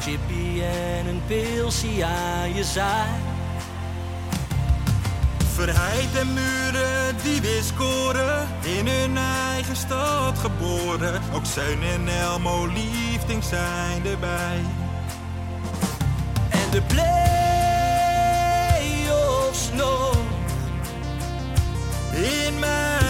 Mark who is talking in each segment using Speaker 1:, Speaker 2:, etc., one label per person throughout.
Speaker 1: Chippy en een pilsie aan je zaai.
Speaker 2: Verheid en muren die weer scoren, in hun eigen stad geboren. Ook Zijn en Elmo liefdings zijn erbij.
Speaker 1: En de play-offs nog.
Speaker 2: In mij.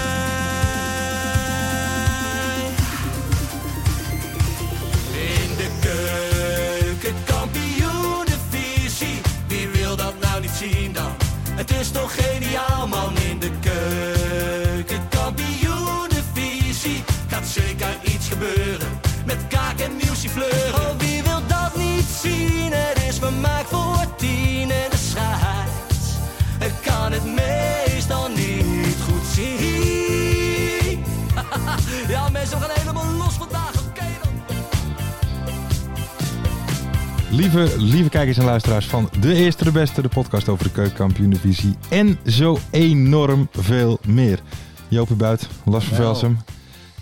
Speaker 1: In de keuken, kampioenenvisie. Wie wil dat nou niet zien dan? Het is toch geniaal man in de keuken, kampioenenvisie. Gaat zeker iets gebeuren met kaak en muziefleur. Oh, wie wil dat niet zien? Het is vermaakt voor tien en de scheids. Ik kan het meestal niet goed zien. ja mensen, we gaan helemaal los vandaag, oké dan.
Speaker 3: Lieve, lieve kijkers en luisteraars van De Eerste de Beste, de podcast over de keukenkampioendivisie en zo enorm veel meer. Joopie Buit, Lars van Velsum.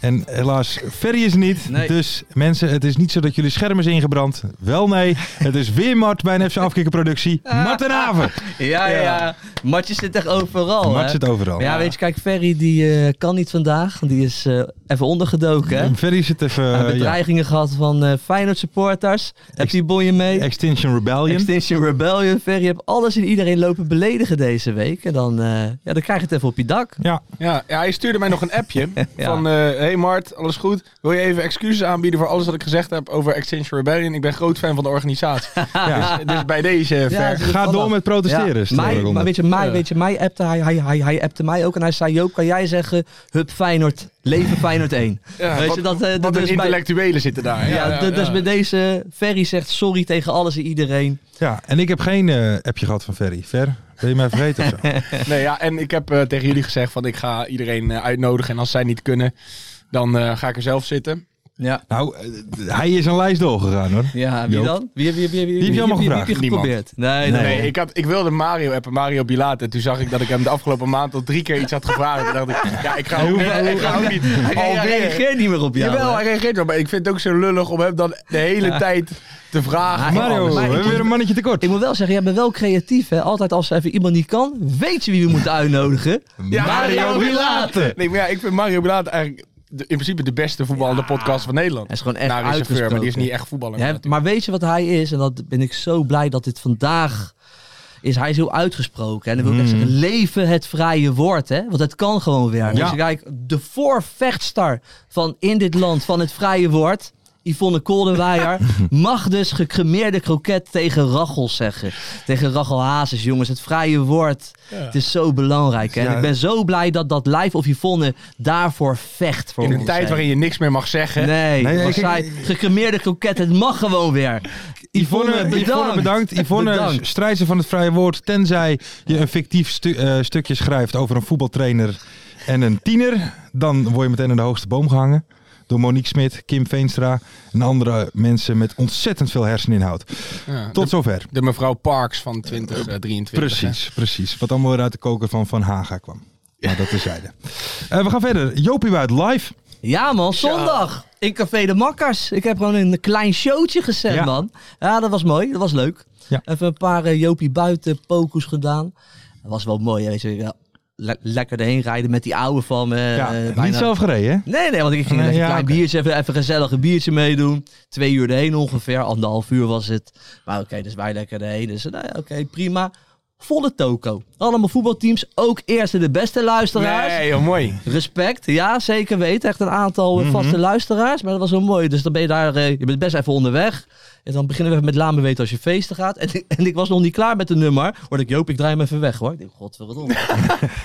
Speaker 3: En helaas, Ferry is er niet.
Speaker 4: Nou. Nee.
Speaker 3: Dus mensen, het is niet zo dat jullie scherm is ingebrand. Wel nee, het is weer Mart bij een FC Afkikkerproductie. Mart en Haven.
Speaker 4: Ah. Ja, ja, ja. Matje zit echt overal.
Speaker 3: Mart
Speaker 4: hè?
Speaker 3: zit overal.
Speaker 4: Ja, weet je, kijk, Ferry die eh, kan niet vandaag. Die is eh, even ondergedoken. Hè?
Speaker 3: En Ferry zit even...
Speaker 4: Hij heeft
Speaker 3: Eh, ja,
Speaker 4: bedreigingen gehad van eh Feyenoord supporters. Heb die boeien mee?
Speaker 3: Extinction Rebellion.
Speaker 4: Extinction Rebellion. Ferry heeft alles en iedereen lopen beledigen deze week. En dan, eh, ja, dan krijg je het even op je dak.
Speaker 3: ja,
Speaker 5: Ja, ja, hij stuurde mij nog een appje
Speaker 4: Ja.
Speaker 5: van... eh hey Mart, alles goed? Wil je even excuses aanbieden voor alles wat ik gezegd heb over Extinction Rebellion? Ik ben groot fan van de organisatie.
Speaker 3: ja.
Speaker 5: dus, dus bij deze, eh, Fer.
Speaker 4: Ah, dus
Speaker 3: Ga
Speaker 4: dat
Speaker 3: door
Speaker 4: was-
Speaker 3: met protesteren. is de
Speaker 4: mij,
Speaker 3: ronde.
Speaker 4: maar weet je, mij, weet je, mij appte hij, hij, hij, hij appte mij ook. En hij zei, Joop, kan jij zeggen, hup Feyenoord, leven Feyenoord 1.
Speaker 5: Ja,
Speaker 4: weet
Speaker 5: wat,
Speaker 4: je, dat, eh, dat
Speaker 5: wat een
Speaker 4: is bij-
Speaker 5: intellectuelen zitten daar.
Speaker 4: Ja, d- dus bij deze, Ferry zegt sorry tegen alles en iedereen.
Speaker 3: Ja, en ik heb geen eh, appje gehad van Ferry. Fer, wil je mij vergeten of zo?
Speaker 5: Nee, ja, en ik heb eh, tegen jullie gezegd van ik ga iedereen eh, uitnodigen. En als zij niet kunnen, dan eh, ga ik er zelf zitten.
Speaker 4: Ja,
Speaker 3: Nou, eh, hij is een lijst doorgegaan hoor.
Speaker 4: ja wie
Speaker 3: Joop.
Speaker 4: dan? Wie, wie, wie, wie,
Speaker 3: je allemaal
Speaker 4: wie- wie-
Speaker 3: gevraagd?
Speaker 4: wie heb je geprobeerd? Nee, nee.
Speaker 5: Nee, ik, had, ik wilde Mario appen, Mario Bilaat. En toen zag ik dat ik hem de afgelopen maand al drie keer iets had gevraagd. En dacht ik, ja, ik ga ook, ik ga ook niet
Speaker 4: Hij
Speaker 5: alweer.
Speaker 4: reageert niet meer op jou.
Speaker 5: Jawel,
Speaker 4: hè?
Speaker 5: hij reageert wel, maar ik vind het ook zo lullig om hem dan de hele tijd te vragen.
Speaker 3: Mario, we
Speaker 5: Alles.
Speaker 3: hebben weer een mannetje tekort.
Speaker 4: Ik moet wel zeggen, jij bent wel creatief hè. Altijd als er even iemand niet kan, weet je wie we moeten uitnodigen.
Speaker 5: Ja,
Speaker 4: Mario Bilate.
Speaker 5: Nee, maar ja, ik vind Mario Bilaat eigenlijk de- in principe de beste voetballende podcast van Nederland.
Speaker 4: Hij is gewoon echt
Speaker 5: Nou, hij is chauffeur, maar die is
Speaker 4: uitgesproken.
Speaker 5: niet echt voetballer.
Speaker 4: Ja,
Speaker 5: natuurlijk.
Speaker 4: maar weet je wat hij is? En dat ben ik zo blij dat dit vandaag is. Hij is heel uitgesproken. En dan wil ik
Speaker 5: Hmm.
Speaker 4: echt zeggen, leven het vrije woord. Hè? Want het kan gewoon weer.
Speaker 3: Ja.
Speaker 4: Dus kijk, de voorvechtster van in dit land van het vrije woord... Yvonne Koldenweijer mag dus gecremeerde kroket tegen Rachel zeggen. Tegen Rachel Hazes, jongens. Het vrije woord. Het is zo belangrijk. Hè? En
Speaker 3: Ja.
Speaker 4: ik ben zo blij dat dat live of Yvonne daarvoor vecht. Voor
Speaker 5: In een
Speaker 4: ons,
Speaker 5: tijd
Speaker 4: hè.
Speaker 5: waarin je niks meer mag zeggen.
Speaker 4: Nee,
Speaker 3: Nee,
Speaker 4: nee
Speaker 3: ik-
Speaker 4: zij, gecremeerde kroket, het mag gewoon weer.
Speaker 3: Yvonne, Yvonne, bedankt. Yvonne,
Speaker 4: Bedankt.
Speaker 3: strijdt ze van het vrije woord. Tenzij je een fictief stu- eh, stukje schrijft over een voetbaltrainer en een tiener. Dan word je meteen aan de hoogste boom gehangen. Door Monique Smit, Kim Veenstra en andere mensen met ontzettend veel herseninhoud.
Speaker 5: Ja,
Speaker 3: Tot zover.
Speaker 5: De mevrouw Parks van
Speaker 4: Eh,
Speaker 5: eh, 2023.
Speaker 3: Precies, precies. Wat allemaal weer uit de koker van Van Haga kwam. Maar dat terzijde. Eh we gaan verder. Jopie Buit live.
Speaker 4: Ja man, zondag in Café de Makkers. Ik heb gewoon een klein showtje gezet
Speaker 3: Ja.
Speaker 4: man. Ja, dat was mooi, dat was leuk.
Speaker 3: Ja.
Speaker 4: Even een paar eh, Jopie buiten pokus gedaan. Dat was wel mooi, hè, weet je. Ja, le- lekker erheen rijden met die oude van me. eh,
Speaker 3: Ja, niet
Speaker 4: bijna-
Speaker 3: zelf gereden, hè?
Speaker 4: Nee, nee, want ik ging
Speaker 3: Nee,
Speaker 4: even
Speaker 3: Eh, ja,
Speaker 4: een klein
Speaker 3: oké.
Speaker 4: biertje, even, even gezellig een biertje meedoen. Twee uur erheen ongeveer, anderhalf uur was het. Maar oké, dus wij lekker erheen. Dus nou ja, oké, prima. Volle toko. Allemaal voetbalteams, ook eerste de beste luisteraars.
Speaker 5: Nee, joh, mooi.
Speaker 4: Respect, ja, zeker weten. Echt een aantal eh, vaste luisteraars. Maar dat was wel mooi. Dus dan ben je daar, eh, je bent best even onderweg. En dan beginnen we even met Laan Beweten als je feesten gaat. En, ik- en ik was nog niet klaar met de nummer. Hoorde ik, Joop, ik draai hem even weg hoor. Ik denk, godverdomme.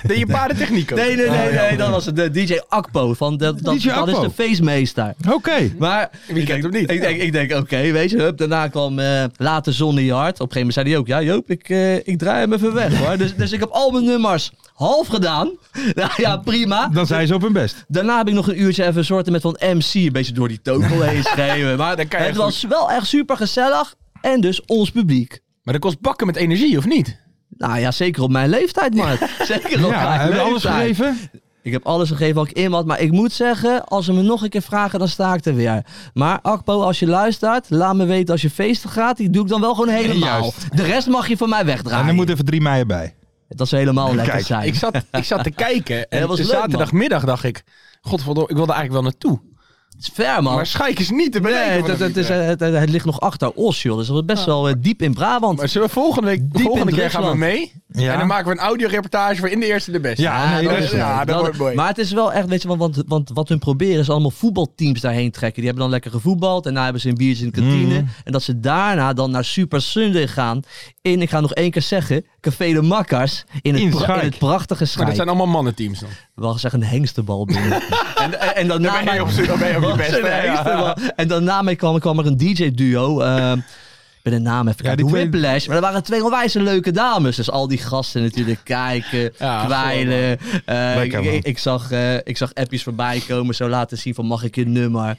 Speaker 5: Deed je paardentechniek ook? Ah,
Speaker 4: Nee, nee, nee, nee. Dan was het de DJ Akpo. Van dat dat,
Speaker 3: DJ
Speaker 4: dat is
Speaker 3: Akpo.
Speaker 4: de feestmeester.
Speaker 3: Oké.
Speaker 4: Maar
Speaker 5: Wie kent hem niet?
Speaker 4: ik denk, ik denk oké, weet je, hup, daarna kwam eh Later Zon in je hart. Op een gegeven moment zei hij ook, ja Joop, ik, eh, ik draai hem even weg hoor. Dus, dus ik heb al mijn nummers half gedaan. Nou ja, prima.
Speaker 3: Dan zijn ze op hun best.
Speaker 4: Daarna heb ik nog een uurtje even sorten met van MC, een beetje door die tokel heen schreeuwen. Maar
Speaker 5: Dan kan je
Speaker 4: het
Speaker 5: goed.
Speaker 4: was wel echt super gezellig. En dus ons publiek.
Speaker 5: Maar dat kost bakken met energie, of niet?
Speaker 4: Nou ja, zeker op mijn leeftijd, Mark. Zeker op
Speaker 3: Ja, hebben
Speaker 4: mijn
Speaker 3: we
Speaker 4: leeftijd.
Speaker 3: alles gegeven?
Speaker 4: Ik heb alles gegeven wat ik in had. Maar ik moet zeggen, als ze me nog een keer vragen, dan sta ik er weer. Maar Akpo, als je luistert, laat me weten als je feesten gaat. Die doe ik dan wel gewoon helemaal. De rest mag je van mij wegdraaien.
Speaker 3: En er moet even drie meiën bij.
Speaker 4: Dat zou helemaal lekker
Speaker 3: Kijk,
Speaker 4: zijn.
Speaker 5: Ik zat, ik zat te kijken en
Speaker 4: dat was leuk, man.
Speaker 5: zaterdagmiddag dacht ik... Godverdomme, ik wilde eigenlijk wel naartoe.
Speaker 4: Het is ver, man.
Speaker 5: Maar Schaik is niet te bereiken.
Speaker 4: Oh. Nee,
Speaker 5: van
Speaker 4: dat,
Speaker 5: de
Speaker 4: dat is,
Speaker 5: Vliet, hè.
Speaker 4: eh, het, het ligt nog achter Os, joh. Dus dat is best wel eh, diep in Brabant.
Speaker 5: Maar zullen we volgende week,
Speaker 4: in
Speaker 5: volgende keer gaan
Speaker 4: Duitsland.
Speaker 5: we mee?
Speaker 3: Ja.
Speaker 5: En dan maken we een audioreportage voor in de eerste de beste. Ah,
Speaker 3: Ja, nee,
Speaker 5: dat,
Speaker 3: dat
Speaker 5: is,
Speaker 3: is leuk.
Speaker 5: ja, dat,
Speaker 4: Dat-
Speaker 5: wordt mooi.
Speaker 4: Maar het is wel echt, weet je, want, want, want wat hun proberen is allemaal voetbalteams daarheen trekken. Die hebben dan lekker gevoetbald en daarna hebben ze een biertje in de kantine.
Speaker 5: Mm.
Speaker 4: En dat ze daarna dan naar Super Sunday gaan in, ik ga nog één keer zeggen, Café de Makkers in het,
Speaker 3: In
Speaker 4: pra-
Speaker 3: Schaik.
Speaker 4: in het prachtige
Speaker 5: Maar
Speaker 4: Schaik.
Speaker 5: dat zijn
Speaker 4: Wel
Speaker 5: allemaal mannenteams dan.
Speaker 4: gezegd een hengstenbal binnen. en, en, en daarna
Speaker 5: Dan ben je op, dan ben je op je
Speaker 4: was
Speaker 5: beste.
Speaker 4: een hengstenbal.
Speaker 5: Ja.
Speaker 4: En daarna mee kwam, kwam er een DJ-duo. eh, ik ben de naam even
Speaker 3: Ja,
Speaker 4: kwijt.
Speaker 3: die twee-
Speaker 4: Whiplash. Maar er waren twee onwijs leuke dames. Dus al die gasten natuurlijk kijken,
Speaker 5: Ja,
Speaker 4: kwijlen. Eh,
Speaker 3: Lekker,
Speaker 4: ik,
Speaker 3: man.
Speaker 4: ik, ik zag, eh, ik zag appjes voorbij komen. Zo laten zien van mag ik je nummer.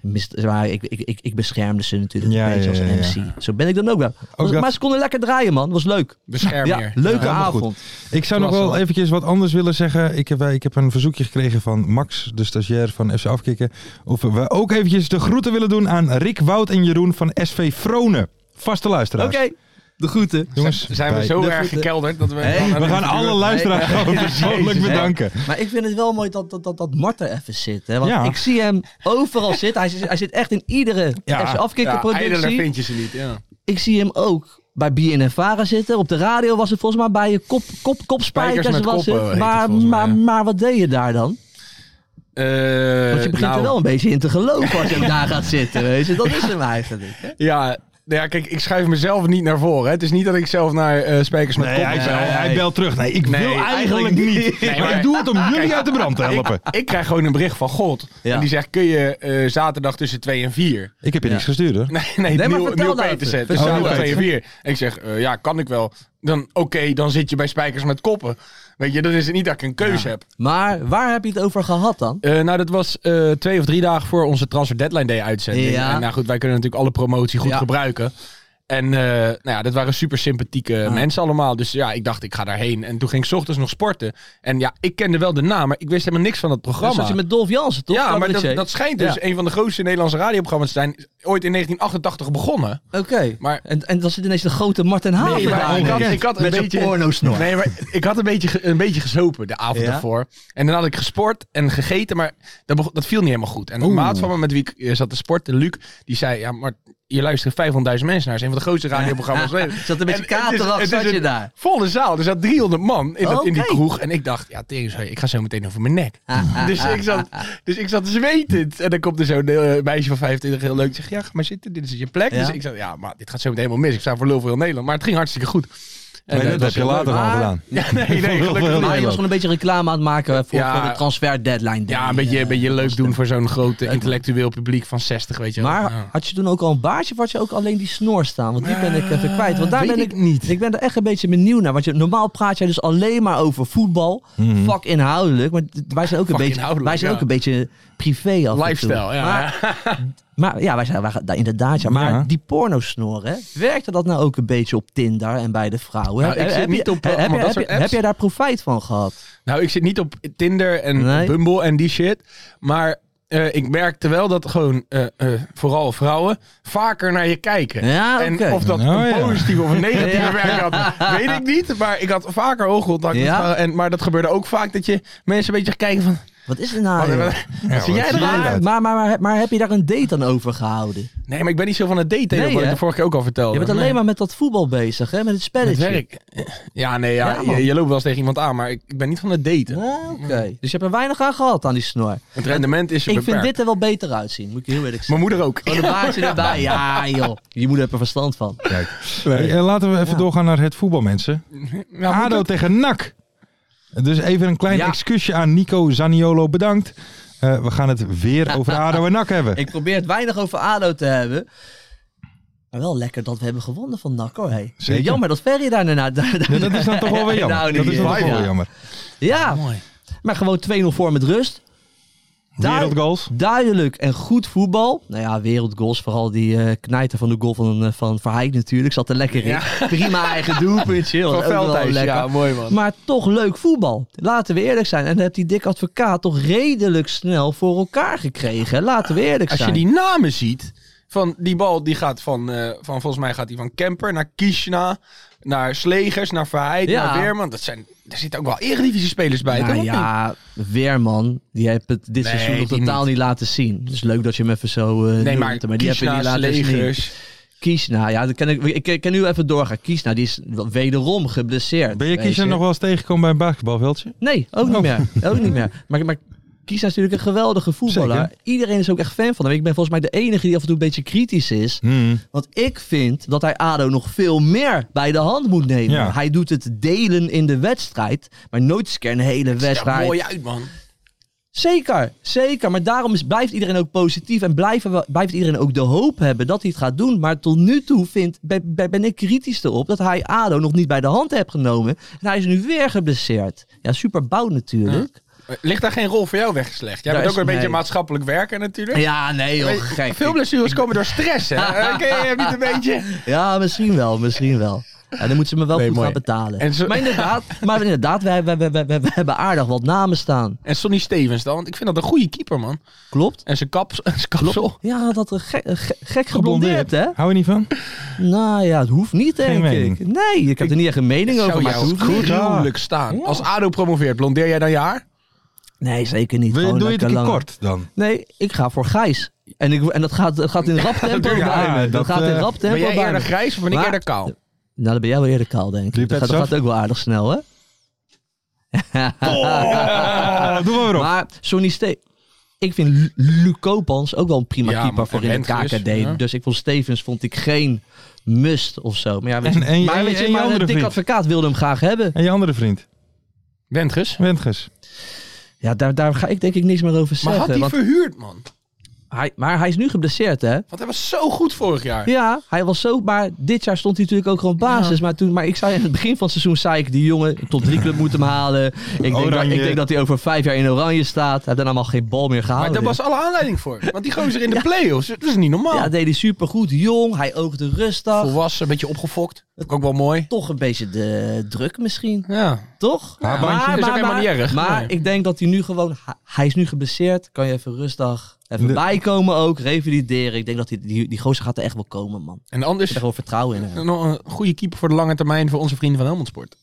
Speaker 4: Mis, maar ik, ik, ik, ik beschermde ze natuurlijk
Speaker 3: Ja,
Speaker 4: een beetje
Speaker 3: ja, ja,
Speaker 4: als
Speaker 3: ja.
Speaker 4: MC. Zo ben ik dan ook wel. Was-
Speaker 3: dat-
Speaker 4: Maar ze konden lekker draaien man. Was leuk.
Speaker 5: Bescherm
Speaker 4: Ja,
Speaker 5: hier.
Speaker 4: leuke
Speaker 3: Ja, maar goed.
Speaker 4: avond.
Speaker 3: Ik zou nog
Speaker 5: Klasse,
Speaker 3: wel
Speaker 5: man.
Speaker 3: eventjes wat anders willen zeggen. Ik heb, eh, ik heb een verzoekje gekregen van Max, de stagiair van FC Afkikken. Of we ook eventjes de groeten willen doen aan Rick, Wout en Jeroen van SV Vronen. Vaste
Speaker 4: Oké,
Speaker 3: luisteraars.
Speaker 4: de groeten.
Speaker 3: Jongens,
Speaker 5: Zijn we
Speaker 3: wij-
Speaker 5: zo
Speaker 4: De
Speaker 5: erg
Speaker 4: groeten.
Speaker 5: gekelderd dat we...
Speaker 4: Hey, we
Speaker 3: we gaan alle luisteraars gewoon persoonlijk
Speaker 4: Jezus, hè.
Speaker 3: bedanken.
Speaker 4: Maar ik vind het wel mooi dat, dat, dat, dat Mart er even zit. Hè? Want
Speaker 3: Ja.
Speaker 4: ik zie hem overal zitten. Hij, zit- hij zit echt in iedere
Speaker 3: Ja.
Speaker 5: Ja,
Speaker 4: afkikkerproductie.
Speaker 5: ijdeler vind je ze niet, ja.
Speaker 4: ik zie hem ook bij BNNVARA zitten. Op de radio was het volgens mij bij je kop, kop, kopspijkers.
Speaker 5: Spijkers
Speaker 4: was
Speaker 5: met koppen
Speaker 4: het.
Speaker 5: heet het
Speaker 4: Maar,
Speaker 5: volgens mij,
Speaker 4: maar,
Speaker 5: ja.
Speaker 4: maar wat deed je daar dan?
Speaker 5: Eh,
Speaker 4: Want je begint
Speaker 5: nou,
Speaker 4: er wel een beetje in te geloven als je ook daar gaat zitten. Weet je? Dat is hem eigenlijk. hè?
Speaker 5: Ja, nou ja, kijk, ik schuif mezelf niet naar voren. Hè. Het is niet dat ik zelf naar eh Spijkers met
Speaker 3: Nee,
Speaker 5: Koppen
Speaker 3: hij,
Speaker 5: bel.
Speaker 3: hij- hij belt terug. Nee, ik
Speaker 5: Nee,
Speaker 3: wil
Speaker 4: Oh,
Speaker 3: eigenlijk
Speaker 5: eigenlijk
Speaker 3: niet.
Speaker 5: niet. Nee,
Speaker 3: maar Ah,
Speaker 5: maar-
Speaker 3: ik doe het om jullie uit de brand te helpen.
Speaker 5: Ik krijg gewoon een bericht van God.
Speaker 4: Ja.
Speaker 5: En die zegt, kun je eh, zaterdag tussen 2 en 4?
Speaker 3: Ik heb je niks gestuurd hoor.
Speaker 5: Nee, nee,
Speaker 4: maar
Speaker 5: nieuw,
Speaker 4: vertel
Speaker 5: nieuw
Speaker 4: nou
Speaker 5: Petersen.
Speaker 4: even.
Speaker 5: Dus
Speaker 3: Vertel
Speaker 5: zaterdag
Speaker 3: nou
Speaker 5: 2 en 4. En ik zeg, eh, ja, kan ik wel. Dan, oké, dan zit je bij Spijkers met Koppen. Weet je, dan is het niet dat ik een keuze heb.
Speaker 4: Maar waar heb je het over gehad dan?
Speaker 5: Eh, nou, dat was eh, twee of drie dagen voor onze Transfer Deadline Day uitzending.
Speaker 4: Ja.
Speaker 5: En, nou goed, wij kunnen natuurlijk alle promotie goed
Speaker 4: Ja.
Speaker 5: gebruiken. En eh, nou ja, dat waren super sympathieke mensen allemaal. Dus ja, ik dacht, ik ga daarheen. En toen ging ik 's ochtends nog sporten. En ja, ik kende wel de naam, maar ik wist helemaal niks van dat
Speaker 4: Dat
Speaker 5: programma.
Speaker 4: zat Dus je met Dolf Jansen, toch?
Speaker 5: ja, maar dat,
Speaker 4: cabaretier?
Speaker 5: dat schijnt dus
Speaker 4: Ja.
Speaker 5: een van de grootste Nederlandse radioprogramma's te zijn. Ooit in 1988 begonnen.
Speaker 4: Oké.
Speaker 5: Maar-
Speaker 4: En, en dan zit ineens de grote Martin Haven
Speaker 5: Nee, maar
Speaker 4: daar.
Speaker 5: ik had, ik had een
Speaker 4: Met zijn
Speaker 5: beetje
Speaker 4: pornosnor.
Speaker 5: Nee, maar ik had een beetje, ge- een beetje gezopen de avond
Speaker 4: Ja?
Speaker 5: ervoor. En dan had ik gesport en gegeten, maar dat, bego- dat viel niet helemaal goed. En een maat van me met wie ik eh, zat te sporten, Luc, die zei: Ja, maar je luistert 500.000 mensen naar. Het is een van de grootste radioprogramma's. van Nederland."
Speaker 4: Zat een beetje
Speaker 5: En het is-
Speaker 4: katerachtig
Speaker 5: het is
Speaker 4: zat je
Speaker 5: een
Speaker 4: daar.
Speaker 5: Volle zaal, er zat 300 man in, dat, in die
Speaker 4: Oké.
Speaker 5: kroeg. En ik dacht: Ja, tering, sorry, ik ga zo meteen over mijn nek.
Speaker 4: Ah,
Speaker 5: dus, ik zat, dus ik zat zwetend. En dan komt er zo'n eh, meisje van 25 heel leuk. Die zegt: Ja, ga maar zitten, dit is je plek.
Speaker 4: Ja.
Speaker 5: Dus ik zei: Ja, maar dit gaat zo meteen helemaal mis. Ik sta voor lul voor heel Nederland. Maar het ging hartstikke goed. En,
Speaker 3: Nee,
Speaker 5: eh,
Speaker 3: dat
Speaker 5: was
Speaker 3: heb je
Speaker 5: heel leuk.
Speaker 3: later al
Speaker 4: maar-
Speaker 3: gedaan.
Speaker 5: Ja, nee, nee,
Speaker 3: Heel
Speaker 5: gelukkig
Speaker 3: veel
Speaker 4: Maar je
Speaker 5: niet.
Speaker 4: was
Speaker 3: Nederland.
Speaker 4: gewoon een beetje reclame aan het maken voor,
Speaker 5: Ja.
Speaker 4: voor de transfer deadline. day.
Speaker 5: Ja, een beetje, een beetje leuk doen voor zo'n groot eh,
Speaker 4: Leuk.
Speaker 5: intellectueel publiek van 60, weet je wel.
Speaker 4: Maar
Speaker 5: Ja.
Speaker 4: had je toen ook al een baardje of had je ook alleen die snor staan? Want die ben ik even kwijt. Want daar
Speaker 5: weet
Speaker 4: ben
Speaker 5: ik niet.
Speaker 4: Ik ben er echt een beetje benieuwd naar. Want je, normaal praat jij dus alleen maar over voetbal. Fuck inhoudelijk. Maar d- wij zijn ook een
Speaker 5: Fuck
Speaker 4: beetje,
Speaker 5: inhoudelijk,
Speaker 4: wij zijn
Speaker 5: ja.
Speaker 4: ook een beetje privé af en toe.
Speaker 5: Lifestyle, ja.
Speaker 4: Maar, maar ja, wij zijn wij, gaan- inderdaad. Ja, maar
Speaker 3: Ja.
Speaker 4: die pornosnor, hè, werkte dat nou ook een beetje op Tinder en bij de vrouwen?
Speaker 5: Nou, ik
Speaker 4: Heb-
Speaker 5: zit
Speaker 4: heb
Speaker 5: niet
Speaker 4: je-
Speaker 5: op, eh,
Speaker 4: heb-
Speaker 5: allemaal
Speaker 4: heb-
Speaker 5: dat soort
Speaker 4: heb- Heb
Speaker 5: apps.
Speaker 4: jij daar profijt van gehad?
Speaker 5: Nou, ik zit niet op Tinder en
Speaker 4: Nee.
Speaker 5: Bumble en die shit. Maar eh, ik merkte wel dat gewoon eh, eh, vooral vrouwen vaker naar je kijken.
Speaker 4: Ja,
Speaker 5: en
Speaker 4: oké.
Speaker 5: of dat
Speaker 3: Nou, ja.
Speaker 5: een positieve of een negatieve
Speaker 4: Ja.
Speaker 5: werking had, weet ik niet. Maar ik had vaker oogcontact. met
Speaker 4: Ja.
Speaker 5: vrouwen. En, maar dat gebeurde ook vaak dat je mensen een beetje gaat kijken van... "Ah,
Speaker 4: Wat is er
Speaker 5: Oh,
Speaker 4: nou? joh?
Speaker 5: Wat zie jij eruit?
Speaker 4: Maar, maar, maar, maar, maar heb je daar een date dan over gehouden?
Speaker 5: Nee, maar ik ben niet zo van het daten,
Speaker 4: Nee,
Speaker 5: wat ik
Speaker 4: hè?
Speaker 5: de vorige keer ook al vertelde.
Speaker 4: Je bent alleen
Speaker 5: Oh, Nee.
Speaker 4: maar met dat voetbal bezig, hè? Met het
Speaker 5: met
Speaker 4: spelletje.
Speaker 5: werk. Ja, nee, ja,
Speaker 4: Ja, man.
Speaker 5: je, je loopt wel eens tegen iemand aan, maar ik, ik ben niet van het daten.
Speaker 4: Ah, Oké.
Speaker 5: Mm.
Speaker 4: Dus je hebt er weinig aan gehad aan die snor.
Speaker 5: Het rendement is
Speaker 4: Ik
Speaker 5: beperkt.
Speaker 4: vind dit Oh, er wel beter uitzien, moet ik je heel eerlijk
Speaker 5: Mijn
Speaker 4: zeggen.
Speaker 5: moeder ook.
Speaker 4: Gewoon een baardje erbij. Ja, joh. Je moeder heeft er verstand van.
Speaker 3: Hey, eh, laten we even doorgaan naar het voetbal, mensen.
Speaker 5: Ja, Nou, moet
Speaker 3: ADO
Speaker 5: het?
Speaker 3: tegen NAC. Dus even een klein
Speaker 4: Ja.
Speaker 3: excuusje aan Nico Zaniolo, bedankt. Eh, we gaan het weer over ADO en NAC hebben.
Speaker 4: Ik probeer het weinig over ADO te hebben. Maar wel lekker dat we hebben gewonnen van NAC, hoor. Hey.
Speaker 3: Zeker.
Speaker 4: Jammer dat Ferry daar daarna... daar-
Speaker 3: Ja, dat is dan toch wel weer jammer.
Speaker 4: Nou,
Speaker 3: dat
Speaker 4: niet
Speaker 3: is dan toch wel
Speaker 4: waar,
Speaker 3: weer
Speaker 4: ja.
Speaker 3: jammer.
Speaker 4: Ja,
Speaker 5: Mooi.
Speaker 4: maar gewoon 2-0 voor met rust. Daar,
Speaker 3: Wereldgoals.
Speaker 4: duidelijk en goed voetbal. Nou ja, wereldgoals. Vooral die eh knijter van de goal van, eh, van Verheij natuurlijk. Zat er lekker in. Prima eigen doelpuntje. was
Speaker 5: Van
Speaker 4: ook wel
Speaker 5: Veldhuis,
Speaker 4: lekker.
Speaker 5: ja, mooi man.
Speaker 4: Maar toch leuk voetbal. Laten we eerlijk zijn. En dat heeft die dik advocaat toch redelijk snel voor elkaar gekregen. Laten we eerlijk
Speaker 5: Als
Speaker 4: zijn.
Speaker 5: je die namen ziet, van die bal die gaat van, eh, van volgens mij gaat die van Kemper naar Kishna, naar Slegers, naar Verheid,
Speaker 4: Ja.
Speaker 5: naar Weerman. Dat zijn, er zitten ook wel eredivisie spelers bij.
Speaker 4: nou
Speaker 5: toch?
Speaker 4: ja, Weerman, die heeft het dit
Speaker 5: Nee,
Speaker 4: seizoen nog
Speaker 5: die
Speaker 4: totaal niet. laten zien. Dus leuk dat je hem even zo eh
Speaker 5: Nee,
Speaker 4: noemt,
Speaker 5: maar,
Speaker 4: die heb je
Speaker 5: Kishna,
Speaker 4: niet laten zien.
Speaker 5: Slegers.
Speaker 4: Kiesna, ja, dat kan ik, ik, ik kan nu even doorgaan. Kiesna, die is wederom geblesseerd.
Speaker 3: Ben je
Speaker 4: weet
Speaker 3: kiezer nog wel Oh. eens tegengekomen bij een basketbalveldje?
Speaker 4: Nee, ook niet meer. Ook niet meer. Maar, maar Kiesna is natuurlijk een geweldige voetballer.
Speaker 3: Zeker.
Speaker 4: Iedereen is ook echt fan van hem. Ik ben volgens mij de enige die af en toe een beetje kritisch is.
Speaker 3: Hmm.
Speaker 4: Want ik vind dat hij ADO nog veel meer bij de hand moet nemen.
Speaker 3: Ja.
Speaker 4: Hij doet het delen in de wedstrijd, maar nooit eens een keer een hele
Speaker 5: Ziet er
Speaker 4: wedstrijd.
Speaker 5: mooi uit, man.
Speaker 4: Zeker, zeker. Maar daarom is, blijft iedereen ook positief en blijven we, blijft iedereen ook de hoop hebben dat hij het gaat doen. Maar tot nu toe vind, ben, ben- ben ik kritisch erop dat hij ADO nog niet bij de hand heeft genomen. En hij is nu weer geblesseerd. Ja, super bout natuurlijk.
Speaker 5: Ligt daar geen rol voor jou weggeslecht? Jij
Speaker 4: Daar
Speaker 5: bent ook
Speaker 4: is-
Speaker 5: een beetje
Speaker 4: nee.
Speaker 5: maatschappelijk werker natuurlijk.
Speaker 4: Ja, nee joh,
Speaker 5: Weet-
Speaker 4: gek.
Speaker 5: Veel blessures komen door stress, hè? Eh, Ken je hem niet een beetje?
Speaker 4: Ja, misschien wel, misschien wel. En dan moeten ze me wel
Speaker 5: Nee,
Speaker 4: goed
Speaker 5: mooi.
Speaker 4: gaan betalen.
Speaker 5: En zo-
Speaker 4: Maar inderdaad, maar inderdaad we, we, we, we, we- we hebben aardig wat namen staan.
Speaker 5: En Sonny Stevens dan, want ik vind dat een goede keeper, man.
Speaker 4: Klopt?
Speaker 5: En zijn, kaps, zijn kapsel.
Speaker 4: Ja, dat een gek, een gek, gek geblondeerd, hè?
Speaker 3: Hou je niet van?
Speaker 4: Nou ja, het hoeft niet, denk
Speaker 3: mening.
Speaker 4: ik. Nee, ik heb er niet echt een mening over,
Speaker 5: Zou
Speaker 4: maar
Speaker 5: jou
Speaker 4: het hoeft niet.
Speaker 5: gruwelijk staan. Als ADO promoveert, blondeer jij dan je haar?
Speaker 4: Nee, zeker niet.
Speaker 3: Wil je-
Speaker 4: Gewoon
Speaker 3: doe je het een
Speaker 4: lekker
Speaker 3: keer
Speaker 4: langer.
Speaker 3: kort dan?
Speaker 4: Nee, ik ga voor Gijs. En, ik, en dat, gaat, dat gaat in rap tempo
Speaker 3: Ja,
Speaker 4: bij me. Dat,
Speaker 3: dat,
Speaker 4: gaat in
Speaker 3: eh,
Speaker 4: rap tempo
Speaker 5: Ben jij
Speaker 4: bij me.
Speaker 5: eerder grijs of ben ik
Speaker 4: Maar-
Speaker 5: eerder kaal?
Speaker 4: Nou, dan ben jij wel eerder kaal, denk ik.
Speaker 3: Liep
Speaker 4: Dat
Speaker 3: het
Speaker 4: gaat, dat
Speaker 3: zo?
Speaker 4: gaat ook wel aardig snel, hè?
Speaker 3: Ah, doe maar weer op.
Speaker 4: Maar Sonny Ste Ik vind Lu- Luc Koopmans ook wel een prima
Speaker 5: Ja,
Speaker 4: keeper
Speaker 5: maar-
Speaker 4: voor
Speaker 5: en
Speaker 4: in het
Speaker 5: Rentgers,
Speaker 4: KKD.
Speaker 5: ja.
Speaker 4: Dus ik vond Stevens vond ik geen must of zo. Maar ja, weet je,
Speaker 3: En- en-
Speaker 4: maar,
Speaker 3: en-
Speaker 4: weet
Speaker 3: en
Speaker 4: je,
Speaker 3: je
Speaker 4: maar een
Speaker 3: andere
Speaker 4: dik
Speaker 3: vriend?
Speaker 4: advocaat wilde hem graag hebben.
Speaker 3: En je andere vriend,
Speaker 5: Wendges.
Speaker 3: Wendges.
Speaker 4: Ja, daar, daar ga ik denk ik niks meer over
Speaker 5: Maar
Speaker 4: zeggen.
Speaker 5: had hij
Speaker 4: want
Speaker 5: verhuurd, man?
Speaker 4: hij, maar hij is nu geblesseerd, hè?
Speaker 5: Want hij was zo goed vorig jaar.
Speaker 4: Ja, hij was zo. Maar dit jaar stond hij natuurlijk ook gewoon basis. Maar, toen, maar ik zei in het begin van het seizoen: zei ik, die jongen tot drie club moet hem halen. Ik denk, dat,
Speaker 3: Oranje.
Speaker 4: ik denk dat hij over vijf jaar in Oranje staat. Hij heeft dan allemaal geen bal meer
Speaker 5: Maar
Speaker 4: gehouden.
Speaker 5: daar was alle aanleiding voor. Want die gozer in de play-offs, dat is niet normaal.
Speaker 4: ja, dat deed hij supergoed. Jong, hij oogde rustig.
Speaker 5: Volwassen, een beetje opgefokt. Vind ik ook wel mooi.
Speaker 4: Toch een beetje de druk misschien,
Speaker 5: Ja.
Speaker 4: toch?
Speaker 3: Ja, bandje.
Speaker 5: Dat is ook helemaal niet erg.
Speaker 4: maar
Speaker 5: Nee.
Speaker 4: ik denk dat hij nu gewoon... hij- Hij is nu geblesseerd. Kan je even rustig even
Speaker 3: De-
Speaker 4: bijkomen ook. Revalideren. Ik denk dat die, die, die gozer gaat er echt wel komen, man. Ik
Speaker 5: En anders,
Speaker 4: heb er gewoon vertrouwen in hem.
Speaker 5: nog een goede keeper voor de lange termijn voor onze vrienden van Helmond Sport.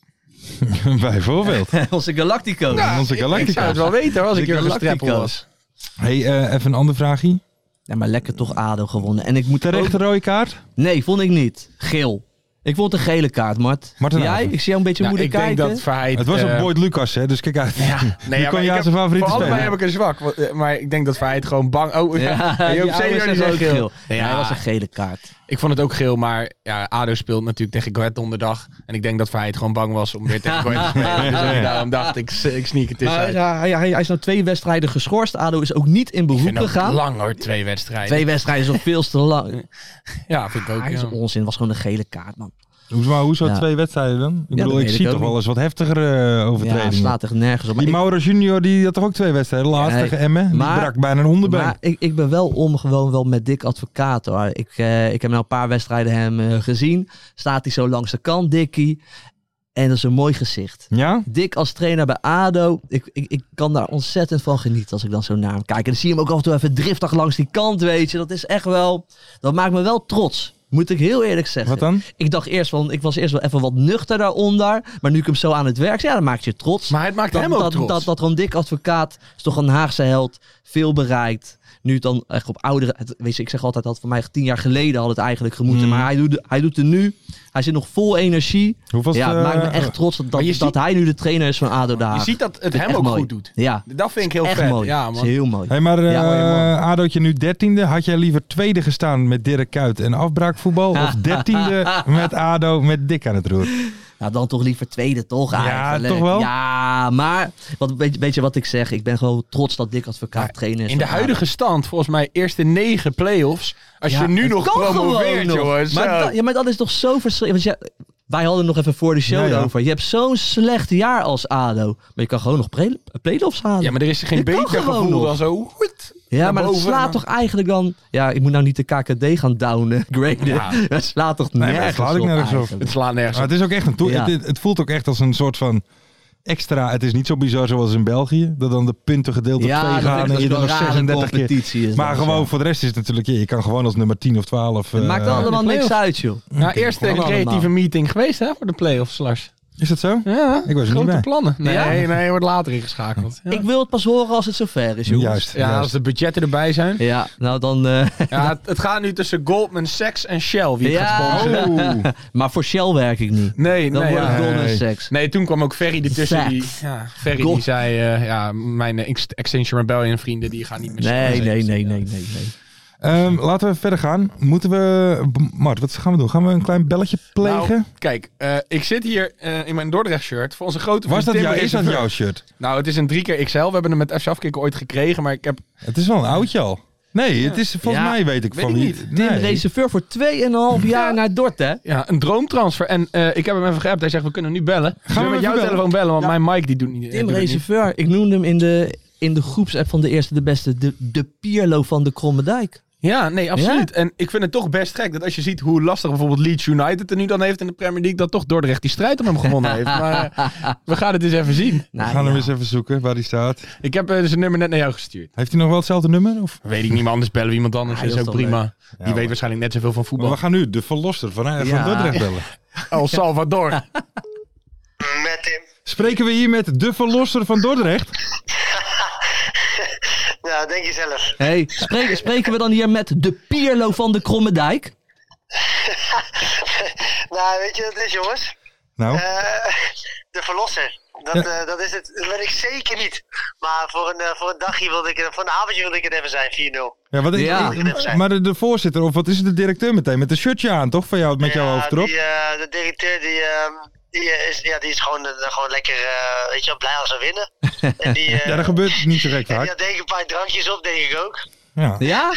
Speaker 3: Bijvoorbeeld.
Speaker 4: Onze Galactico.
Speaker 3: Ja, onze
Speaker 5: Ik zou het
Speaker 3: Galactica.
Speaker 5: wel weten hoor, als ik
Speaker 4: De
Speaker 5: hier een
Speaker 4: Galactico's.
Speaker 5: streppel was.
Speaker 3: Hey, eh, even een ander vraagje.
Speaker 4: Ja, maar lekker toch ADO gewonnen. En ik moet
Speaker 3: Terecht
Speaker 4: ook-
Speaker 3: een rode kaart?
Speaker 4: Nee, vond ik niet. Geel. Ik vond een gele kaart, Mart.
Speaker 3: Marten
Speaker 4: Jij?
Speaker 3: Haven.
Speaker 4: Ik zie jou een beetje
Speaker 5: Nou, ik
Speaker 4: moeilijk
Speaker 5: denk
Speaker 4: kijken.
Speaker 5: dat Verheid...
Speaker 3: Het was
Speaker 5: eh,
Speaker 3: op Boyd Lucas, hè, dus kijk uit.
Speaker 5: Ja, nee, ja,
Speaker 3: kon
Speaker 5: maar
Speaker 3: je
Speaker 5: ik
Speaker 3: aan
Speaker 5: heb-
Speaker 3: zijn favoriete
Speaker 5: Voor allebei
Speaker 3: speler.
Speaker 5: heb ik een zwak. want, eh, Maar ik denk dat Verheid gewoon bang... Oh, ja.
Speaker 4: Ja,
Speaker 5: En Joop
Speaker 4: die ouders
Speaker 5: Senior
Speaker 4: zeggen
Speaker 5: die zegt
Speaker 4: ook
Speaker 5: geel.
Speaker 4: geel. Nee,
Speaker 5: Ja.
Speaker 4: hij was een gele kaart.
Speaker 5: Ik vond het ook geel, maar ja, ADO speelt natuurlijk tegen Gwet donderdag. En ik denk dat Verheid gewoon bang was om weer tegen Gwet te spelen. Dus ik daarom dacht ik, s- ik sneak het
Speaker 4: Maar,
Speaker 5: tussenuit.
Speaker 4: ja, hij, hij, hij is nou twee wedstrijden geschorst. ADO is ook niet in
Speaker 5: Ik
Speaker 4: beroep
Speaker 5: vind dat
Speaker 4: gegaan.
Speaker 5: lang hoor, twee wedstrijden.
Speaker 4: Twee wedstrijden is nog veel te lang.
Speaker 5: Ja, vind ik ook.
Speaker 4: Hij is
Speaker 5: ja.
Speaker 4: onzin. Het was gewoon een gele kaart, man.
Speaker 3: Hoezo, maar hoezo
Speaker 4: Ja.
Speaker 3: twee wedstrijden dan? Ik
Speaker 4: Ja,
Speaker 3: bedoel,
Speaker 4: dat
Speaker 3: ik
Speaker 4: weet
Speaker 3: zie
Speaker 4: ik ook
Speaker 3: toch wel
Speaker 4: niet.
Speaker 3: eens wat heftigere eh,
Speaker 4: Ja,
Speaker 3: overtredingen.
Speaker 4: slaat echt nergens op. Maar
Speaker 3: die
Speaker 4: ik-
Speaker 3: Mauro Junior die had toch ook twee wedstrijden? Laatst
Speaker 4: Ja,
Speaker 3: tegen Emmen.
Speaker 4: maar-
Speaker 3: die brak bijna een hondenbeen.
Speaker 4: Maar ik, ik ben wel om gewoon wel met Dick Advocaat hoor. Ik, eh, ik heb nou een paar wedstrijden hem eh, gezien. Staat hij zo langs de kant, Dickie. En dat is een mooi gezicht.
Speaker 3: ja?
Speaker 4: Dick als trainer bij ADO. Ik, ik, ik kan daar ontzettend van genieten als ik dan zo naar hem kijk. En dan zie je hem ook af en toe even driftig langs die kant, weet je. Dat is echt wel... Dat maakt me wel trots. Moet ik heel eerlijk zeggen.
Speaker 3: Wat dan?
Speaker 4: Ik dacht eerst, want ik was eerst wel even wat nuchter daaronder. Maar nu ik hem zo aan het werk zie, ja, dan maakt je trots.
Speaker 5: Maar het maakt
Speaker 4: dat,
Speaker 5: hem ook
Speaker 4: dat,
Speaker 5: trots.
Speaker 4: Dat, dat Ron Dik advocaat is toch een Haagse held, veel bereikt. Nu dan echt op oudere, het- weet je, ik zeg altijd dat voor mij tien jaar geleden had het eigenlijk
Speaker 3: Hmm.
Speaker 4: gemoeten. Maar hij doet, hij doet het nu. Hij zit nog vol energie.
Speaker 3: Hoeveel
Speaker 4: ja, het maakt
Speaker 3: eh,
Speaker 4: me echt trots dat, dat, dat
Speaker 5: je ziet-
Speaker 4: hij nu de trainer is van ADO Den
Speaker 5: Je
Speaker 4: Haag.
Speaker 5: ziet dat het
Speaker 4: Vind ik
Speaker 5: hem
Speaker 4: echt
Speaker 5: ook
Speaker 4: mooi.
Speaker 5: goed doet.
Speaker 4: Ja,
Speaker 5: Dat vind ik heel
Speaker 4: echt
Speaker 5: vet.
Speaker 4: mooi.
Speaker 5: Ja,
Speaker 4: Dat
Speaker 5: man.
Speaker 4: is heel mooi.
Speaker 3: Hey, maar eh
Speaker 4: Ja, mooi,
Speaker 3: Adootje nu dertiende. Had jij liever tweede gestaan met Dirk Kuyt en afbraakvoetbal? Of dertiende met Ado met Dick aan het roer?
Speaker 4: Nou, dan toch liever tweede, toch?
Speaker 3: Ja,
Speaker 4: eigenlijk.
Speaker 3: toch wel?
Speaker 4: Ja, maar wat, weet, je- weet je wat ik zeg? Ik ben gewoon trots dat Dick advocaat trainer is.
Speaker 5: In de
Speaker 4: Ja.
Speaker 5: huidige stand, volgens mij, eerste negen play-offs. Als
Speaker 4: Ja,
Speaker 5: je nu
Speaker 4: het
Speaker 5: nog
Speaker 4: kan gewoon
Speaker 5: promoveert,
Speaker 4: nog.
Speaker 5: jongens.
Speaker 4: Maar,
Speaker 5: zo.
Speaker 4: dat- ja, maar dat is toch zo verschrikkelijk. Want ja, wij hadden nog even voor de show
Speaker 3: Ja, ja.
Speaker 4: over. Je hebt zo'n slecht jaar als ADO. Maar je kan gewoon nog pre- play-offs halen.
Speaker 5: Ja, maar er is geen
Speaker 4: Je kan
Speaker 5: beter
Speaker 4: gewoon
Speaker 5: gevoel
Speaker 4: nog.
Speaker 5: dan zo. hoet,
Speaker 4: Ja,
Speaker 5: naar
Speaker 4: maar dat
Speaker 5: boven.
Speaker 4: slaat toch eigenlijk dan... Ja, ik moet nou niet de KKD gaan downen, graden. Dat slaat toch
Speaker 3: maar dat
Speaker 4: nergens
Speaker 3: slaat ik
Speaker 4: op
Speaker 3: nergens op.
Speaker 4: eigenlijk.
Speaker 5: Het slaat nergens
Speaker 3: Maar
Speaker 5: op.
Speaker 3: het is ook echt een toe-
Speaker 4: Ja.
Speaker 3: het, het voelt ook echt als een soort van extra. Het is niet zo bizar zoals in België. Dat dan de punten gedeeld door
Speaker 4: Ja,
Speaker 3: twee
Speaker 4: dat
Speaker 3: gaan
Speaker 4: is
Speaker 3: en je
Speaker 4: wel
Speaker 3: dan nog
Speaker 4: rare
Speaker 3: 36 keer.
Speaker 4: competitie is
Speaker 3: Maar
Speaker 4: dat,
Speaker 3: gewoon
Speaker 4: ja.
Speaker 3: voor de rest is het natuurlijk. ja, je kan gewoon als nummer 10 of 12.
Speaker 4: Het
Speaker 3: eh,
Speaker 4: maakt allemaal niks uit, joh.
Speaker 5: Nou, eerste
Speaker 4: Gewoon
Speaker 5: creatieve
Speaker 4: allemaal.
Speaker 5: meeting geweest hè, voor de play-offs, Lars.
Speaker 3: Is dat zo?
Speaker 5: Ja,
Speaker 3: Ik was er
Speaker 5: grote
Speaker 3: niet bij.
Speaker 5: plannen. Nee,
Speaker 4: Ja?
Speaker 5: nee, nee, wordt later ingeschakeld. Ja.
Speaker 4: Ik wil het pas horen als het zover is, jongens.
Speaker 3: Juist.
Speaker 5: ja, als
Speaker 3: juist.
Speaker 5: de budgetten erbij zijn.
Speaker 4: Ja, nou dan... eh,
Speaker 5: Ja, het, het gaat nu tussen Goldman Sachs en Shell. Wie het
Speaker 4: Ja.
Speaker 5: gaat sponsoren.
Speaker 3: Oeh.
Speaker 4: maar voor Shell werk ik niet.
Speaker 5: Nee,
Speaker 4: Dan
Speaker 5: nee,
Speaker 4: word
Speaker 5: ja.
Speaker 4: ik dol
Speaker 3: Nee.
Speaker 4: en seks.
Speaker 5: Nee, toen kwam ook Ferry ertussen. Die,
Speaker 4: Sacks.
Speaker 5: ja, Ferry
Speaker 4: God.
Speaker 5: die zei, eh, ja, mijn eh, Ext- Extinction Rebellion vrienden, die gaan niet meer
Speaker 4: Nee,
Speaker 5: zingen.
Speaker 4: nee, nee, nee, nee. nee.
Speaker 3: Ehm, laten we verder gaan. Moeten we. Mart, wat gaan we doen? Gaan we een klein belletje plegen?
Speaker 5: Nou, kijk, eh, ik zit hier eh, in mijn Dordrecht shirt voor onze grote
Speaker 3: Was
Speaker 5: vriend
Speaker 3: dat
Speaker 5: Timber
Speaker 3: jou, is dat
Speaker 5: Reservoir.
Speaker 3: jouw shirt?
Speaker 5: Nou, het is een 3 XL. We hebben hem met FC Afkikken ooit gekregen, maar ik heb...
Speaker 3: Het is wel een oudje al. Nee, het is volgens
Speaker 4: Ja,
Speaker 3: mij weet ik
Speaker 5: weet
Speaker 3: van
Speaker 5: ik
Speaker 3: wie.
Speaker 5: niet.
Speaker 3: Nee.
Speaker 4: Tim deze chauffeur voor 2,5 jaar naar Dort, hè?
Speaker 5: Ja, een droomtransfer. En eh, ik heb hem even geappt. Hij zegt, we kunnen nu bellen.
Speaker 3: hem
Speaker 5: Gaan we met
Speaker 3: even
Speaker 5: jouw
Speaker 3: bellen?
Speaker 5: telefoon bellen, want mijn mic die doet niet. eh,
Speaker 4: Tim
Speaker 5: doet het niet.
Speaker 4: Reserveur, ik noemde hem in de, in de groepsapp van de eerste de beste, de, de Pierlo van de Kromme Dijk.
Speaker 5: Ja, nee, absoluut. En ik vind het toch best gek dat als je ziet hoe lastig bijvoorbeeld Leeds United er nu dan heeft in de Premier League, dat toch Dordrecht die strijd om hem gewonnen heeft. Maar eh, we gaan het eens even zien.
Speaker 3: We
Speaker 4: Nou,
Speaker 3: gaan hem
Speaker 4: ja.
Speaker 3: eens even zoeken waar die staat.
Speaker 5: Ik heb eh, zijn nummer net naar jou gestuurd.
Speaker 3: Heeft hij nog wel hetzelfde nummer? Of?
Speaker 5: Weet ik niet, maar anders bellen we iemand anders.
Speaker 4: Ja,
Speaker 5: is
Speaker 4: dat
Speaker 5: ook
Speaker 4: is wel
Speaker 5: prima. Die
Speaker 3: hoor.
Speaker 5: weet waarschijnlijk net zoveel van
Speaker 3: Maar
Speaker 5: voetbal.
Speaker 3: we gaan nu de verlosser van, eh, van
Speaker 4: Ja.
Speaker 3: Dordrecht bellen.
Speaker 5: El Salvador.
Speaker 6: Met Tim.
Speaker 3: Spreken we hier met de verlosser van Dordrecht?
Speaker 6: Ja, denk je zelf.
Speaker 4: Hey, spreken, spreken we dan hier met de Pierlo van de Kromme Dijk?
Speaker 6: nou, weet je wat het is, jongens?
Speaker 3: Nou,
Speaker 6: Eh, de verlosser. Dat, eh, dat is het. Dat ben ik zeker niet. Maar voor een, eh, voor een dagje wilde ik er, voor een avondje wilde ik het even zijn, 4-0.
Speaker 3: ja, wat,
Speaker 4: ja.
Speaker 3: ik- maar de, de voorzitter, of wat is het, de directeur meteen? Met een shirtje aan, toch? Van jou, met jouw
Speaker 6: Ja,
Speaker 3: hoofd erop?
Speaker 6: Die, eh, de directeur die, ehm, die, eh, is, ja, die is gewoon, eh, gewoon lekker eh, weet je, wel, blij als we winnen. En die, eh,
Speaker 3: ja, dat gebeurt niet zo gek
Speaker 6: en die had
Speaker 3: vaak.
Speaker 6: denk ik een paar drankjes op, denk ik ook.
Speaker 3: Ja.
Speaker 4: Ja?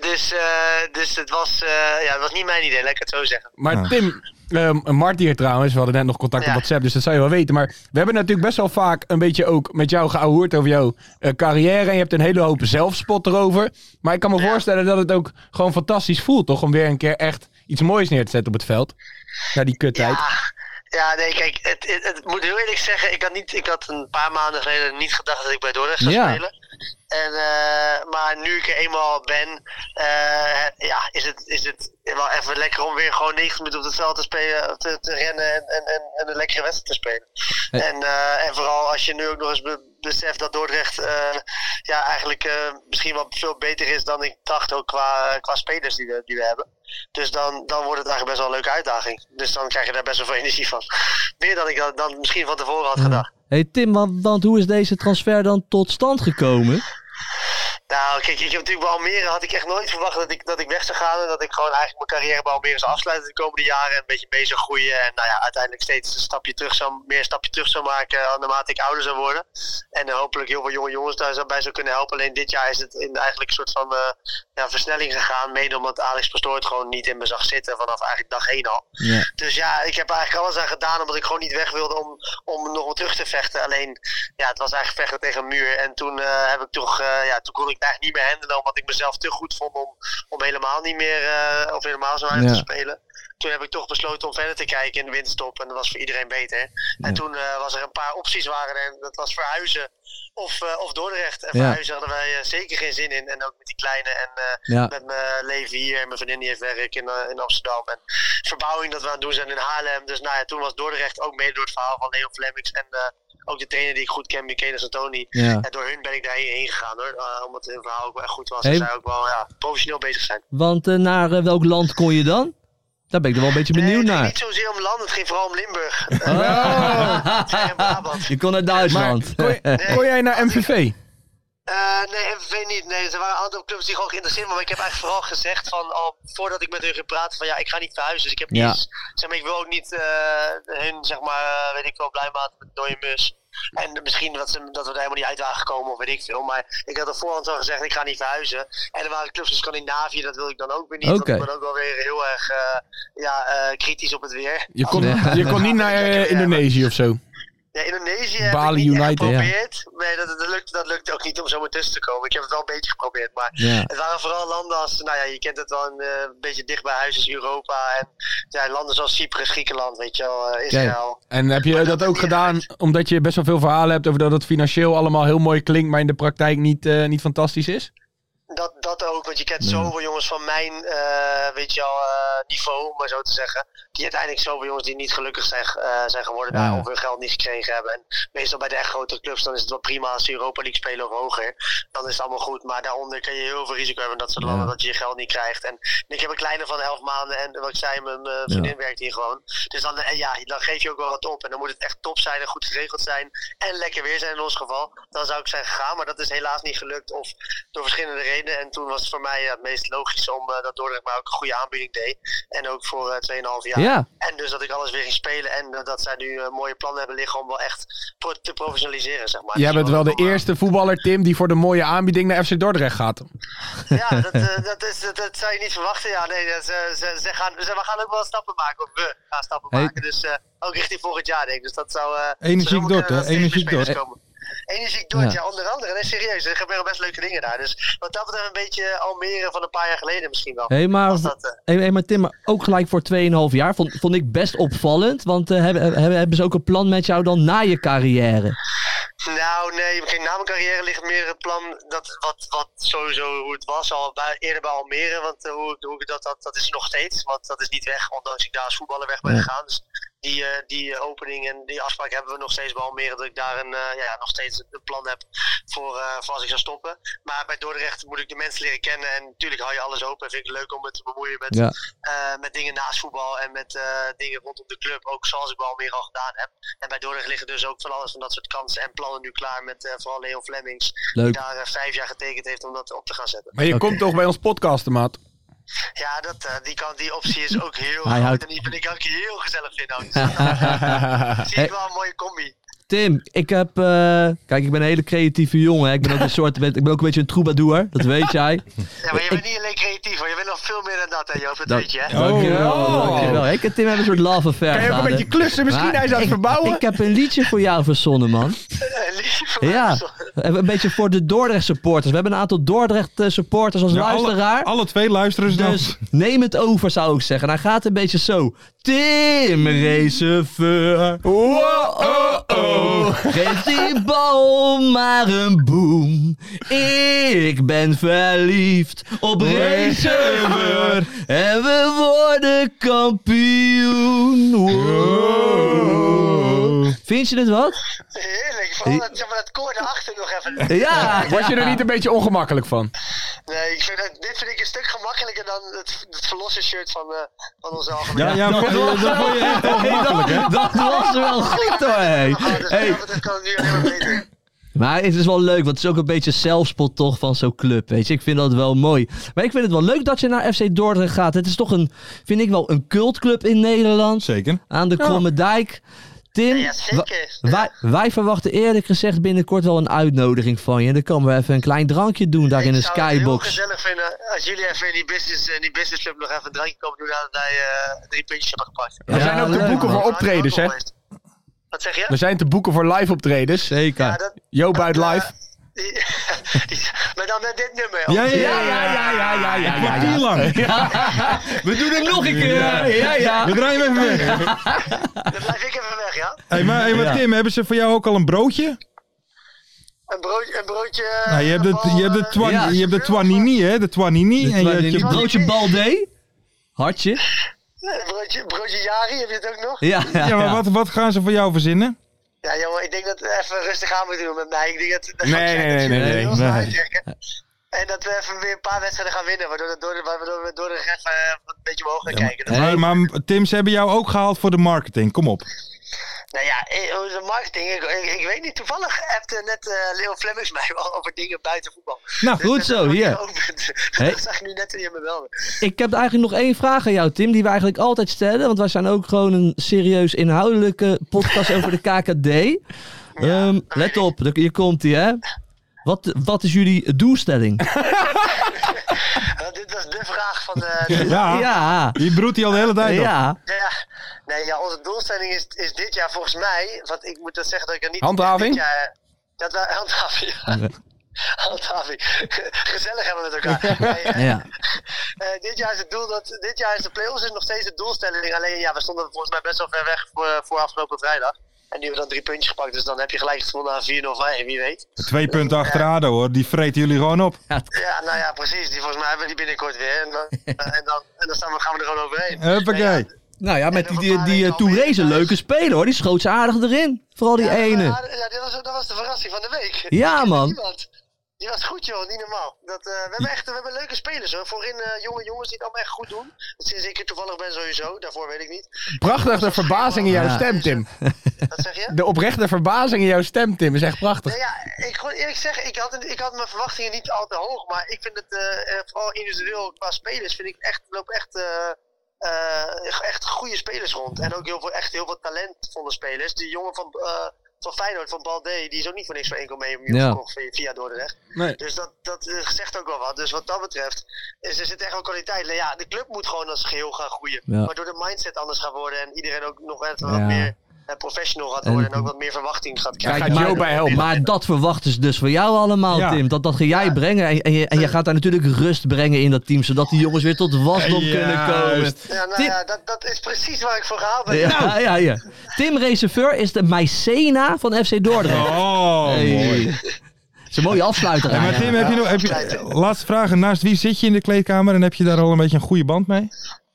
Speaker 6: Dus, eh, dus het, was, eh, ja, het was niet mijn idee, laat ik het zo zeggen.
Speaker 5: Maar
Speaker 3: Ja.
Speaker 5: Tim, ehm Mart hier trouwens, we hadden net nog contact op
Speaker 6: Ja.
Speaker 5: WhatsApp, dus dat zou je wel weten. Maar we hebben natuurlijk best wel vaak een beetje ook met jou geouwehoerd over jouw eh, carrière. En je hebt een hele hoop zelfspot erover. Maar ik kan me voorstellen dat het ook gewoon fantastisch voelt, toch? Om weer een keer echt iets moois neer te zetten op het veld. Na die kuttijd.
Speaker 6: Ja, ja nee, kijk, het, het, het moet heel eerlijk zeggen, ik had, niet, ik had een paar maanden geleden niet gedacht dat ik bij Dordrecht zou
Speaker 4: Ja.
Speaker 6: spelen. En, eh, maar nu ik er eenmaal ben, eh, ja, is, het, is het wel even lekker om weer gewoon 90 minuten op het veld te, spelen, te, te rennen en, en, en, en een lekkere wedstrijd te spelen. En, eh, en vooral als je nu ook nog eens be- beseft dat Dordrecht eh, ja, eigenlijk eh, misschien wel veel beter is dan ik dacht ook qua, qua spelers die we, die we hebben. Dus dan, dan wordt het eigenlijk best wel een leuke uitdaging. Dus dan krijg je daar best wel veel energie van. Meer dan ik dan, dan misschien van tevoren had gedacht.
Speaker 4: Hey Tim, want, want hoe is deze transfer dan tot stand gekomen?
Speaker 6: Nou, kijk, ik heb natuurlijk bij Almere had ik echt nooit verwacht dat ik, dat ik weg zou gaan. En dat ik gewoon eigenlijk mijn carrière bij Almere zou afsluiten de komende jaren. En een beetje mee zou groeien. En nou ja, uiteindelijk steeds een stapje terug zou, meer een stapje terug zou maken eh, naarmate ik ouder zou worden. En eh, hopelijk heel veel jonge jongens daar zou- bij zou kunnen helpen. Alleen dit jaar is het in eigenlijk een soort van eh, ja, versnelling gegaan. Mede omdat Alex Pastoor het gewoon niet in me zag zitten vanaf eigenlijk dag één al.
Speaker 4: Ja.
Speaker 6: Dus ja, ik heb er eigenlijk alles aan gedaan omdat ik gewoon niet weg wilde om, om nog wat terug te vechten. Alleen, ja, het was eigenlijk vechten tegen een muur. En toen, eh, heb ik toch, eh, ja, toen kon ik het eigenlijk niet meer handelen omdat ik mezelf te goed vond om, om helemaal niet meer, eh, of helemaal zo uit
Speaker 4: Ja.
Speaker 6: te spelen. toen heb ik toch besloten om verder te kijken in de windstop. En dat was voor iedereen beter. En toen eh, was er een paar opties waren er, en dat was verhuizen of, eh, of Dordrecht. En
Speaker 4: Ja.
Speaker 6: verhuizen hadden wij eh, zeker geen zin in. En ook met die kleine en eh,
Speaker 4: Ja.
Speaker 6: met mijn leven hier en mijn vriendin die heeft werk in, eh, in Amsterdam. En verbouwing dat we aan het doen zijn in Haarlem. Dus nou ja, toen was Dordrecht ook mede door het verhaal van Leo Flemmings en eh, ook de trainer die ik goed ken, Michele Santoni.
Speaker 4: Ja.
Speaker 6: En door hun ben ik daarheen heen gegaan hoor. Eh, omdat hun verhaal ook wel echt goed was.
Speaker 4: Hey.
Speaker 6: En zij ook wel ja, professioneel bezig zijn.
Speaker 4: Want eh, naar eh, welk land kon je dan? Daar ben ik er wel een beetje
Speaker 6: Nee,
Speaker 4: benieuwd
Speaker 6: het ging
Speaker 4: naar.
Speaker 6: niet zozeer om land, het ging vooral om Limburg. en Brabant.
Speaker 4: Oh. Je kon naar Duitsland.
Speaker 5: Kon, je-
Speaker 4: Oh
Speaker 5: kon jij naar MVV?
Speaker 6: Eh, nee, MVV niet. Nee, er waren een aantal clubs die gewoon geïnteresseerd waren. Maar ik heb eigenlijk vooral gezegd van al voordat ik met hun ging praten van ja, ik ga niet verhuizen. Dus ik heb niet
Speaker 4: Ja.
Speaker 6: eens- zeg maar, ik wil ook niet eh hun zeg maar, eh, weet ik wel, blij maken met dode mus. En misschien dat, ze, dat we daar helemaal niet uit waren gekomen of weet ik veel. Maar ik had op voorhand al gezegd, ik ga niet verhuizen. En er waren clubs in Scandinavië, dat wil ik dan ook weer niet.
Speaker 4: Oké.
Speaker 6: Want ik ben ook wel weer heel erg eh, ja, eh, kritisch op het weer.
Speaker 5: Je kon,
Speaker 4: Nee.
Speaker 5: je kon niet naar eh, Indonesië of zo.
Speaker 6: Ja, Indonesië heb
Speaker 5: Bali
Speaker 6: ik niet echt
Speaker 5: United, ja.
Speaker 6: geprobeerd. Nee, dat, dat, lukt, dat lukt ook niet om zomaar tussen te komen. Ik heb het wel een beetje geprobeerd. Maar
Speaker 4: Ja.
Speaker 6: het waren vooral landen als, nou ja, je kent het wel, een eh, beetje dicht bij huis is Europa. En ja, landen zoals Cyprus, Griekenland, weet je wel, eh, Israël.
Speaker 5: En heb je dat ook gedaan omdat je best wel veel verhalen hebt over dat het financieel allemaal heel mooi klinkt, maar in de praktijk niet, eh, niet fantastisch is?
Speaker 6: Dat, dat ook, want je kent zoveel jongens van mijn, eh, weet je wel, eh, niveau, om maar zo te zeggen. Die uiteindelijk zoveel jongens die niet gelukkig zijn, eh, zijn geworden daar, of hun geld niet gekregen hebben. En meestal bij de echt grote clubs, dan is het wel prima als ze Europa League spelen of hoger. Dan is het allemaal goed, maar daaronder kan je heel veel risico hebben in dat soort landen, dat je je geld niet krijgt. En ik heb een kleine van elf maanden en wat ik zei, mijn eh, vriendin werkt hier gewoon. Dus dan, eh, ja, dan geef je ook wel wat op. En dan moet het echt top zijn en goed geregeld zijn. En lekker weer zijn in ons geval. Dan zou ik zijn gegaan, maar dat is helaas niet gelukt. Of door verschillende redenen. En toen was het voor mij ja, het meest logisch om eh, dat Dordrecht mij ook een goede aanbieding deed. En ook voor eh 2,5 jaar.
Speaker 4: Ja.
Speaker 6: En dus dat ik alles weer ging spelen. En eh, dat zij nu eh, mooie plannen hebben liggen om wel echt pro- te professionaliseren, zeg maar.
Speaker 5: Jij
Speaker 6: Dus
Speaker 5: bent
Speaker 6: wat
Speaker 5: wel de
Speaker 6: ik allemaal-
Speaker 5: eerste voetballer, Tim, die voor de mooie aanbieding naar FC Dordrecht gaat.
Speaker 6: Ja, dat, eh, dat, is, dat, dat zou je niet verwachten. Ja, nee, dat- ze, ze, ze gaan, ze, we gaan ook wel stappen maken. Of we gaan stappen
Speaker 4: Hey.
Speaker 6: maken. Dus eh, ook richting volgend jaar, denk ik. Dus dat zou... eh,
Speaker 3: Energiek
Speaker 6: zou zomaar
Speaker 3: Dordt, hè?
Speaker 6: kunnen dat steeds meer
Speaker 3: Energiek
Speaker 6: spelers
Speaker 3: Dordt.
Speaker 6: komen. Energiek Dordt,
Speaker 4: Ja.
Speaker 6: ja. onder andere. Nee, serieus. Er gebeuren best leuke dingen daar. Dus wat dat betreft een beetje Almere van een paar jaar geleden misschien wel.
Speaker 4: Hé, maar,
Speaker 6: Was dat, eh?
Speaker 4: hey, hey, maar Tim, maar ook gelijk voor 2,5 jaar vond, vond ik best opvallend. Want eh, hebben, hebben, hebben ze ook een plan met jou dan na je carrière?
Speaker 6: Nou, nee, geen na mijn carrière ligt meer het plan. Dat, wat, wat sowieso hoe het was al bij, eerder bij Almere. Want eh, hoe, ik- hoe ik dat, dat, dat is er nog steeds. Want dat is niet weg, ondanks ik daar als voetballer weg ben gegaan. Dus die, eh, die eh, opening en die afspraak hebben we nog steeds bij Almere. Dat ik daar een, eh, ja, nog steeds een plan heb voor, eh, voor als ik zou stoppen. Maar bij Dordrecht moet ik de mensen leren kennen. En natuurlijk hou je alles open. En vind ik het leuk om me te bemoeien met,
Speaker 4: Ja.
Speaker 6: eh, met dingen naast voetbal. En met eh, dingen rondom de club. Ook zoals ik bij Almere al gedaan heb. En bij Dordrecht liggen dus ook van alles van dat soort kansen en plannen nu klaar met eh, vooral Leon Flemings.
Speaker 4: Leuk.
Speaker 6: Die daar eh, vijf jaar getekend heeft om dat op te gaan zetten.
Speaker 5: Maar je komt toch bij ons podcasten, maat?
Speaker 6: Ja, dat, eh, die, kan, die optie is ook heel
Speaker 4: Hij
Speaker 6: groot
Speaker 4: houdt-
Speaker 6: En die vind ik ook heel gezellig vinden. Dus, eh, zie ik wel een mooie combi.
Speaker 4: Tim, ik heb. eh, kijk, ik ben een hele creatieve jongen. hè. Ik ben ook een soort. ben- ik ben ook een beetje een troubadour. Dat weet jij.
Speaker 6: Ja, maar je bent niet alleen creatief hoor. Je bent nog veel meer dan dat hè Joop. Dat
Speaker 4: Dat- Oh.
Speaker 6: weet je hè.
Speaker 4: Dankjewel. dankjewel. Ik en Tim hebben een soort love affair.
Speaker 5: Oh. Kan je ook een
Speaker 4: gaande.
Speaker 5: beetje klussen? Misschien
Speaker 4: Maar
Speaker 5: hij is aan het
Speaker 4: ik-
Speaker 5: verbouwen.
Speaker 4: Ik heb een liedje voor jou verzonnen, man.
Speaker 6: Eh, lief voor
Speaker 4: Ja.
Speaker 6: mij.
Speaker 4: Een beetje voor de Dordrecht supporters. We hebben een aantal Dordrecht eh, supporters als luisteraar.
Speaker 3: Alle, alle twee luisteren ze dan.
Speaker 4: Dus neem het over, zou ik zeggen. En hij gaat een beetje zo. Tim Reserveur.
Speaker 3: Oh,
Speaker 4: Wow-oh-oh. Geef die bal maar een boom. Ik ben verliefd op Reserveur. En we worden kampioen. Wow. Vind je dit wat?
Speaker 6: Heerlijk. Vooral dat, zeg maar, dat koor erachter nog even.
Speaker 4: Ja.
Speaker 5: Was je er niet een beetje ongemakkelijk van?
Speaker 6: Nee, ik vind dat, dit vind ik een stuk gemakkelijker dan het, het verlossen shirt van, eh, van onze algemene.
Speaker 3: Ja, ja, dat vond je echt ongemakkelijk, hè?
Speaker 4: dat, dat was wel goed hoor. Hey.
Speaker 6: Maar dus,
Speaker 4: Hey,
Speaker 6: wat dat betreft kan het nu alleen maar beter.
Speaker 4: Maar het is wel leuk, want het is ook een beetje zelfspot toch van zo'n club. Weet je, ik vind dat wel mooi. Maar ik vind het wel leuk dat je naar FC Dordrecht gaat. Het is toch een, vind ik wel, een cultclub in Nederland.
Speaker 3: Zeker.
Speaker 4: Aan de Kromme Dijk. Tim,
Speaker 6: Ja, zeker.
Speaker 4: wa- wij, wij verwachten eerlijk gezegd binnenkort wel een uitnodiging van je. En dan komen we even een klein drankje doen daar in de
Speaker 6: Ik zou het heel
Speaker 4: skybox.
Speaker 6: gezellig vinden als jullie even in die business, eh, in die business club nog even een drankje komen doen nadat wij eh, drie puntjes hebben gepakt.
Speaker 4: Er Ja, zijn ook te leuk, boeken man.
Speaker 5: voor optredens, hè?
Speaker 6: Wat zeg
Speaker 5: We
Speaker 6: je?
Speaker 5: zijn te boeken voor live optredens.
Speaker 4: Zeker.
Speaker 6: Ja, dat,
Speaker 5: Joop uit
Speaker 6: dat, eh,
Speaker 5: live.
Speaker 6: Die, die- maar dan naar dit nummer.
Speaker 3: Ja, ja, ja.
Speaker 5: ja, ja, ja, ja, ja.
Speaker 3: Een kwartier lang.
Speaker 4: We doen het nog een keer. Ja, ja.
Speaker 3: We draaien hem even weg.
Speaker 6: Dan blijf ik even weg, ja?
Speaker 3: Hey, maar hey, maar Tim, hebben ze voor jou ook al een broodje?
Speaker 6: Een broodje... Een broodje
Speaker 3: Nou, je hebt de,
Speaker 6: van,
Speaker 3: je hebt de,
Speaker 6: eh,
Speaker 3: twan,
Speaker 4: Ja.
Speaker 3: je hebt de twanini, hè? De twanini. en je hebt je
Speaker 6: twanini.
Speaker 4: broodje Balde. Hartje.
Speaker 6: een broodje, broodje Jari, heb je het ook nog?
Speaker 4: Ja, ja,
Speaker 3: Ja, maar
Speaker 4: ja.
Speaker 3: Wat, wat gaan ze voor jou verzinnen?
Speaker 6: Ja, jongen, ik denk dat we even rustig aan moeten doen met mij. Ik denk dat, dat
Speaker 5: Nee, nee, nee, nee, nee,
Speaker 6: nee,
Speaker 5: nee.
Speaker 6: En dat we even weer een paar wedstrijden gaan winnen, waardoor, dat door, de- waardoor we door de ref eh, een beetje omhoog gaan kijken. Dat-
Speaker 3: Hey, maar Tim, ze hebben jou ook gehaald voor de marketing. Kom op.
Speaker 6: Nou ja, eh, hoe is de marketing, ik, ik, ik weet niet. Toevallig appte net eh Leo Flemmings mij wel over dingen buiten voetbal. Dus
Speaker 3: Nou,
Speaker 4: Goed zo, hier. Hey.
Speaker 6: Dat zag ik nu net toen je me belde.
Speaker 4: Ik heb eigenlijk nog één vraag aan jou, Tim, die we eigenlijk altijd stellen. Want wij zijn ook gewoon een serieus inhoudelijke podcast over de KKD. Ehm, let op, er- hier komt hij, hè. Wat, wat is jullie doelstelling?
Speaker 6: Nou, dit was de vraag van eh, de...
Speaker 3: Ja,
Speaker 4: Ja,
Speaker 3: die broedt hij al de hele tijd op.
Speaker 4: ja.
Speaker 6: Ja, nee, ja, onze doelstelling is, is dit jaar volgens mij, want ik moet dat zeggen dat ik er niet...
Speaker 5: Handhaving?
Speaker 6: Dit jaar, dat we, handhaving, ja. Handhaving. Gezellig hebben we het elkaar. Nee, eh,
Speaker 4: ja.
Speaker 6: eh, dit jaar is het doel dat, dit jaar is de play-offs is nog steeds de doelstelling. Alleen ja, we stonden volgens mij best wel ver weg voor, voor afgelopen vrijdag. En die hebben dan drie puntjes gepakt, dus dan heb je gelijk gewonnen aan 4 of 5, wie weet.
Speaker 3: Twee punten achter ADO, hoor. Die vreten jullie gewoon op.
Speaker 6: Ja, nou ja, precies. Die, volgens mij hebben we die binnenkort weer. En dan, eh, en dan, en dan staan we, gaan we er gewoon overheen. Nee,
Speaker 3: Huppakee.
Speaker 6: ja,
Speaker 4: Nou ja, met die,
Speaker 6: En nog
Speaker 4: die,
Speaker 6: een
Speaker 4: die eh,
Speaker 6: paar
Speaker 4: Touré is een
Speaker 6: weken
Speaker 4: leuke speler hoor. Die schoot ze aardig erin. Vooral die
Speaker 6: Ja,
Speaker 4: ene.
Speaker 6: maar, Ja, dit was, dat was de verrassing van de week.
Speaker 4: Ja, man.
Speaker 6: Die was, die was goed, joh. Niet normaal. Dat, eh, we, hebben echt, we hebben leuke spelers, hoor. Voorin eh, jonge jongens die het allemaal echt goed doen. Sinds ik er toevallig ben sowieso. Daarvoor weet ik niet.
Speaker 5: Prachtig de verbazing in jouw
Speaker 4: Ja.
Speaker 5: stem, Tim.
Speaker 6: Wat zeg je?
Speaker 5: De oprechte verbazing in jouw stem, Tim, is echt prachtig.
Speaker 6: Nou ja, ik gewoon eerlijk zeggen, ik had, ik had mijn verwachtingen niet al te hoog. Maar ik vind het, eh, eh, vooral individueel qua spelers, vind ik echt, lopen echt, eh, eh, echt goede spelers rond. En ook heel veel, echt heel veel talentvolle spelers. Die jongen van, eh, van Feyenoord, van Balde, die is ook niet voor niks voor 1,1 miljoen
Speaker 4: Ja.
Speaker 6: gekocht via, via Dordrecht.
Speaker 5: Nee.
Speaker 6: Dus dat, dat eh, zegt ook wel wat. Dus wat dat betreft, is, er zit echt wel kwaliteit. Nou ja, de club moet gewoon als geheel gaan groeien.
Speaker 4: Ja.
Speaker 6: Waardoor de mindset anders gaat worden en iedereen ook nog net wat
Speaker 4: Ja.
Speaker 6: meer eh, professional gaat
Speaker 4: En-
Speaker 6: worden. En, ook wat meer verwachting gaat krijgen.
Speaker 5: Daar
Speaker 4: Kijk,
Speaker 5: gaat Joe
Speaker 4: maar-
Speaker 5: bij helpen.
Speaker 4: Maar dat verwachten ze dus van jou allemaal,
Speaker 3: Ja.
Speaker 4: Tim. Dat, dat ga jij brengen. En, en, je, en je gaat daar natuurlijk rust brengen in dat team. Zodat die jongens weer tot wasdom
Speaker 5: Eh,
Speaker 3: Ja,
Speaker 4: kunnen komen.
Speaker 3: juist.
Speaker 6: Ja, nou
Speaker 4: Tim-
Speaker 6: ja, dat, dat is precies waar ik voor gehaald ben.
Speaker 5: Nou.
Speaker 4: Ja, ja, ja. Tim Reserveur is de Mycena van FC Dordrecht.
Speaker 3: Oh,
Speaker 4: Hey.
Speaker 3: mooi.
Speaker 4: Dat is een mooie afsluiter.
Speaker 3: Hey, maar
Speaker 4: eigenlijk.
Speaker 3: Tim, heb je nog... Heb je, laatste vraag. Naast wie zit je in de kleedkamer en heb je daar al een beetje een goede band mee?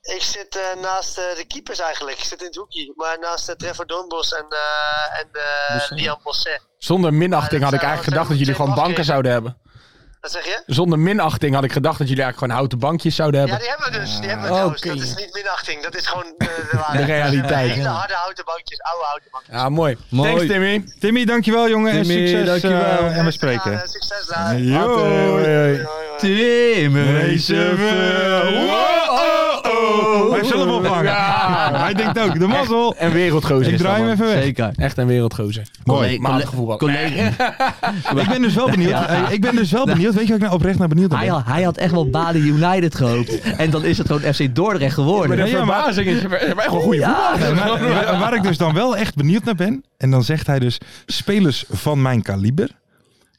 Speaker 6: Ik zit eh, naast eh, de keepers eigenlijk. Ik zit in het hoekje. Maar naast eh, Trevor Dombos en, eh en eh, Liam Bosset.
Speaker 5: Zonder minachting had ik
Speaker 6: Ja, dat
Speaker 5: eigenlijk
Speaker 6: zijn-
Speaker 5: gedacht dat jullie
Speaker 6: dat zijn
Speaker 5: gewoon banken
Speaker 6: afkeer.
Speaker 5: zouden hebben.
Speaker 6: Wat zeg je?
Speaker 5: Zonder minachting had ik gedacht dat jullie eigenlijk gewoon houten bankjes zouden
Speaker 6: Ja,
Speaker 5: hebben.
Speaker 6: die hebben we dus. Die hebben we
Speaker 5: Ah,
Speaker 6: trouwens.
Speaker 5: oké.
Speaker 6: Dat is niet minachting. Dat is gewoon eh, de waarheid.
Speaker 5: De realiteit,
Speaker 6: We hebben Hele
Speaker 5: ja.
Speaker 6: harde houten bankjes. Oude houten bankjes.
Speaker 5: Ja, mooi.
Speaker 4: Mooi.
Speaker 5: Thanks, Timmy.
Speaker 3: Timmy, dankjewel, jongen. en
Speaker 4: Timmy,
Speaker 3: succes.
Speaker 4: dankjewel.
Speaker 3: eh, en we
Speaker 6: Eh,
Speaker 3: spreken.
Speaker 6: eh, Succes daar.
Speaker 5: Hoi, hoi,
Speaker 3: Yo.
Speaker 5: hoi.
Speaker 6: Hoi, hoi.
Speaker 4: Tim
Speaker 3: Reserveur. Oh,
Speaker 4: Reserveur.
Speaker 3: Hij heeft zelf ophangen. Hij denkt ook, de mazzel.
Speaker 5: Een wereldgozer
Speaker 3: Ik
Speaker 5: is dat,
Speaker 3: draai hem
Speaker 5: man.
Speaker 3: even weg.
Speaker 4: Zeker.
Speaker 5: Echt een wereldgozer.
Speaker 3: Mooi.
Speaker 5: Maandige voetbal.
Speaker 4: Collega.
Speaker 3: Ik ben dus wel benieuwd. Hey, Ik ben dus wel benieuwd. Weet je waar ik nou oprecht naar benieuwd naar
Speaker 4: Hij
Speaker 3: ben?
Speaker 4: had, hij had echt wel Bali United gehoopt. En dan is het gewoon FC Dordrecht geworden.
Speaker 5: Maar de
Speaker 3: Ja, ja, maar-
Speaker 5: verbazing is... We hebben echt wel goede
Speaker 4: Ja.
Speaker 5: voetbal.
Speaker 3: Ja, maar- waar- waar ik dus dan wel echt benieuwd naar ben. En dan zegt hij dus spelers van mijn kaliber.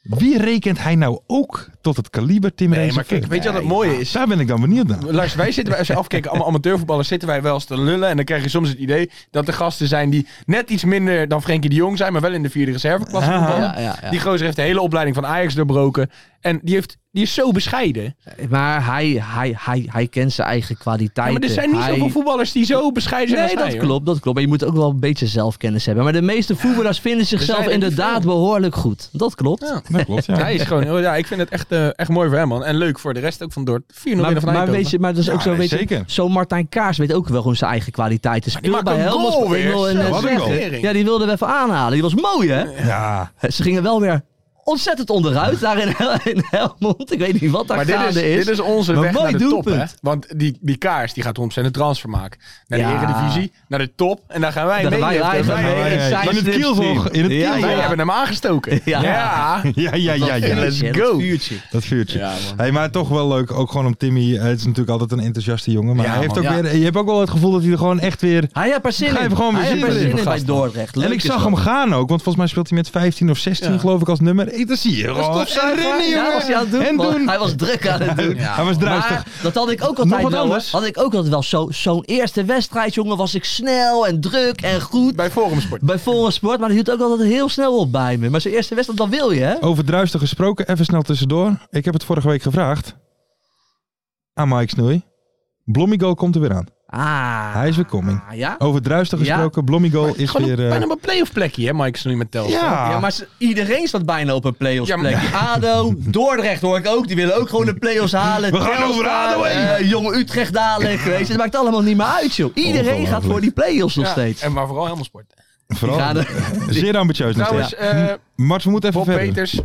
Speaker 3: Wie rekent hij nou ook tot het kaliber Tim
Speaker 5: Nee, maar
Speaker 3: Rezenveer?
Speaker 5: kijk, weet je wat het mooie is?
Speaker 3: Daar ben ik dan benieuwd naar.
Speaker 5: Luister, wij zitten bij FC Afkikken, allemaal amateurvoetballers, zitten wij wel eens te lullen. En dan krijg je soms het idee dat er gasten zijn die net iets minder dan Frenkie de Jong zijn, maar wel in de vierde reserveklasse
Speaker 3: Ah.
Speaker 5: voetballen.
Speaker 4: Ja, ja, ja.
Speaker 5: Die gozer heeft de hele opleiding van Ajax doorbroken. En die, heeft, die is zo bescheiden.
Speaker 4: Maar hij, hij, hij, hij kent zijn eigen
Speaker 5: Ja,
Speaker 4: kwaliteiten.
Speaker 5: maar er zijn niet
Speaker 4: Hij-
Speaker 5: zoveel voetballers die zo bescheiden zijn
Speaker 4: Nee,
Speaker 5: als hij,
Speaker 4: dat
Speaker 5: hoor.
Speaker 4: klopt, dat klopt. Maar je moet ook wel een beetje zelfkennis hebben. Maar de meeste voetballers vinden zichzelf
Speaker 5: zijn er niet
Speaker 4: inderdaad
Speaker 5: veel.
Speaker 4: behoorlijk goed. Dat klopt.
Speaker 5: Ja.
Speaker 3: Dat klopt, ja.
Speaker 5: Hij is gewoon, oh ja, ik vind het echt, eh, echt mooi voor hem, man. En leuk voor de rest ook van Dort. 4-0 winnen
Speaker 4: Maar,
Speaker 5: van
Speaker 4: maar,
Speaker 5: Eindhoven.
Speaker 4: weet je, maar dat is ook
Speaker 3: Ja,
Speaker 4: zo,
Speaker 3: nee,
Speaker 4: weet je,
Speaker 3: zeker.
Speaker 4: zo Martijn Kaars weet ook wel gewoon zijn eigen kwaliteiten.
Speaker 5: die
Speaker 4: Speelde
Speaker 5: maakt
Speaker 4: bij
Speaker 5: een
Speaker 4: Helmond.
Speaker 5: goal weer.
Speaker 4: Wil en
Speaker 5: Zo,
Speaker 4: net
Speaker 5: wat een
Speaker 4: zeggen.
Speaker 5: goal.
Speaker 4: Ja, die wilden we even aanhalen. Die was mooi, hè?
Speaker 3: Ja.
Speaker 4: Ze gingen wel weer ontzettend onderuit daar in, Hel- in Helmond. Ik weet niet wat daar
Speaker 5: Maar dit
Speaker 4: gaande
Speaker 5: is, dit is onze
Speaker 4: Maar
Speaker 5: weg
Speaker 4: mooi
Speaker 5: naar de top, hè?
Speaker 4: doelpunt.
Speaker 5: Want die, die kaars die gaat 100% de transfer maken. Naar de
Speaker 4: Ja.
Speaker 5: Eredivisie, naar de top. En daar gaan wij
Speaker 4: Daar gaan
Speaker 5: mee.
Speaker 4: wij
Speaker 5: Daar
Speaker 4: live
Speaker 5: gaan
Speaker 4: mee.
Speaker 5: wij
Speaker 3: Ja,
Speaker 5: heen.
Speaker 3: ja, ja.
Speaker 4: zijn
Speaker 3: In het
Speaker 4: slips
Speaker 3: kielzog.
Speaker 4: team.
Speaker 3: In het
Speaker 4: Ja,
Speaker 3: kielzog.
Speaker 5: Wij
Speaker 4: ja.
Speaker 5: hebben hem aangestoken.
Speaker 4: Ja.
Speaker 5: Ja.
Speaker 3: Ja, ja, ja, ja.
Speaker 5: vuurtje, let's
Speaker 4: dat
Speaker 5: go.
Speaker 4: vuurtje.
Speaker 3: Dat vuurtje. hey, maar toch wel leuk. Ook gewoon om Timmy. eh, Het is natuurlijk altijd een enthousiaste jongen. Maar
Speaker 5: Ja,
Speaker 3: hij heeft ook
Speaker 5: man. Ja.
Speaker 3: weer, je hebt ook wel het gevoel dat hij er gewoon echt weer...
Speaker 4: Hij heeft er zin in.
Speaker 3: Ga even gewoon weer
Speaker 4: Hij heeft er
Speaker 3: zitten.
Speaker 4: zin in bij Dordrecht. Leuk
Speaker 3: en ik
Speaker 4: is
Speaker 3: zag
Speaker 4: dat.
Speaker 3: hem gaan ook. Want volgens mij speelt hij met 15 of 16
Speaker 5: Ja.
Speaker 3: geloof ik als nummer ik- dat zie je gewoon. En
Speaker 4: Ja,
Speaker 3: rennen, jongen.
Speaker 4: was hij aan het doen?
Speaker 3: En
Speaker 4: Want
Speaker 3: doen.
Speaker 4: Hij was druk aan het doen.
Speaker 3: Hij was druistig.
Speaker 4: Maar dat had ik ook
Speaker 3: Nog
Speaker 4: altijd
Speaker 3: wat
Speaker 4: wel. hoor.
Speaker 3: anders?
Speaker 4: Had ik ook altijd wel. Zo- Zo'n eerste wedstrijd, jongen, was ik snel en druk en goed.
Speaker 7: Bij Forumsport.
Speaker 4: Bij Forum Sport, maar dat hield ook altijd heel snel op bij me. Maar zo'n eerste wedstrijd, dan wil je, hè?
Speaker 3: Over druisten gesproken, even snel tussendoor. Ik heb het vorige week gevraagd aan Mike Snoei. Blommigo komt er weer aan.
Speaker 4: Ah.
Speaker 3: Hij is Oh. weer coming.
Speaker 4: Ah, ja?
Speaker 3: Over druisten
Speaker 4: Ja.
Speaker 3: gesproken, Blommigo is
Speaker 7: Gewoon
Speaker 3: weer...
Speaker 7: een,
Speaker 3: eh,
Speaker 7: bijna op een playoff plekje, hè, Mike Snoei met Telstra.
Speaker 3: ja.
Speaker 4: Ja, maar ze- iedereen staat bijna op een play-offs
Speaker 7: Ja, maar-
Speaker 4: plek. ADO, Dordrecht hoor ik ook. Die willen ook gewoon de play-offs halen.
Speaker 3: We gaan
Speaker 4: Telstar,
Speaker 3: over ADO heen.
Speaker 4: eh, jonge Utrecht dadelijk. weet je. Het maakt allemaal niet meer uit, joh. Iedereen gaat
Speaker 3: Ongelooflijk.
Speaker 4: voor die play-offs nog
Speaker 7: Ja,
Speaker 4: steeds.
Speaker 7: En maar vooral helemaal sport.
Speaker 3: vooral,
Speaker 4: Die gaan
Speaker 3: zeer ambitieus nog
Speaker 7: Trouwens,
Speaker 3: steeds.
Speaker 7: eh
Speaker 3: Mart, we moeten even
Speaker 7: Bob
Speaker 3: verder.
Speaker 7: Peters,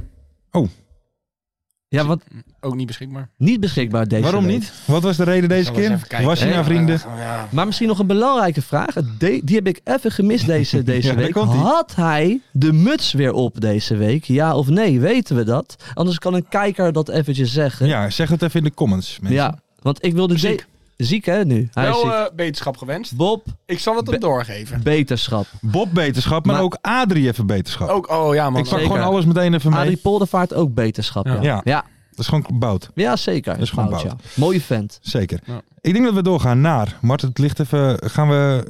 Speaker 4: Ja, want
Speaker 7: ook niet beschikbaar.
Speaker 4: niet beschikbaar deze
Speaker 3: Waarom
Speaker 4: week.
Speaker 3: niet? Wat was de reden deze keer? Was je
Speaker 7: naar
Speaker 3: nou vrienden?
Speaker 7: Ja.
Speaker 4: Maar misschien nog een belangrijke vraag. Het de- die heb ik even gemist deze, deze
Speaker 3: Ja, daar
Speaker 4: week.
Speaker 3: komt-ie.
Speaker 4: Had hij de muts weer op deze week? Ja of nee? Weten we dat? Anders kan een kijker dat eventjes zeggen.
Speaker 3: Ja, zeg het even in de comments. Mensen.
Speaker 4: Ja, want ik wilde... de-
Speaker 7: Ziek.
Speaker 4: Ziek, hè, nu? Hij is
Speaker 7: Wel
Speaker 4: ziek.
Speaker 7: eh, beterschap gewenst.
Speaker 4: Bob,
Speaker 7: Ik zal het hem
Speaker 4: Be-
Speaker 7: doorgeven.
Speaker 4: beterschap.
Speaker 3: Bob beterschap, maar,
Speaker 4: Maar-
Speaker 3: ook Adrie even beterschap.
Speaker 7: Ook, oh ja man.
Speaker 3: ik pak
Speaker 4: zeker.
Speaker 3: gewoon alles meteen even mee.
Speaker 4: Adrie Poldervaart ook beterschap. Ja,
Speaker 3: Ja.
Speaker 4: ja. ja.
Speaker 3: Dat is gewoon bout.
Speaker 4: zeker.
Speaker 3: Dat is gewoon
Speaker 4: Bout,
Speaker 3: Bout.
Speaker 4: ja. Mooie vent.
Speaker 3: Zeker.
Speaker 7: Ja.
Speaker 3: Ik denk dat we doorgaan naar. Mart, het ligt even. Gaan we.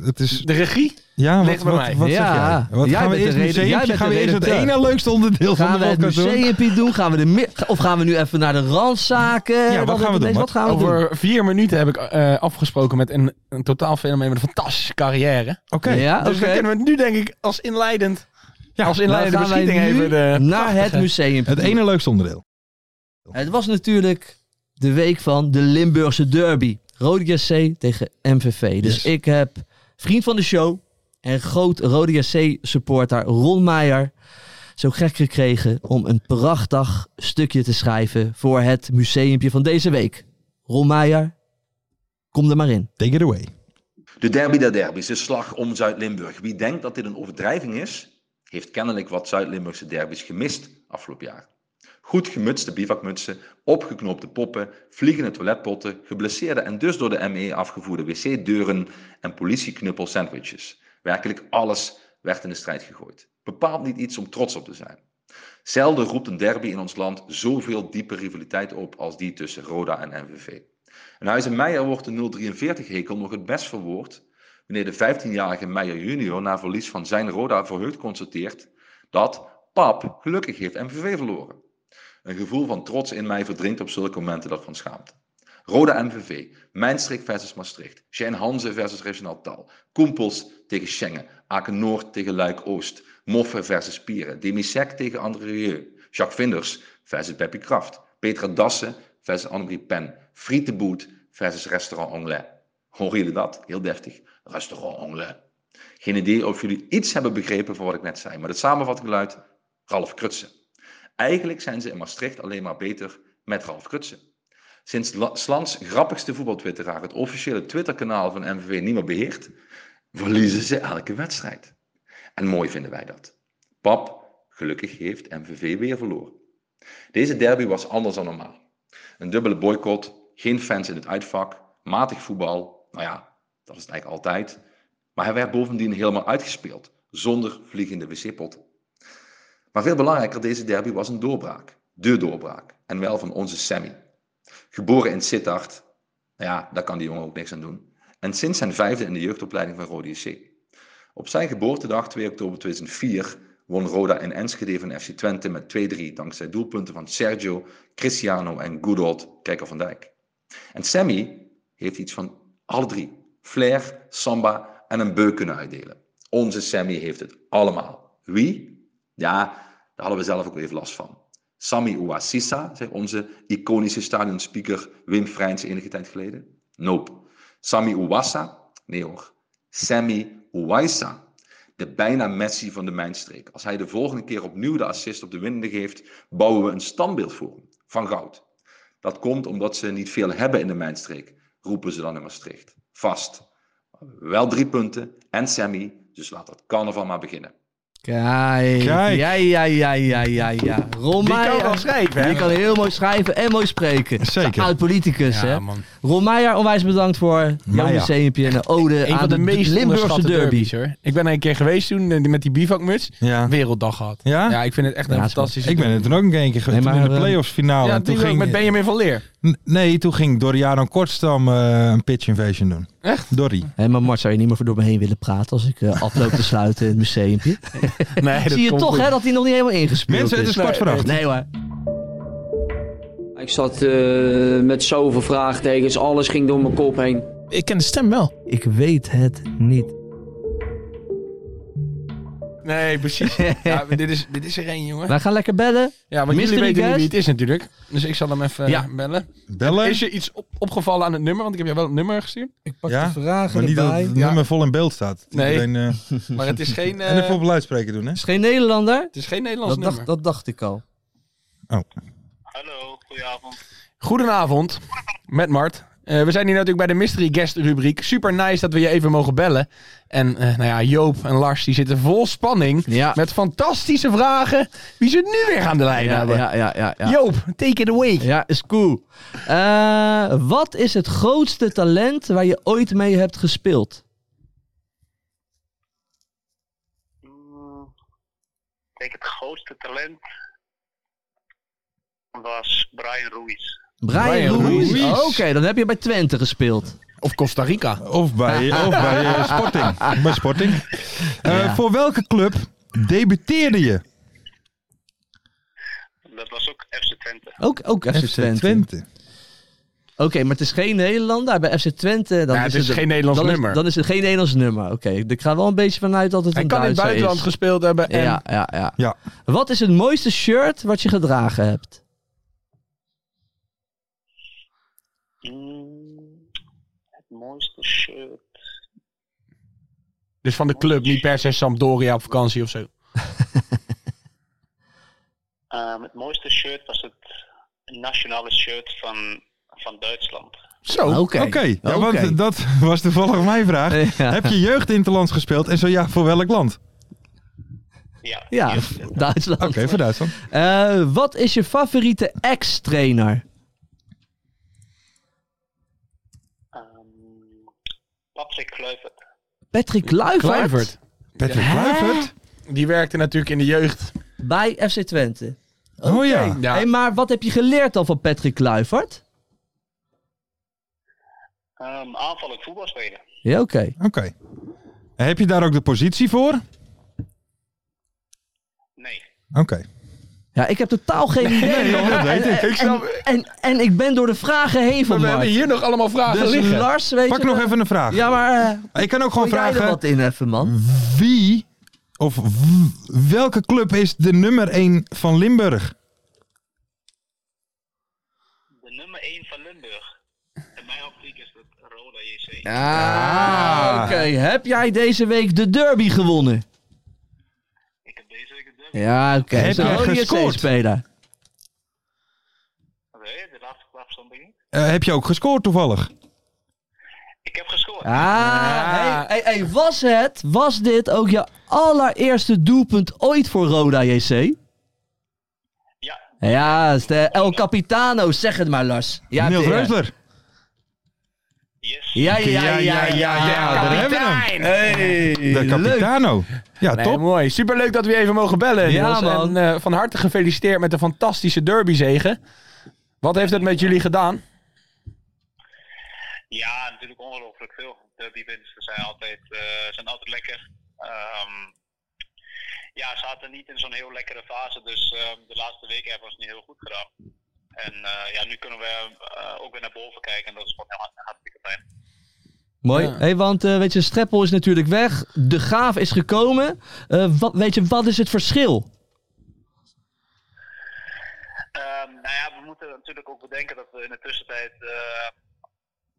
Speaker 3: eh, het is.
Speaker 7: De regie?
Speaker 3: Ja, wat,
Speaker 7: ligt bij
Speaker 3: wat,
Speaker 7: mij.
Speaker 3: wat
Speaker 4: Ja.
Speaker 3: zeg jij? Wat
Speaker 4: Jij
Speaker 3: gaan we
Speaker 4: bent de
Speaker 3: eerst
Speaker 4: reden- jij
Speaker 3: museum?
Speaker 4: bent
Speaker 3: Gaan
Speaker 4: de
Speaker 3: we eerst het
Speaker 4: redacteur.
Speaker 3: ene leukste onderdeel
Speaker 4: Gaan
Speaker 3: van
Speaker 4: we
Speaker 3: de
Speaker 4: het
Speaker 3: podcast doen?
Speaker 4: museumpje doen? Gaan we de mi- of gaan we nu even naar de randzaken?
Speaker 3: Ja, wat
Speaker 4: Dat
Speaker 3: gaan we
Speaker 4: het
Speaker 3: doen,
Speaker 4: ineens-
Speaker 3: Mart?
Speaker 4: Wat gaan we doen?
Speaker 7: Over vier minuten heb ik eh, afgesproken met een, een totaal fenomeen met een fantastische carrière.
Speaker 3: Oké.
Speaker 4: Ja,
Speaker 7: dus
Speaker 4: oké.
Speaker 7: dan kunnen we nu denk ik als inleidend,
Speaker 3: Ja,
Speaker 7: als
Speaker 4: Dan
Speaker 7: inleidende
Speaker 4: Nou, gaan wij
Speaker 7: beschieting
Speaker 4: nu
Speaker 7: even
Speaker 5: eh,
Speaker 7: de
Speaker 4: naar het
Speaker 7: prachtige-
Speaker 4: museum.
Speaker 3: Het ene leukste onderdeel.
Speaker 4: Het was natuurlijk de week van de Limburgse derby. Rode JC tegen MVV. Dus
Speaker 3: Yes.
Speaker 4: ik heb vriend van de show en groot Rode JC supporter Ron Meijer zo gek gekregen om een prachtig stukje te schrijven voor het museumpje van deze week. Ron Meijer, kom er maar in.
Speaker 3: Take it away.
Speaker 5: De derby der derbies, de slag om Zuid-Limburg. Wie denkt dat dit een overdrijving is, heeft kennelijk wat Zuid-Limburgse derbies gemist afgelopen jaar. Goed gemutste bivakmutsen, opgeknoopte poppen, vliegende toiletpotten, geblesseerde en dus door de ME afgevoerde wc-deuren en politieknuppel sandwiches. Werkelijk alles werd in de strijd gegooid. Bepaald niet iets om trots op te zijn. Zelden roept een derby in ons land zoveel diepe rivaliteit op als die tussen Roda en MVV. En Huizen Meijer wordt de 043-hekel nog het best verwoord wanneer de 15-jarige Meijer junior na verlies van zijn Roda verheugd constateert dat pap gelukkig heeft MVV verloren. Een gevoel van trots in mij verdrinkt op zulke momenten dat van schaamte. Roda MVV, Mijnstreek versus Maastricht, Shane Hanze versus Regionaal Tal, Koempels tegen Schengen, Aken Noord tegen Luik Oost, Moffe versus Pieren, Demisec tegen André Rieu, Jacques Vinders versus Beppie Kraft, Petra Dassen versus Annemarie Pen, Frietenboet versus Restaurant Anglais. Horen jullie dat? Heel deftig. Restaurant Anglais. Geen idee of jullie iets hebben begrepen van wat ik net zei, maar de samenvatting luidt Ralf Krutsen. Eigenlijk zijn ze in Maastricht alleen maar beter met Ralf Krutsen. Sinds La- Slans grappigste voetbaltwitteraar het officiële Twitterkanaal van MVV niet meer beheert, verliezen ze elke wedstrijd. En mooi vinden wij dat. Pap, gelukkig heeft MVV weer verloren. Deze derby was anders dan normaal. Een dubbele boycott, geen fans in het uitvak, matig voetbal. Nou ja, dat is het eigenlijk altijd. Maar hij werd bovendien helemaal uitgespeeld, zonder vliegende wc-potten. Maar veel belangrijker, deze derby was een doorbraak. De doorbraak. En wel van onze Sammy. Geboren in Sittard. Nou ja, daar kan die jongen ook niks aan doen. En sinds zijn vijfde in de jeugdopleiding van Rode JC. Op zijn geboortedag, 2 oktober 2004, won Roda in Enschede van FC Twente met 2-3 dankzij doelpunten van Sergio, Cristiano en good old Kijker van Dijk. En Sammy heeft iets van alle drie. Flair, samba en een beu kunnen uitdelen. Onze Sammy heeft het allemaal. Wie? Ja, daar hadden we zelf ook even last van. Sammy Ouassissa, zei onze iconische stadionspeaker Wim Vrijns enige tijd geleden. Nope. Sammy Ouassa? Nee hoor. Sammy Ouaissa. De bijna Messi van de mijnstreek. Als hij de volgende keer opnieuw de assist op de winnende geeft, bouwen we een standbeeld voor hem. Van goud. Dat komt omdat ze niet veel hebben in de mijnstreek, roepen ze dan in Maastricht. Vast. Wel drie punten en Sammy, dus laat dat carnaval maar beginnen.
Speaker 4: Kijk.
Speaker 3: Kijk.
Speaker 4: Ja, ja, ja, ja, ja, ja. Ron
Speaker 5: eh, Die
Speaker 4: Meijer.
Speaker 5: kan wel schrijven, hè?
Speaker 4: Die kan heel mooi schrijven en mooi spreken.
Speaker 3: Zeker.
Speaker 4: Oud-politicus, hè.
Speaker 5: Ja, man.
Speaker 4: Ron Meijer, onwijs bedankt voor jouw
Speaker 3: Meijer.
Speaker 4: museumpje en de ode
Speaker 5: Een
Speaker 4: aan
Speaker 5: van de meest
Speaker 4: Limburgse
Speaker 5: onderschatte
Speaker 4: derby.
Speaker 5: derbies, hoor. Ik ben er een keer geweest toen eh, die- met die bivakmuts.
Speaker 3: Ja.
Speaker 5: Werelddag gehad.
Speaker 3: Ja?
Speaker 5: ik vind het echt een
Speaker 4: Ja, het is
Speaker 5: fantastische...
Speaker 3: Ik ben er toen ook een keer geweest.
Speaker 4: Nee,
Speaker 3: Toen
Speaker 4: maar,
Speaker 3: in de
Speaker 4: eh,
Speaker 3: playoffs finale.
Speaker 5: ja,
Speaker 3: en toen
Speaker 5: toen ging
Speaker 3: ging,
Speaker 5: met Benjamin van Leer.
Speaker 3: N- Nee, toen ging Doriano Kortstam eh, een pitch invasion doen.
Speaker 5: Echt?
Speaker 3: Dorry.
Speaker 4: Hé, maar Mart, zou je niet meer voor door me heen willen praten als ik eh afloop te sluiten in het museumpje?
Speaker 5: Nee, dat eh,
Speaker 4: Zie je
Speaker 5: komt
Speaker 4: toch,
Speaker 5: goed.
Speaker 4: hè, dat hij nog niet helemaal ingespeeld
Speaker 3: Mensen, het is kwart voor acht.
Speaker 4: Nee hoor.
Speaker 8: Ik zat eh, met zoveel vraagtekens, alles ging door mijn kop heen.
Speaker 9: Ik ken de stem wel.
Speaker 4: Ik weet het niet.
Speaker 5: Nee, precies. Ja, maar dit, is, dit is er één, jongen.
Speaker 4: Wij gaan lekker bellen.
Speaker 5: Ja, want
Speaker 4: Mystery
Speaker 5: jullie weten niet
Speaker 4: guest?
Speaker 5: wie het is natuurlijk. Dus ik zal hem even
Speaker 4: Ja.
Speaker 5: eh, bellen.
Speaker 3: Bellen.
Speaker 5: Is je iets op- opgevallen aan het nummer? Want ik heb je wel het nummer gestuurd.
Speaker 4: Ik pak
Speaker 3: Ja,
Speaker 4: de vragen
Speaker 3: Maar niet dat
Speaker 4: erbij.
Speaker 3: het
Speaker 4: Ja.
Speaker 3: nummer vol in beeld staat. Dat
Speaker 5: Nee.
Speaker 3: iedereen, eh,
Speaker 5: Maar het is geen, eh,
Speaker 3: en even op luidspreker doen, hè?
Speaker 4: Is geen Nederlander?
Speaker 5: het is geen Nederlands
Speaker 4: Dat
Speaker 5: nummer.
Speaker 4: dacht, dat dacht ik al.
Speaker 6: Hallo, goedenavond.
Speaker 5: Goedenavond, met Mart. Eh, we zijn hier natuurlijk bij de Mystery Guest rubriek. Super nice dat we je even mogen bellen. En eh, nou ja, Joop en Lars die zitten vol spanning.
Speaker 4: Ja.
Speaker 5: Met fantastische vragen. Wie ze nu weer aan de lijn
Speaker 4: Ja,
Speaker 5: hebben.
Speaker 4: ja, ja, ja. ja.
Speaker 5: Joop, take it away.
Speaker 4: Ja, is cool. Eh, wat is het grootste talent waar je ooit mee hebt gespeeld?
Speaker 6: Mm, Ik denk het grootste talent was Brian Ruiz.
Speaker 4: Brian,
Speaker 5: Brian
Speaker 4: Ruiz.
Speaker 5: Ruiz.
Speaker 4: Oké, dan heb je bij Twente gespeeld.
Speaker 5: Of Costa Rica.
Speaker 3: Of bij, of bij eh, Sporting. Bij Sporting. Eh, Voor welke club debuteerde je?
Speaker 6: Dat was ook FC Twente.
Speaker 4: Ook, ook FC, Twente. Oké, maar het is geen Nederlander. Bij FC Twente... Dan
Speaker 5: Ja, Nou, het is geen Nederlands
Speaker 4: dan
Speaker 5: nummer.
Speaker 4: Is, dan is het geen Nederlands nummer. Oké, ik ga wel een beetje vanuit dat het
Speaker 5: Hij
Speaker 4: een
Speaker 5: kan in het
Speaker 4: Duitser
Speaker 5: buitenland
Speaker 4: is.
Speaker 5: gespeeld hebben. En
Speaker 4: Ja, ja, ja,
Speaker 3: Ja.
Speaker 4: Wat is het mooiste shirt wat je gedragen hebt?
Speaker 6: Mm, Het mooiste shirt.
Speaker 5: Dus van de club, niet per se Sampdoria op vakantie of zo.
Speaker 6: Ehm, het mooiste shirt was het nationale shirt van, van Duitsland.
Speaker 5: Zo.
Speaker 4: Oké.
Speaker 3: Oké, ja, want eh,
Speaker 4: Oké.
Speaker 3: dat was toevallig mijn vraag.
Speaker 4: Ja.
Speaker 3: Heb je jeugd interlands gespeeld en zo ja, voor welk land?
Speaker 6: Ja.
Speaker 4: Ja, Duitsland.
Speaker 3: Oké, voor Duitsland.
Speaker 4: Eh, wat is je favoriete ex-trainer?
Speaker 6: Ehm, Patrick Kluivert.
Speaker 4: Patrick Kluivert.
Speaker 5: Kluivert.
Speaker 3: Patrick
Speaker 4: Hè?
Speaker 3: Kluivert?
Speaker 5: Die werkte natuurlijk in de jeugd.
Speaker 4: Bij FC Twente.
Speaker 3: Oh ja.
Speaker 5: Ja.
Speaker 4: Hey, maar wat heb je geleerd dan van Patrick Kluivert?
Speaker 6: Ehm aanvallend voetbal spelen.
Speaker 4: Ja, oké.
Speaker 3: Oké. En Heb je daar ook de positie voor? Oké.
Speaker 6: Nee.
Speaker 4: Ja, ik heb totaal geen idee. joh.
Speaker 3: dat weet
Speaker 4: En-
Speaker 3: ik.
Speaker 4: en-
Speaker 3: Ik snap-
Speaker 4: En, en, en ik ben door de vragen heen
Speaker 5: Maar
Speaker 4: van
Speaker 5: we hebben
Speaker 4: Mart.
Speaker 5: hier nog allemaal vragen
Speaker 4: Dus
Speaker 5: liggen.
Speaker 4: Lars, weet
Speaker 3: Pak
Speaker 4: je
Speaker 3: nog
Speaker 4: wel-
Speaker 3: even een vraag.
Speaker 4: Ja, maar eh
Speaker 3: Ik kan ook gewoon
Speaker 4: gooi jij er
Speaker 3: vragen Mhm.
Speaker 4: wat in even, man.
Speaker 3: wie of w- welke club is de nummer 1 van Limburg?
Speaker 6: De nummer 1 van Limburg. In mijn optiek is het Roda JC.
Speaker 4: Ah, oké. Heb jij deze week de derby gewonnen?
Speaker 6: Ik heb deze week een derby.
Speaker 4: Ja, oké.
Speaker 3: Heb
Speaker 4: Zo'n
Speaker 3: jij
Speaker 4: rode
Speaker 3: gescoord?
Speaker 4: JC-speler.
Speaker 6: Nee, de laatste klap stond ik niet.
Speaker 3: Eh, heb je ook gescoord toevallig?
Speaker 6: Ik heb gescoord.
Speaker 4: Ah, Hey, hey, hey, was het, was dit ook je allereerste doelpunt ooit voor Roda JC?
Speaker 6: Ja,
Speaker 4: Ja, het is de El Capitano, zeg het maar Lars. Ja,
Speaker 3: Niels
Speaker 4: Tere.
Speaker 3: Reusler.
Speaker 6: yes.
Speaker 4: Ja, ja, ja, ja, ja.
Speaker 3: daar hebben we hem.
Speaker 5: Kapitein.
Speaker 3: De Capitano. Ja,
Speaker 5: Nee,
Speaker 3: top.
Speaker 5: mooi. Superleuk dat we je even mogen bellen.
Speaker 4: Ja,
Speaker 5: Niels.
Speaker 4: man.
Speaker 5: En eh, van harte gefeliciteerd met de fantastische derbyzege. Wat heeft het met jullie gedaan?
Speaker 6: Ja, natuurlijk ongelooflijk veel. Derbywinsten zijn altijd, eh, zijn altijd lekker. Ehm, ja, ze zaten niet in zo'n heel lekkere fase, dus ehm, de laatste weken hebben we ons niet heel goed gedaan. En eh, ja, nu kunnen we eh, ook weer naar boven kijken en dat is gewoon heel hart- hartstikke fijn.
Speaker 4: Mooi.
Speaker 5: Ja.
Speaker 4: Hey, want eh, weet je, Streppel is natuurlijk weg. De Graaf is gekomen. Eh, wat, weet je, wat is het verschil?
Speaker 6: Ehm, nou ja, we moeten natuurlijk ook bedenken dat we in de tussentijd eh,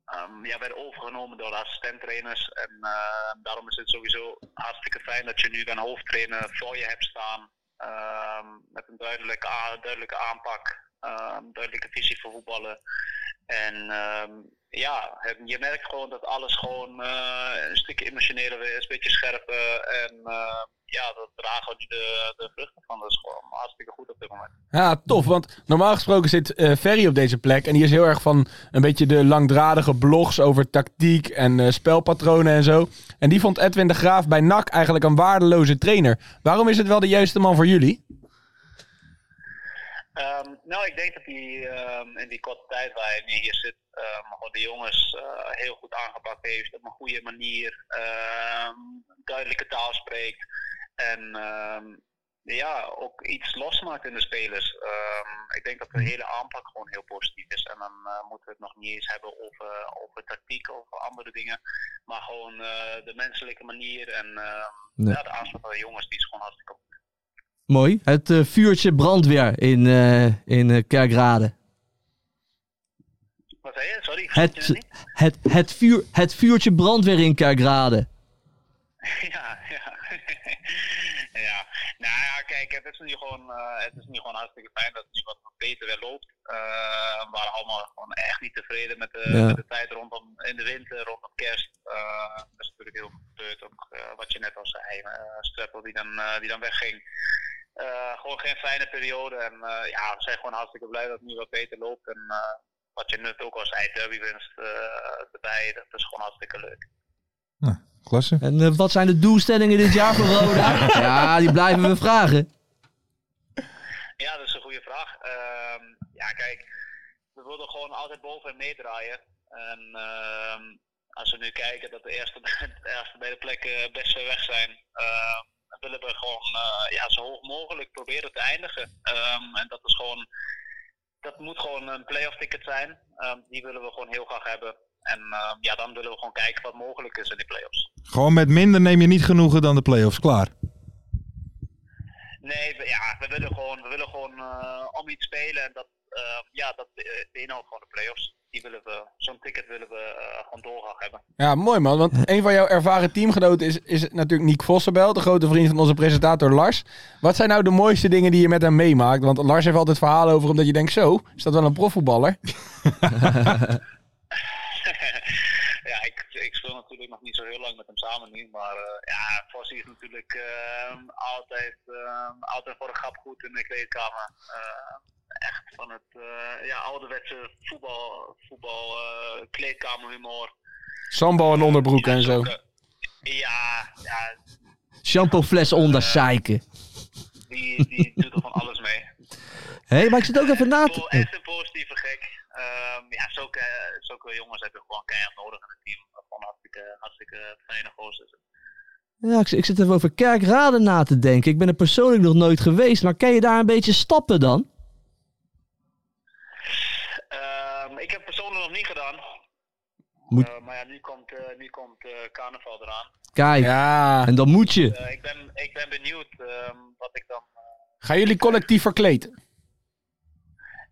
Speaker 6: ehm, ja, werden overgenomen door de assistenttrainers. En eh, daarom is het sowieso hartstikke fijn dat je nu een hoofdtrainer voor je hebt staan. Ehm, met een duidelijke, a- duidelijke aanpak, ehm, duidelijke visie voor voetballen. En ehm, ja, het- je merkt gewoon dat alles gewoon eh, een stukje emotioneler weer is, een beetje scherper. En eh, ja, daar dragen we nu de, de vruchten van. Dat is gewoon hartstikke goed op dit moment.
Speaker 5: Ja, tof. Want normaal gesproken zit eh, Ferry op deze plek. En die is heel erg van een beetje de langdradige blogs over tactiek en eh, spelpatronen en zo. En die vond Edwin de Graaf bij NAC eigenlijk een waardeloze trainer. Waarom is het wel de juiste man voor jullie?
Speaker 6: Ehm, nou, ik denk dat hij ehm, in die korte tijd waar hij nu hier zit, ehm, gewoon de jongens eh, heel goed aangepakt heeft. Op een goede manier, ehm, duidelijke taal spreekt. En ehm, ja, ook iets losmaakt in de spelers. Ehm, ik denk dat de hele aanpak gewoon heel positief is. En dan eh, moeten we het nog niet eens hebben over, over tactiek of andere dingen. Maar gewoon eh, de menselijke manier en ehm,
Speaker 4: Nee.
Speaker 6: ja, de aanpak van de jongens, die is gewoon hartstikke goed.
Speaker 4: Mooi. Het eh, vuurtje brandweer in, eh, in eh, Kerkrade.
Speaker 6: Wat zei je? Sorry, ik snapte
Speaker 4: Het, het, het, vuur, het vuurtje brandweer in Kerkrade.
Speaker 6: ja, ja. ja. Nou ja, kijk, het is nu gewoon, eh, het is nu gewoon hartstikke fijn dat het nu wat beter weer loopt. Eh, we waren allemaal gewoon echt niet tevreden met de,
Speaker 4: Ja.
Speaker 6: met de tijd rondom in de winter, rondom kerst. Eh er is natuurlijk heel veel gebeurd, ook eh, wat je net al zei, eh Streppel die dan, eh, die dan wegging. Eh, gewoon geen fijne periode en eh, ja, we zijn gewoon hartstikke blij dat het nu wat beter loopt. En eh, wat je net ook al zei, derbywinst eh erbij, dat is gewoon hartstikke leuk.
Speaker 3: Klasse.
Speaker 4: En eh, wat zijn de doelstellingen dit jaar voor Roda? ja, die blijven we vragen.
Speaker 6: Ja, dat is een goede vraag. Ehm, ja, kijk, we wilden gewoon altijd boven en meedraaien. En ehm, als we nu kijken dat de eerste, de eerste bij de plekken best ver weg zijn, ehm, dan willen we gewoon eh, ja, zo hoog mogelijk proberen te eindigen. Ehm, en dat is gewoon, dat moet gewoon een playoff ticket zijn. Ehm, die willen we gewoon heel graag hebben. En ehm, ja, dan willen we gewoon kijken wat mogelijk is in die playoffs.
Speaker 3: Gewoon met minder neem je niet genoegen dan de play-offs. Klaar.
Speaker 6: Nee, we- ja, we willen gewoon, we willen gewoon eh, om iets spelen. En dat, eh, ja, dat eh, inhoudt gewoon de play-offs. Die willen we, zo'n ticket willen we eh, gewoon doorgaan hebben.
Speaker 5: Ja, mooi man. Want een van jouw ervaren teamgenoten is, is natuurlijk Nick Vossenbel, de grote vriend van onze presentator Lars. Wat zijn nou de mooiste dingen die je met hem meemaakt? Want Lars heeft altijd verhalen over omdat je denkt, zo, is dat wel een profvoetballer?
Speaker 6: ja, ik, ik speel natuurlijk nog niet zo heel lang met hem samen nu. Maar eh, ja, Fossi is natuurlijk eh, altijd, eh, altijd voor de grap goed in de kleedkamer. Eh, echt van het eh, ja, ouderwetse voetbal, voetbal eh, kleedkamerhumor.
Speaker 5: Sambal en onderbroeken en zo.
Speaker 6: Ja, ja,
Speaker 4: Shampoofles onder zeiken.
Speaker 6: die, die doet er van alles mee.
Speaker 4: Hé, maar ik zit ook even na te...
Speaker 6: Echt een positieve gek. Ehm, ja, zulke, zulke jongens hebben gewoon keihard nodig in het team. Gewoon hartstikke, hartstikke fijne gozers.
Speaker 4: Ja, ik, ik zit even over Kerkrade na te denken. Ik ben er persoonlijk nog nooit geweest, maar ken je daar een beetje stappen dan?
Speaker 6: Ehm, ik heb persoonlijk nog niet gedaan.
Speaker 4: Moet-
Speaker 6: Eh, maar ja, nu komt, eh, nu komt eh, carnaval eraan.
Speaker 4: Kijk, en dan moet je.
Speaker 6: Eh, ik, ben, ik ben benieuwd ehm, wat ik dan...
Speaker 5: Gaan jullie collectief verkleed?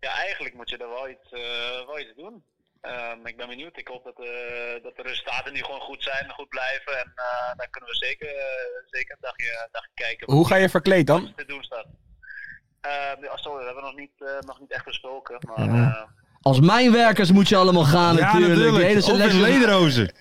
Speaker 6: Ja, eigenlijk moet je er wel iets, eh, wel iets doen. Ehm, ik ben benieuwd. Ik hoop dat, eh, dat de resultaten nu gewoon goed zijn, goed blijven. En eh, dan kunnen we zeker, eh, zeker een dagje, een dagje kijken.
Speaker 5: Hoe ga je verkleed dan?
Speaker 6: te doen staat. Eh, ja, sorry, we hebben nog niet, eh, nog niet echt besproken. Maar, eh,
Speaker 4: Ja. Als mijnwerkers moet je allemaal gaan
Speaker 3: Ja,
Speaker 4: natuurlijk.
Speaker 3: natuurlijk.
Speaker 4: Die hele
Speaker 3: Of in
Speaker 4: selectie-
Speaker 3: lederhozen.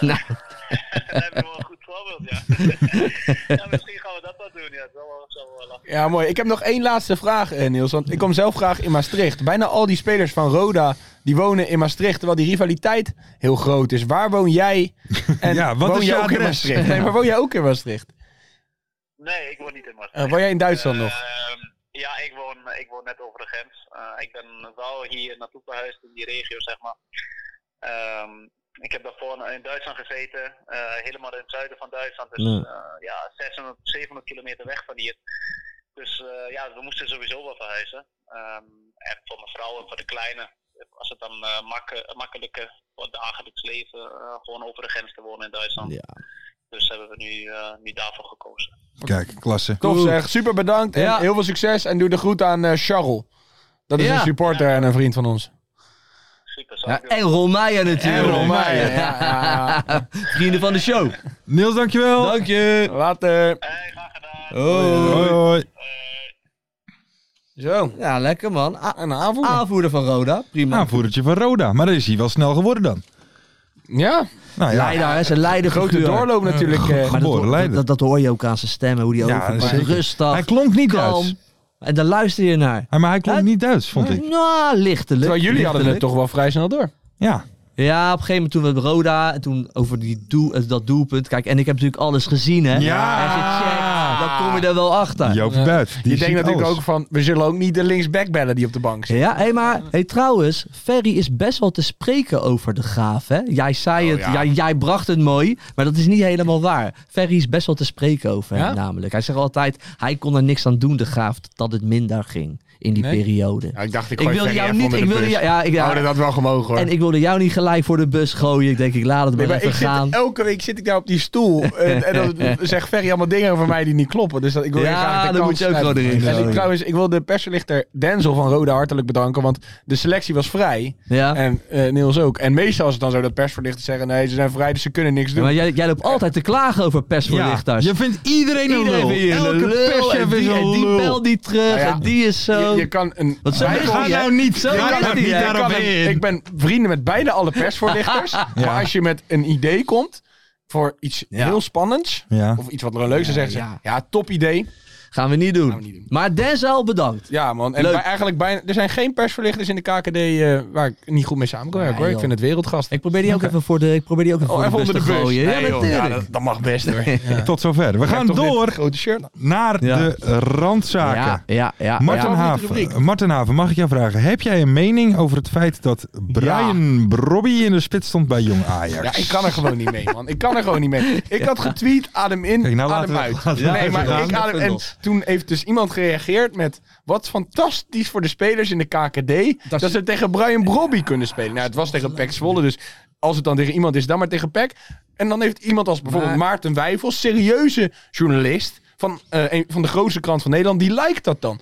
Speaker 4: Nou.
Speaker 6: daar heb je eh, wel een goed voorbeeld, ja. ja. Misschien gaan we dat wel doen, ja. Dat zal wel, zal wel lachen.
Speaker 5: Ja, mooi. Ik heb nog één laatste vraag, eh, Niels. Want ik kom zelf graag in Maastricht. Bijna al die spelers van Roda die wonen in Maastricht, terwijl die rivaliteit heel groot is. Waar woon jij? En
Speaker 3: Ja, wat
Speaker 5: woon
Speaker 3: is
Speaker 5: jij
Speaker 3: je
Speaker 5: ook in
Speaker 3: adres?
Speaker 5: Maastricht? Nee, maar woon jij ook in Maastricht?
Speaker 6: Nee, ik woon niet in Maastricht.
Speaker 5: Eh, woon jij in Duitsland nog?
Speaker 6: Ehm, ja, ik woon, ik woon net over de grens. Eh, ik ben wel hier naartoe verhuisd in die regio, zeg maar. Ehm, ik heb daarvoor in Duitsland gezeten, eh, helemaal in het zuiden van Duitsland. Dus
Speaker 4: Ja.
Speaker 6: eh, ja, 600, 700 kilometer weg van hier. Dus eh, ja, we moesten sowieso wel verhuizen. Ehm, en voor mijn vrouw en voor de kleine was het dan eh, makke- makkelijker voor het dagelijks leven eh, gewoon over de grens te wonen in Duitsland. Dus hebben we nu, eh, nu daarvoor gekozen.
Speaker 3: Kijk, klasse.
Speaker 5: Tof zeg. Super bedankt en
Speaker 4: Ja.
Speaker 5: heel veel succes. En doe de groet aan eh, Charles. Dat is
Speaker 4: Ja.
Speaker 5: een supporter en een vriend van ons.
Speaker 4: Ja, en Ron Meijer natuurlijk.
Speaker 5: En Ron Meijer, ja, ja,
Speaker 4: Vrienden van de show.
Speaker 3: Niels, dankjewel.
Speaker 4: Dank je.
Speaker 5: Later.
Speaker 4: Hoi.
Speaker 3: Hoi, hoi.
Speaker 6: Eh,
Speaker 5: Zo.
Speaker 4: Oh, Ja, lekker man. A-
Speaker 5: En een aanvoerder.
Speaker 3: Nou,
Speaker 4: aanvoerder van Roda. Prima.
Speaker 3: Aanvoerdertje van Roda. Maar dat is hij wel snel geworden dan.
Speaker 5: Ja.
Speaker 3: Nou ja.
Speaker 4: Leider, hij is een leider
Speaker 5: Grote
Speaker 4: figuur.
Speaker 5: doorloop natuurlijk, eh.
Speaker 4: maar dat,
Speaker 5: Geboren
Speaker 4: dat,
Speaker 5: leider.
Speaker 4: dat, dat hoor je ook aan zijn stemmen, hoe die
Speaker 3: Ja,
Speaker 4: overkomt.
Speaker 3: zeker.
Speaker 4: Rustig.
Speaker 3: Hij klonk niet
Speaker 4: kalm.
Speaker 3: Duits.
Speaker 4: En daar luister je naar.
Speaker 3: Ja, Maar hij klonk niet Duits, vond ik.
Speaker 4: Nou, lichtelijk.
Speaker 5: Terwijl jullie hadden het toch wel vrij snel door.
Speaker 3: Ja.
Speaker 4: Ja, op een gegeven moment toen we met Roda en toen over die doel, eh, dat doelpunt. Kijk, en ik heb natuurlijk alles gezien, hè?
Speaker 3: Ja.
Speaker 4: En gecheckt, dan kom je er wel achter.
Speaker 3: Joop van Buit. Die
Speaker 5: je denkt
Speaker 3: ziet
Speaker 5: natuurlijk
Speaker 3: alles.
Speaker 5: ook van, we zullen ook niet de linksback bellen die op de bank zit.
Speaker 4: Ja, hé, maar hé, trouwens, Ferry is best wel te spreken over de graaf. Hè? Jij zei het,
Speaker 5: ja.
Speaker 4: jij, jij bracht het mooi, maar dat is niet helemaal waar. Ferry is best wel te spreken over hem
Speaker 5: Ja?
Speaker 4: namelijk. Hij zegt altijd, hij kon er niks aan doen, de graaf, dat het minder ging in die
Speaker 5: Nee?
Speaker 4: periode.
Speaker 5: Ja, ik dacht, ik,
Speaker 4: Ik
Speaker 5: gooi
Speaker 4: wilde
Speaker 5: Ferry
Speaker 4: jou
Speaker 5: even
Speaker 4: niet-
Speaker 5: onder
Speaker 4: ik
Speaker 5: de
Speaker 4: wilde
Speaker 5: bus.
Speaker 4: jou- ja, ik- ja.
Speaker 5: We Hadden dat wel gemogen hoor.
Speaker 4: En ik wilde jou niet gelijk voor de bus gooien. Ik denk, ik laat het maar,
Speaker 5: Nee, maar
Speaker 4: even
Speaker 5: ik zit,
Speaker 4: gaan.
Speaker 5: elke week zit ik daar op die stoel en, en dan zegt Ferry allemaal dingen over mij die niet kloppen. Dus dat, ik wil
Speaker 4: Ja,
Speaker 5: heel graag de
Speaker 4: dan
Speaker 5: kans
Speaker 4: moet je ook
Speaker 5: grijpen.
Speaker 4: gewoon erin
Speaker 5: En ik,
Speaker 4: gooien.
Speaker 5: trouwens, ik wil de perslichter Denzel van Roda hartelijk bedanken, want de selectie was vrij.
Speaker 4: Ja.
Speaker 5: En eh, Niels ook. En meestal is het dan zo dat persverlichters zeggen, nee, ze zijn vrij, dus ze kunnen niks doen.
Speaker 4: Maar jij, jij loopt altijd te klagen over persvoorlichters.
Speaker 3: Je vindt iedereen een
Speaker 4: Iedereen
Speaker 3: lul.
Speaker 4: vindt je een
Speaker 3: Elke
Speaker 4: lul, en
Speaker 3: perschef is
Speaker 4: die, en
Speaker 3: een
Speaker 4: die
Speaker 3: lul.
Speaker 4: belt niet terug,
Speaker 5: Nou ja,
Speaker 4: en die is zo.
Speaker 5: je, je kan een...
Speaker 4: Wat zo
Speaker 5: bij-
Speaker 4: is
Speaker 3: Ga
Speaker 4: die, hè?
Speaker 3: nou niet,
Speaker 4: Zo
Speaker 3: ga
Speaker 4: is
Speaker 3: nou
Speaker 4: die,
Speaker 3: niet
Speaker 4: hè?
Speaker 5: Ik kan
Speaker 3: daarop
Speaker 5: hem-
Speaker 3: in.
Speaker 5: Ik ben vrienden met beide alle persvoorlichters. Maar als je met een idee komt voor iets heel spannends,
Speaker 3: Ja.
Speaker 5: of iets wat leuks, dan zeggen ze,
Speaker 4: Ja.
Speaker 5: ja, top idee.
Speaker 4: Gaan we niet
Speaker 5: Gaan we
Speaker 4: doen.
Speaker 5: niet doen.
Speaker 4: Maar Denzel, bedankt.
Speaker 5: Ja, man. En
Speaker 4: Leuk.
Speaker 5: bij- eigenlijk bijna, er zijn geen persverlichters in de KKD eh, waar ik niet goed mee samen kan werken
Speaker 4: Nee,
Speaker 5: hoor. Ik
Speaker 4: joh.
Speaker 5: vind het wereldgast.
Speaker 4: Ik probeer die ook even voor de, ik probeer die ook even
Speaker 5: oh,
Speaker 4: voor
Speaker 5: even
Speaker 4: de
Speaker 5: onder
Speaker 4: bus
Speaker 5: de
Speaker 4: te
Speaker 5: bus.
Speaker 4: gooien.
Speaker 5: Nee,
Speaker 4: ja,
Speaker 5: joh.
Speaker 4: maar
Speaker 5: Ja,
Speaker 4: tuurlijk.
Speaker 5: dat, dat mag best hoor. Ja.
Speaker 3: Tot zover. We
Speaker 5: Ik heb
Speaker 3: gaan
Speaker 5: toch dit
Speaker 3: door
Speaker 5: grote shirt. aan.
Speaker 3: naar
Speaker 4: Ja.
Speaker 3: de randzaken.
Speaker 4: Ja, ja, ja.
Speaker 3: Martin,
Speaker 4: ja.
Speaker 3: Haven, Martin Haven, mag ik jou vragen? Heb jij een mening over het feit dat Brian Brobby in de spits stond bij Jong Ajax?
Speaker 5: Ja, ik kan er gewoon niet mee, man. Ik kan er gewoon niet mee. Ik had getweet, adem in,
Speaker 3: Kijk, nou laten
Speaker 5: adem
Speaker 3: we-
Speaker 5: uit.
Speaker 3: laten we
Speaker 5: nee,
Speaker 3: even
Speaker 5: maar
Speaker 3: gaan
Speaker 5: ik
Speaker 3: met
Speaker 5: adem... En
Speaker 3: Vendels.
Speaker 5: toen heeft dus iemand gereageerd met... Wat fantastisch voor de spelers in de KKD... Dat, ze tegen Brian Brobby kunnen spelen. Nou, het was tegen Pek Zwolle, dus... Als het dan tegen iemand is, dan maar tegen Pek. En dan heeft iemand als bijvoorbeeld
Speaker 4: Maar-
Speaker 5: Maarten Wijfels... serieuze journalist van, eh, een, van de grootste krant van Nederland... die lijkt dat dan.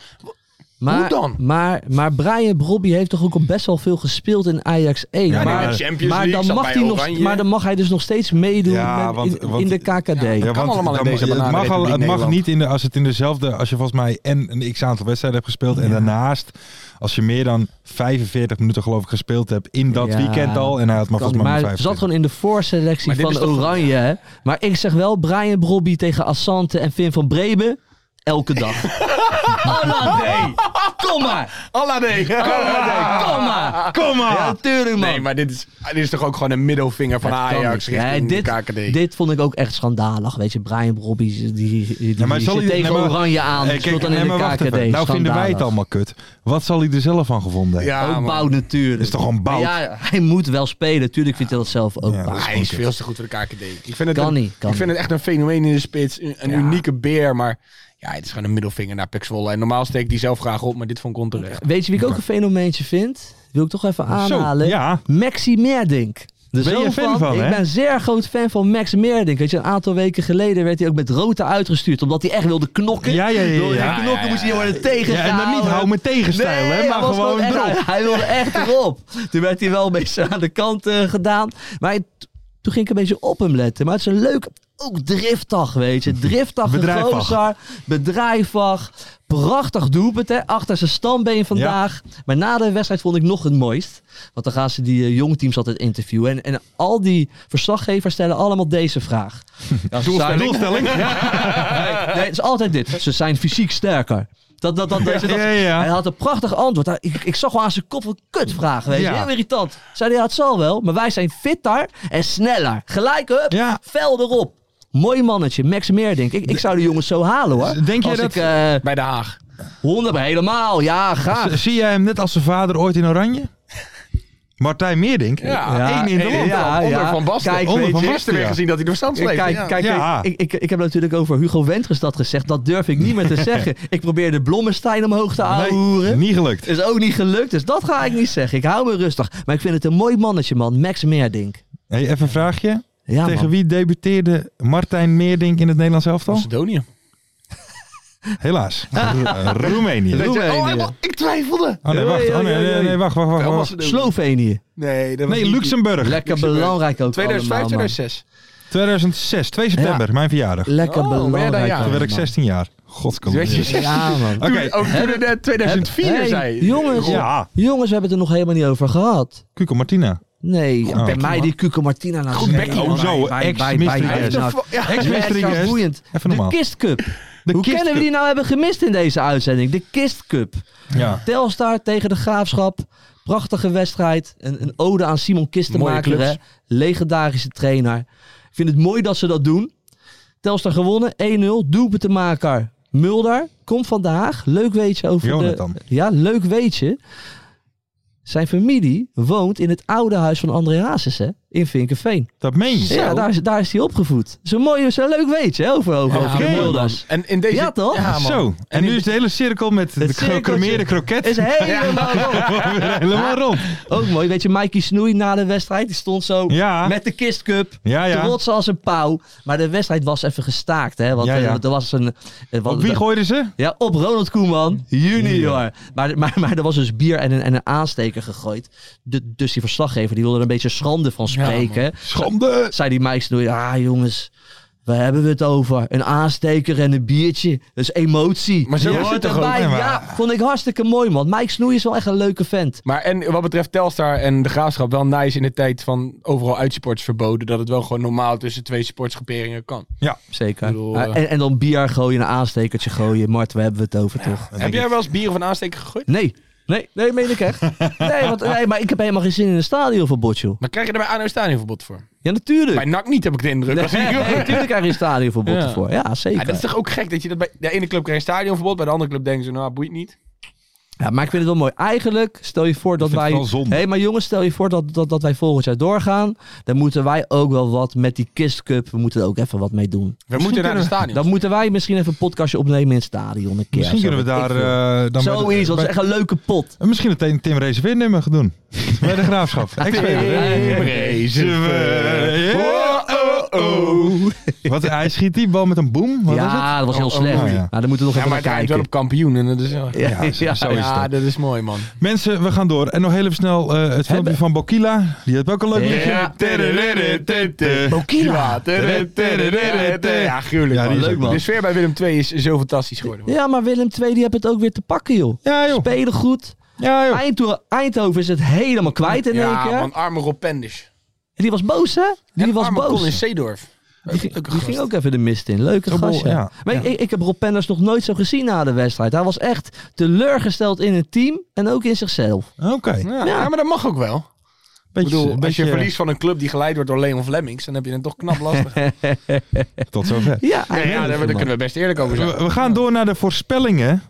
Speaker 4: Maar,
Speaker 5: Hoe dan?
Speaker 4: Maar, maar Brian Brobby heeft toch ook al best wel veel gespeeld in Ajax 1.
Speaker 5: die
Speaker 4: maar,
Speaker 5: bij de Champions
Speaker 4: maar,
Speaker 5: League,
Speaker 4: dan
Speaker 5: zat
Speaker 4: mag
Speaker 5: bij
Speaker 4: hij nog,
Speaker 5: Oranje.
Speaker 4: maar dan mag hij dus nog steeds meedoen
Speaker 3: Ja,
Speaker 4: met-
Speaker 3: want-
Speaker 4: in,
Speaker 3: want-
Speaker 4: in de KKD.
Speaker 3: Ja,
Speaker 5: kan allemaal in
Speaker 3: dan-
Speaker 5: deze
Speaker 3: het mag, al,
Speaker 5: bananenrepubliek
Speaker 3: het mag
Speaker 5: Nederland.
Speaker 3: niet in de, als het in dezelfde, als je volgens mij en een x aantal wedstrijden hebt gespeeld en daarnaast, als je meer dan 45 minuten geloof ik gespeeld hebt in dat
Speaker 4: Ja,
Speaker 3: weekend al en hij had maar
Speaker 4: Kan,
Speaker 3: volgens mij
Speaker 4: maar
Speaker 3: maar 45.
Speaker 4: het zat gewoon in de voorselectie
Speaker 5: Maar dit
Speaker 4: van
Speaker 5: is toch-
Speaker 4: Oranje. Hè? Maar ik zeg wel Brian Brobby tegen Assante en Vin van Breben. Elke dag. Allah nee. Kom maar.
Speaker 5: Allah nee!
Speaker 4: Kom maar.
Speaker 3: Kom maar!
Speaker 4: Ja, tuurlijk man.
Speaker 5: Nee, maar dit is, dit is toch ook gewoon een middelvinger van
Speaker 4: Het kan
Speaker 5: Ajax
Speaker 4: niet. Nee,
Speaker 5: richting
Speaker 4: dit,
Speaker 5: de KKD.
Speaker 4: Dit vond ik ook echt schandalig. Weet je, Brian Brobby die, die, die,
Speaker 3: Ja, maar
Speaker 4: die
Speaker 3: zal
Speaker 4: zit
Speaker 3: hij-
Speaker 4: tegen
Speaker 3: nee, maar-
Speaker 4: Oranje aan.
Speaker 3: Eh,
Speaker 4: Die
Speaker 3: kijk,
Speaker 4: speelt dan
Speaker 3: nee,
Speaker 4: in de
Speaker 3: maar
Speaker 4: KKD.
Speaker 3: wacht even. Nou vinden wij het
Speaker 4: Schandalig.
Speaker 3: allemaal kut. Wat zal hij er zelf van gevonden hebben?
Speaker 5: Ja,
Speaker 4: ook
Speaker 5: man.
Speaker 4: Bout natuurlijk.
Speaker 3: Is toch gewoon Bout?
Speaker 4: Maar Ja, hij moet wel spelen. Tuurlijk vindt hij dat zelf ook
Speaker 3: Ja,
Speaker 4: Bout.
Speaker 3: dat
Speaker 5: Ah, Hij is veel te goed voor de KKD. Ik vind het,
Speaker 4: Kan
Speaker 5: een,
Speaker 4: niet, kan
Speaker 5: ik vind
Speaker 4: niet.
Speaker 5: het echt een fenomeen in de spits. Een, een
Speaker 4: Ja.
Speaker 5: unieke beer, maar ja, het is gewoon een middelvinger naar Pek Zwolle. En normaal steek ik die zelf graag op, maar dit vond ik onterecht.
Speaker 4: Weet je wie ik ook een fenomeentje vind? Wil ik toch even aanhalen.
Speaker 3: ja.
Speaker 4: Maxi Meerdink. De
Speaker 3: Ben je
Speaker 4: zoon
Speaker 3: een fan van,
Speaker 4: Ik
Speaker 3: hè?
Speaker 4: ben een zeer groot fan van Max Meerdink. Weet je, een aantal weken geleden werd hij ook met rood uitgestuurd. Omdat hij echt wilde knokken.
Speaker 3: Ja, ja, ja, ja.
Speaker 4: Wilde hij
Speaker 3: Ja,
Speaker 4: knokken
Speaker 5: ja, ja.
Speaker 4: moest hij worden tegengehouden.
Speaker 3: Ja, en dan niet hou me tegenstijl, hè,
Speaker 4: Nee,
Speaker 3: maar
Speaker 4: hij was
Speaker 3: gewoon
Speaker 4: echt-
Speaker 3: erop.
Speaker 4: Hij wilde echt erop. Toen werd hij wel een beetje aan de kant eh, gedaan. Maar het- toen ging ik een beetje op hem letten. Maar het is een leuke, ook driftig, weet je. Driftig,
Speaker 3: Bedrijfig.
Speaker 4: gozer, bedrijvig. Prachtig doelpunt, hè. Achter zijn standbeen vandaag. Maar na de wedstrijd vond ik nog het mooist. Want dan gaan ze die eh, jongteams altijd interviewen. En, en al die verslaggevers stellen allemaal deze vraag. Ja, ze zijn- Nee, het is altijd dit. Ze zijn fysiek sterker. Dat, dat, dat, dat, dat-
Speaker 3: ja, ja.
Speaker 4: Hij had een prachtig antwoord. Hij- Ik, ik zag wel aan zijn kop een kutvraag. Weet je?
Speaker 3: Ja.
Speaker 4: Heel irritant. Zei hij, ja, het zal wel. Maar wij zijn fitter en sneller. Gelijk, hup.
Speaker 3: Ja.
Speaker 4: Fel erop. Mooi mannetje. Max Meerdink. Ik, ik zou de jongens zo halen, hoor.
Speaker 3: Denk jij
Speaker 4: Als
Speaker 3: dat-
Speaker 4: Ik, eh,
Speaker 5: Bij Den Haag.
Speaker 4: 100 helemaal. Ja, graag.
Speaker 3: Z- Zie jij hem net als zijn vader ooit in Oranje? Martijn Meerdink?
Speaker 5: Ja,
Speaker 4: Ja,
Speaker 5: één in de
Speaker 4: één-
Speaker 5: land.
Speaker 4: ja,
Speaker 5: onder
Speaker 4: ja.
Speaker 5: Van Basten.
Speaker 4: Kijk,
Speaker 3: Onder
Speaker 5: onder
Speaker 3: weet Van je-
Speaker 5: Van Basten
Speaker 3: Basten,
Speaker 5: weer
Speaker 3: ja.
Speaker 5: gezien dat hij door stand sleepte.
Speaker 4: Kijk,
Speaker 5: Ja.
Speaker 4: kijk
Speaker 3: Ja.
Speaker 4: ik, ik, ik heb natuurlijk over Hugo Wendres dat gezegd. Dat durf ik niet meer te zeggen. Ik probeerde Blommestein omhoog te
Speaker 3: Nee,
Speaker 4: aanhoeren.
Speaker 3: niet gelukt.
Speaker 4: Is ook niet gelukt, dus dat ga ik niet zeggen. Ik hou me rustig. Maar ik vind het een mooi mannetje, man. Max Meerdink.
Speaker 3: Hey, even een vraagje.
Speaker 4: Ja,
Speaker 3: Tegen
Speaker 4: man.
Speaker 3: wie debuteerde Martijn Meerdink in het Nederlands elftal?
Speaker 5: Macedonië.
Speaker 3: Helaas.
Speaker 4: Ah.
Speaker 3: Ro- eh, Roemenië.
Speaker 4: Roemenië.
Speaker 5: Oh, hij wa- ik twijfelde.
Speaker 3: Oh nee, wacht. Oh, nee, nee, nee, nee, wacht, wacht, wacht.
Speaker 5: Wel
Speaker 3: wacht.
Speaker 5: Macedonië.
Speaker 4: Slovenië.
Speaker 5: Nee, dat was
Speaker 3: Nee,
Speaker 5: niet-
Speaker 3: Luxemburg.
Speaker 4: Lekker belangrijk ook
Speaker 5: 2005,
Speaker 4: allemaal, Oh, man.
Speaker 5: 2006.
Speaker 3: 2006, 2 september, mijn verjaardag.
Speaker 4: Lekker
Speaker 5: Oh, ben jij
Speaker 4: belangrijk.
Speaker 5: daar, ja.
Speaker 4: ook,
Speaker 3: Toen werd ik
Speaker 4: man.
Speaker 3: 16 jaar.
Speaker 5: Weet je,
Speaker 3: Godskant.
Speaker 4: Ja, man.
Speaker 3: Oké.
Speaker 5: Ook toen het eh, 2004
Speaker 4: Hey,
Speaker 5: zei.
Speaker 4: jongens,
Speaker 3: Ja.
Speaker 4: jongens, we hebben het er nog helemaal niet over gehad.
Speaker 3: Cuco Martina.
Speaker 4: Nee, bij mij die Cuco Martina laat
Speaker 3: Goed bekkie, man. Zo, ex-Mystery Guest. Ja, ex-Mystery Guest.
Speaker 4: boeiend.
Speaker 3: Even
Speaker 4: de
Speaker 3: normaal.
Speaker 4: Kist Cup. Hoe
Speaker 3: Kist
Speaker 4: kunnen we
Speaker 3: Cup.
Speaker 4: die nou hebben gemist in deze uitzending? De Kist Cup.
Speaker 3: Ja.
Speaker 4: Telstar tegen de Graafschap. Prachtige wedstrijd. Een, een ode aan Simon Kistenmaker.
Speaker 5: Mooie
Speaker 4: Hè?
Speaker 5: clubs.
Speaker 4: Legendarische trainer. Ik vind het mooi dat ze dat doen. Telstar gewonnen. 1-0. Doelpuntenmaker Mulder. Komt van Den Haag. Leuk weetje over
Speaker 3: Jonathan.
Speaker 4: de... Ja, leuk weetje. Zijn familie woont in het oude huis van André Hazes, hè? In Vinkenveen.
Speaker 3: Dat meen je.
Speaker 4: Ja, daar is, daar is hij opgevoed. Zo'n mooi, zo'n leuk weetje hè, over, over, over de
Speaker 3: Oké.
Speaker 4: Mulders.
Speaker 5: En in deze...
Speaker 4: Ja, toch?
Speaker 5: Ja, man.
Speaker 3: Zo, en nu is de hele cirkel met de
Speaker 4: cirkeltje
Speaker 3: gecremeerde kroket.
Speaker 4: Is helemaal rond.
Speaker 3: Weer helemaal rond.
Speaker 4: Ook mooi. Weet je, Mikey Snoei na de wedstrijd, die stond zo
Speaker 3: Ja.
Speaker 4: met de kistcup.
Speaker 3: Ja, ja.
Speaker 4: Te rotsen als een pauw. Maar de wedstrijd was even gestaakt, hè. Want
Speaker 3: Ja, ja.
Speaker 4: eh, er was een... eh, wat-
Speaker 3: Op wie gooiden ze?
Speaker 4: Ja, op Ronald Koeman, junior. Maar, maar, maar er was dus bier en een, en een aansteker gegooid. De- dus die verslaggever die wilde er een beetje schande van spreken.
Speaker 3: Schande!
Speaker 4: zei die Mike Snoei, ah jongens, waar hebben we het over? Een aansteker en een biertje. Dat is emotie.
Speaker 5: Maar zo
Speaker 4: Je
Speaker 5: is het
Speaker 4: hoort
Speaker 5: toch ook,
Speaker 4: erbij.
Speaker 3: hè, maar-
Speaker 4: Ja, vond ik hartstikke mooi, man. Mike Snoei is wel echt een leuke vent.
Speaker 5: Maar en wat betreft Telstar en de Graafschap, wel nice in de tijd van overal uitsports verboden. Dat het wel gewoon normaal tussen twee sportsgroeperingen kan.
Speaker 4: Zeker.
Speaker 5: Ik bedoel, eh,
Speaker 4: Ah, en, en dan bier gooien, een aanstekertje gooien. Mart, waar hebben we het over, toch?
Speaker 5: Heb jij wel eens bier of een aansteker gegooid?
Speaker 4: Nee. Nee, nee, meen ik echt. Nee, want, nee, maar ik heb helemaal geen zin in een stadion van Botjo.
Speaker 5: Maar krijg je er bij ANO stadionverbod voor?
Speaker 4: Ja, natuurlijk.
Speaker 5: Bij NAC niet, heb ik de indruk.
Speaker 4: Nee,
Speaker 5: Als ik-
Speaker 4: nee, natuurlijk krijg je een stadionverbod
Speaker 5: Ja.
Speaker 4: ervoor. Ja,
Speaker 5: Ja,
Speaker 4: zeker.
Speaker 5: dat is toch ook gek dat je dat bij de ene club krijgt een stadionverbod, bij de andere club denken ze, nou boeit niet.
Speaker 4: Ja, maar ik vind het wel mooi. Eigenlijk, stel je voor dat
Speaker 3: vind
Speaker 4: wij.
Speaker 3: het wel zonde.
Speaker 4: Hé, maar jongens, stel je voor dat, dat, dat wij volgend jaar doorgaan. Dan moeten wij ook wel wat met die Kist Cup. We moeten er ook even wat mee doen.
Speaker 5: We moeten naar de stadion.
Speaker 4: Dan moeten wij misschien even een podcastje opnemen in het stadion. Een keer,
Speaker 3: Misschien
Speaker 4: Zo,
Speaker 3: kunnen we
Speaker 4: weet
Speaker 3: daar...
Speaker 4: ik veel.
Speaker 3: eh, dan bij-
Speaker 4: Zoiets, dat is
Speaker 3: bij-
Speaker 4: echt een leuke pot.
Speaker 3: En Misschien het een Tim Reserveernummer gaan doen. Bij de Graafschap. Ex-speler.
Speaker 5: Oh, oh, oh.
Speaker 3: Wat, hij schiet die bal met een boom? Wat is het?
Speaker 4: ja, dat was heel
Speaker 5: Oh, oh,
Speaker 4: slecht.
Speaker 3: oh, ja.
Speaker 4: Nou, dan moeten we nog
Speaker 5: Ja, maar
Speaker 4: even
Speaker 5: het
Speaker 4: naar
Speaker 5: rijmt wel
Speaker 4: kijken.
Speaker 5: op kampioen. En dat is, ja,
Speaker 4: Ja,
Speaker 3: Ja, zo- zo is het ook.
Speaker 5: dat is mooi, man.
Speaker 3: Mensen, we gaan door. En nog heel even snel eh, het filmpje van Bokila. Die had ook een leuk liedje.
Speaker 5: Ja.
Speaker 4: Bokila.
Speaker 5: Ja, gruwelijk.
Speaker 3: Ja, die is
Speaker 5: man.
Speaker 3: leuk, man.
Speaker 5: De sfeer bij Willem II is zo fantastisch geworden. man.
Speaker 4: Ja, maar Willem II die heeft het ook weer te pakken, joh.
Speaker 3: Ja, joh.
Speaker 4: Spelen goed.
Speaker 3: Ja, joh.
Speaker 4: Eindho- Eindhoven is het helemaal kwijt in één
Speaker 5: Ja,
Speaker 4: keer.
Speaker 5: man, arme Rob Penders.
Speaker 4: En Die was boos, hè? Die
Speaker 5: En
Speaker 4: was
Speaker 5: arme
Speaker 4: boos.
Speaker 5: Colin Seedorf.
Speaker 4: Die, ging-
Speaker 5: Leuke
Speaker 4: die
Speaker 5: gast.
Speaker 4: ging ook even de mist in. Leuke
Speaker 3: Zo bol-
Speaker 4: gast. ja.
Speaker 3: ja,
Speaker 4: Maar ik- Ik, ik heb Rob Penders nog nooit zo gezien na de wedstrijd. Hij was echt teleurgesteld in het team en ook in zichzelf.
Speaker 3: Oké.
Speaker 5: Ja, ja, maar dat mag ook wel. Ik
Speaker 3: Beetje,
Speaker 5: bedoel, als
Speaker 3: beetje
Speaker 5: je verliest van een club die geleid wordt door Leon Flemings, dan heb je het toch knap lastig. Nee,
Speaker 3: Tot zover.
Speaker 4: Ja, hij
Speaker 5: ja,
Speaker 4: redde
Speaker 5: daar, daar
Speaker 4: het, man.
Speaker 5: kunnen we best eerlijk over zijn.
Speaker 3: Dus We, we gaan door naar de voorspellingen.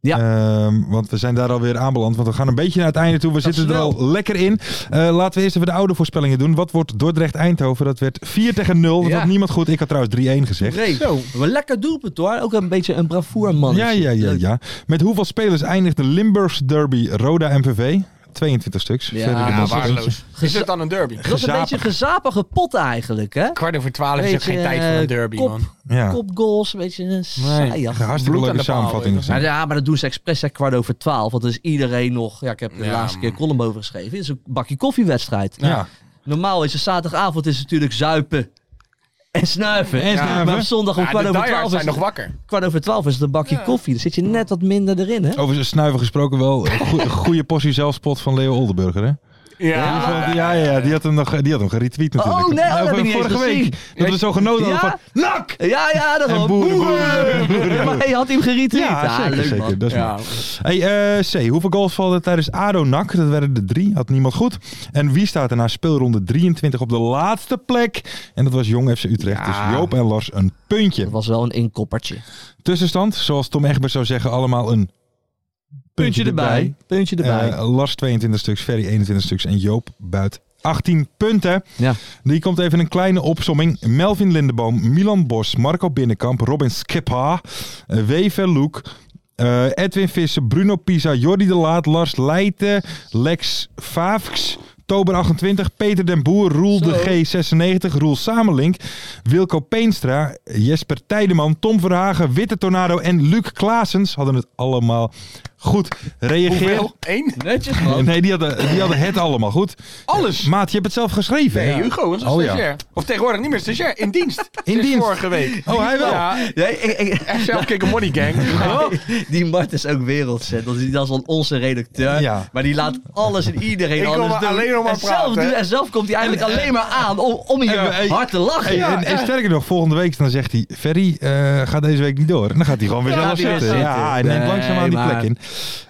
Speaker 4: Ja.
Speaker 3: Ehm, want we zijn daar alweer aanbeland. Want we gaan een beetje naar het einde toe. We zitten er
Speaker 4: snel.
Speaker 3: al lekker in. Eh, laten we eerst even de oude voorspellingen doen. Wat wordt Dordrecht-Eindhoven? Dat werd 4 tegen 0. Dat
Speaker 4: Ja.
Speaker 3: had niemand goed. Ik had trouwens 3-1 gezegd.
Speaker 4: Nee, maar lekker doelpunt hoor. Ook een beetje een bravoer man.
Speaker 3: Ja, ja, ja, ja. Met hoeveel spelers eindigt de Limburgse derby Roda MVV? 22 stuks.
Speaker 4: Ja,
Speaker 3: Verder dan
Speaker 5: Ja,
Speaker 3: nog
Speaker 5: waardeloos. Is het dan een derby?
Speaker 4: Dat is een
Speaker 3: Gezapig.
Speaker 4: beetje een gezapige pot eigenlijk, hè?
Speaker 5: Kwart over twaalf is er
Speaker 4: Beetje,
Speaker 5: geen tijd voor
Speaker 4: eh,
Speaker 5: een derby,
Speaker 4: kop.
Speaker 5: man.
Speaker 3: Ja.
Speaker 4: Kopgoals, een beetje een saai.
Speaker 3: Ja, Hartstikke
Speaker 5: Bloed
Speaker 3: leuke
Speaker 5: aan de paal,
Speaker 3: samenvatting.
Speaker 5: inderdaad.
Speaker 3: gezien.
Speaker 4: Maar ja, maar dat doen ze expres hè, kwart over twaalf. Want dan is iedereen nog... Ja, ik heb de
Speaker 5: Ja,
Speaker 4: laatste keer
Speaker 5: man.
Speaker 4: column over geschreven. Het is een bakje koffiewedstrijd.
Speaker 3: Ja.
Speaker 4: Normaal is het zaterdagavond is het natuurlijk zuipen en snuiven.
Speaker 3: En snuiven.
Speaker 4: Maar op zondag om
Speaker 5: Ja,
Speaker 4: kwart,
Speaker 5: de
Speaker 4: over
Speaker 5: diehards
Speaker 4: twaalf is,
Speaker 5: zijn nog wakker.
Speaker 4: kwart over twaalf is het een bakje koffie. Dan zit je net wat minder erin, hè?
Speaker 3: Over snuiven gesproken wel. een goe- goede portie zelfspot van Leo Oldenburger, hè?
Speaker 5: Ja.
Speaker 3: Ja, ja, ja, die had hem, nog, die had hem geretweet
Speaker 4: Oh,
Speaker 3: natuurlijk.
Speaker 4: nee, oh, dat
Speaker 3: Over
Speaker 4: heb ik niet eens
Speaker 3: vorige
Speaker 4: gezien.
Speaker 3: week. Dat we zo genoten hadden
Speaker 4: Ja?
Speaker 3: oh, van... Nak!
Speaker 4: Ja, ja, dat
Speaker 3: En
Speaker 4: wel.
Speaker 3: boeren, boeren,
Speaker 4: Ja, maar hij had hem geretweet.
Speaker 3: Ja, zeker,
Speaker 4: leuk,
Speaker 3: zeker.
Speaker 4: man.
Speaker 3: Dat is
Speaker 5: Ja.
Speaker 3: mooi. hey, eh, C, hoeveel goals vallen er tijdens ADO-NAC? Dat werden er drie, had niemand goed. En wie staat er na speelronde 23 op de laatste plek? En dat was Jong FC Utrecht. Dus Joop en Lars een puntje.
Speaker 4: Dat was wel een inkoppertje.
Speaker 3: Tussenstand, zoals Tom Egbers zou zeggen, allemaal een puntje erbij.
Speaker 4: Puntje erbij.
Speaker 3: Eh, Lars 22 stuks, Ferry 21 stuks en Joop Buit 18 punten.
Speaker 4: Ja.
Speaker 3: Die komt even een kleine opsomming. Melvin Lindeboom, Milan Bos, Marco Binnenkamp, Robin Skipha, eh, Wever Loek, eh, Edwin Visser, Bruno Pisa, Jordi de Laat, Lars Leijten, Lex Vaafks, Tober 28, Peter den Boer, Roel
Speaker 4: Zo.
Speaker 3: de G96, Roel Samelink, Wilco Peenstra, Jesper Tijdeman, Tom Verhagen, Witte Tornado en Luc Klaasens hadden het allemaal Goed, reageer.
Speaker 5: Hoeveel? Eén? Netjes,
Speaker 3: Nee, die hadden, die hadden het allemaal goed. Alles. Maat, je hebt het zelf geschreven.
Speaker 5: Nee,
Speaker 3: hè?
Speaker 5: Hugo was een
Speaker 3: Oh, ja.
Speaker 5: stagiair. Of tegenwoordig niet meer stagiair, in dienst.
Speaker 3: In
Speaker 5: Sinds
Speaker 3: dienst.
Speaker 5: Vorige week.
Speaker 3: Oh, hij wel.
Speaker 5: Ja,
Speaker 4: Nee, ik, ik-
Speaker 5: zelf kick a money gang. Oh.
Speaker 4: die Mart is ook werelds. hè. Dat is, dat is dan onze redacteur.
Speaker 3: Ja.
Speaker 4: Maar die laat alles en iedereen
Speaker 5: Ik wil
Speaker 4: anders
Speaker 5: maar
Speaker 4: doen.
Speaker 5: alleen nog maar
Speaker 4: en, zelf
Speaker 5: praten, hè.
Speaker 4: doen- en zelf komt hij eigenlijk alleen maar aan om, om hier
Speaker 3: En we- hey,
Speaker 4: hard te lachen.
Speaker 3: Hey, en, en sterker nog, volgende week dan zegt hij: Ferry eh, gaat deze week niet door. En dan gaat hij gewoon weer
Speaker 4: Ja,
Speaker 3: zelf
Speaker 4: die weer
Speaker 3: zitten.
Speaker 4: zitten.
Speaker 3: Ja, hij neemt
Speaker 4: Nee,
Speaker 3: langzaamaan die plek
Speaker 4: maar-
Speaker 3: in.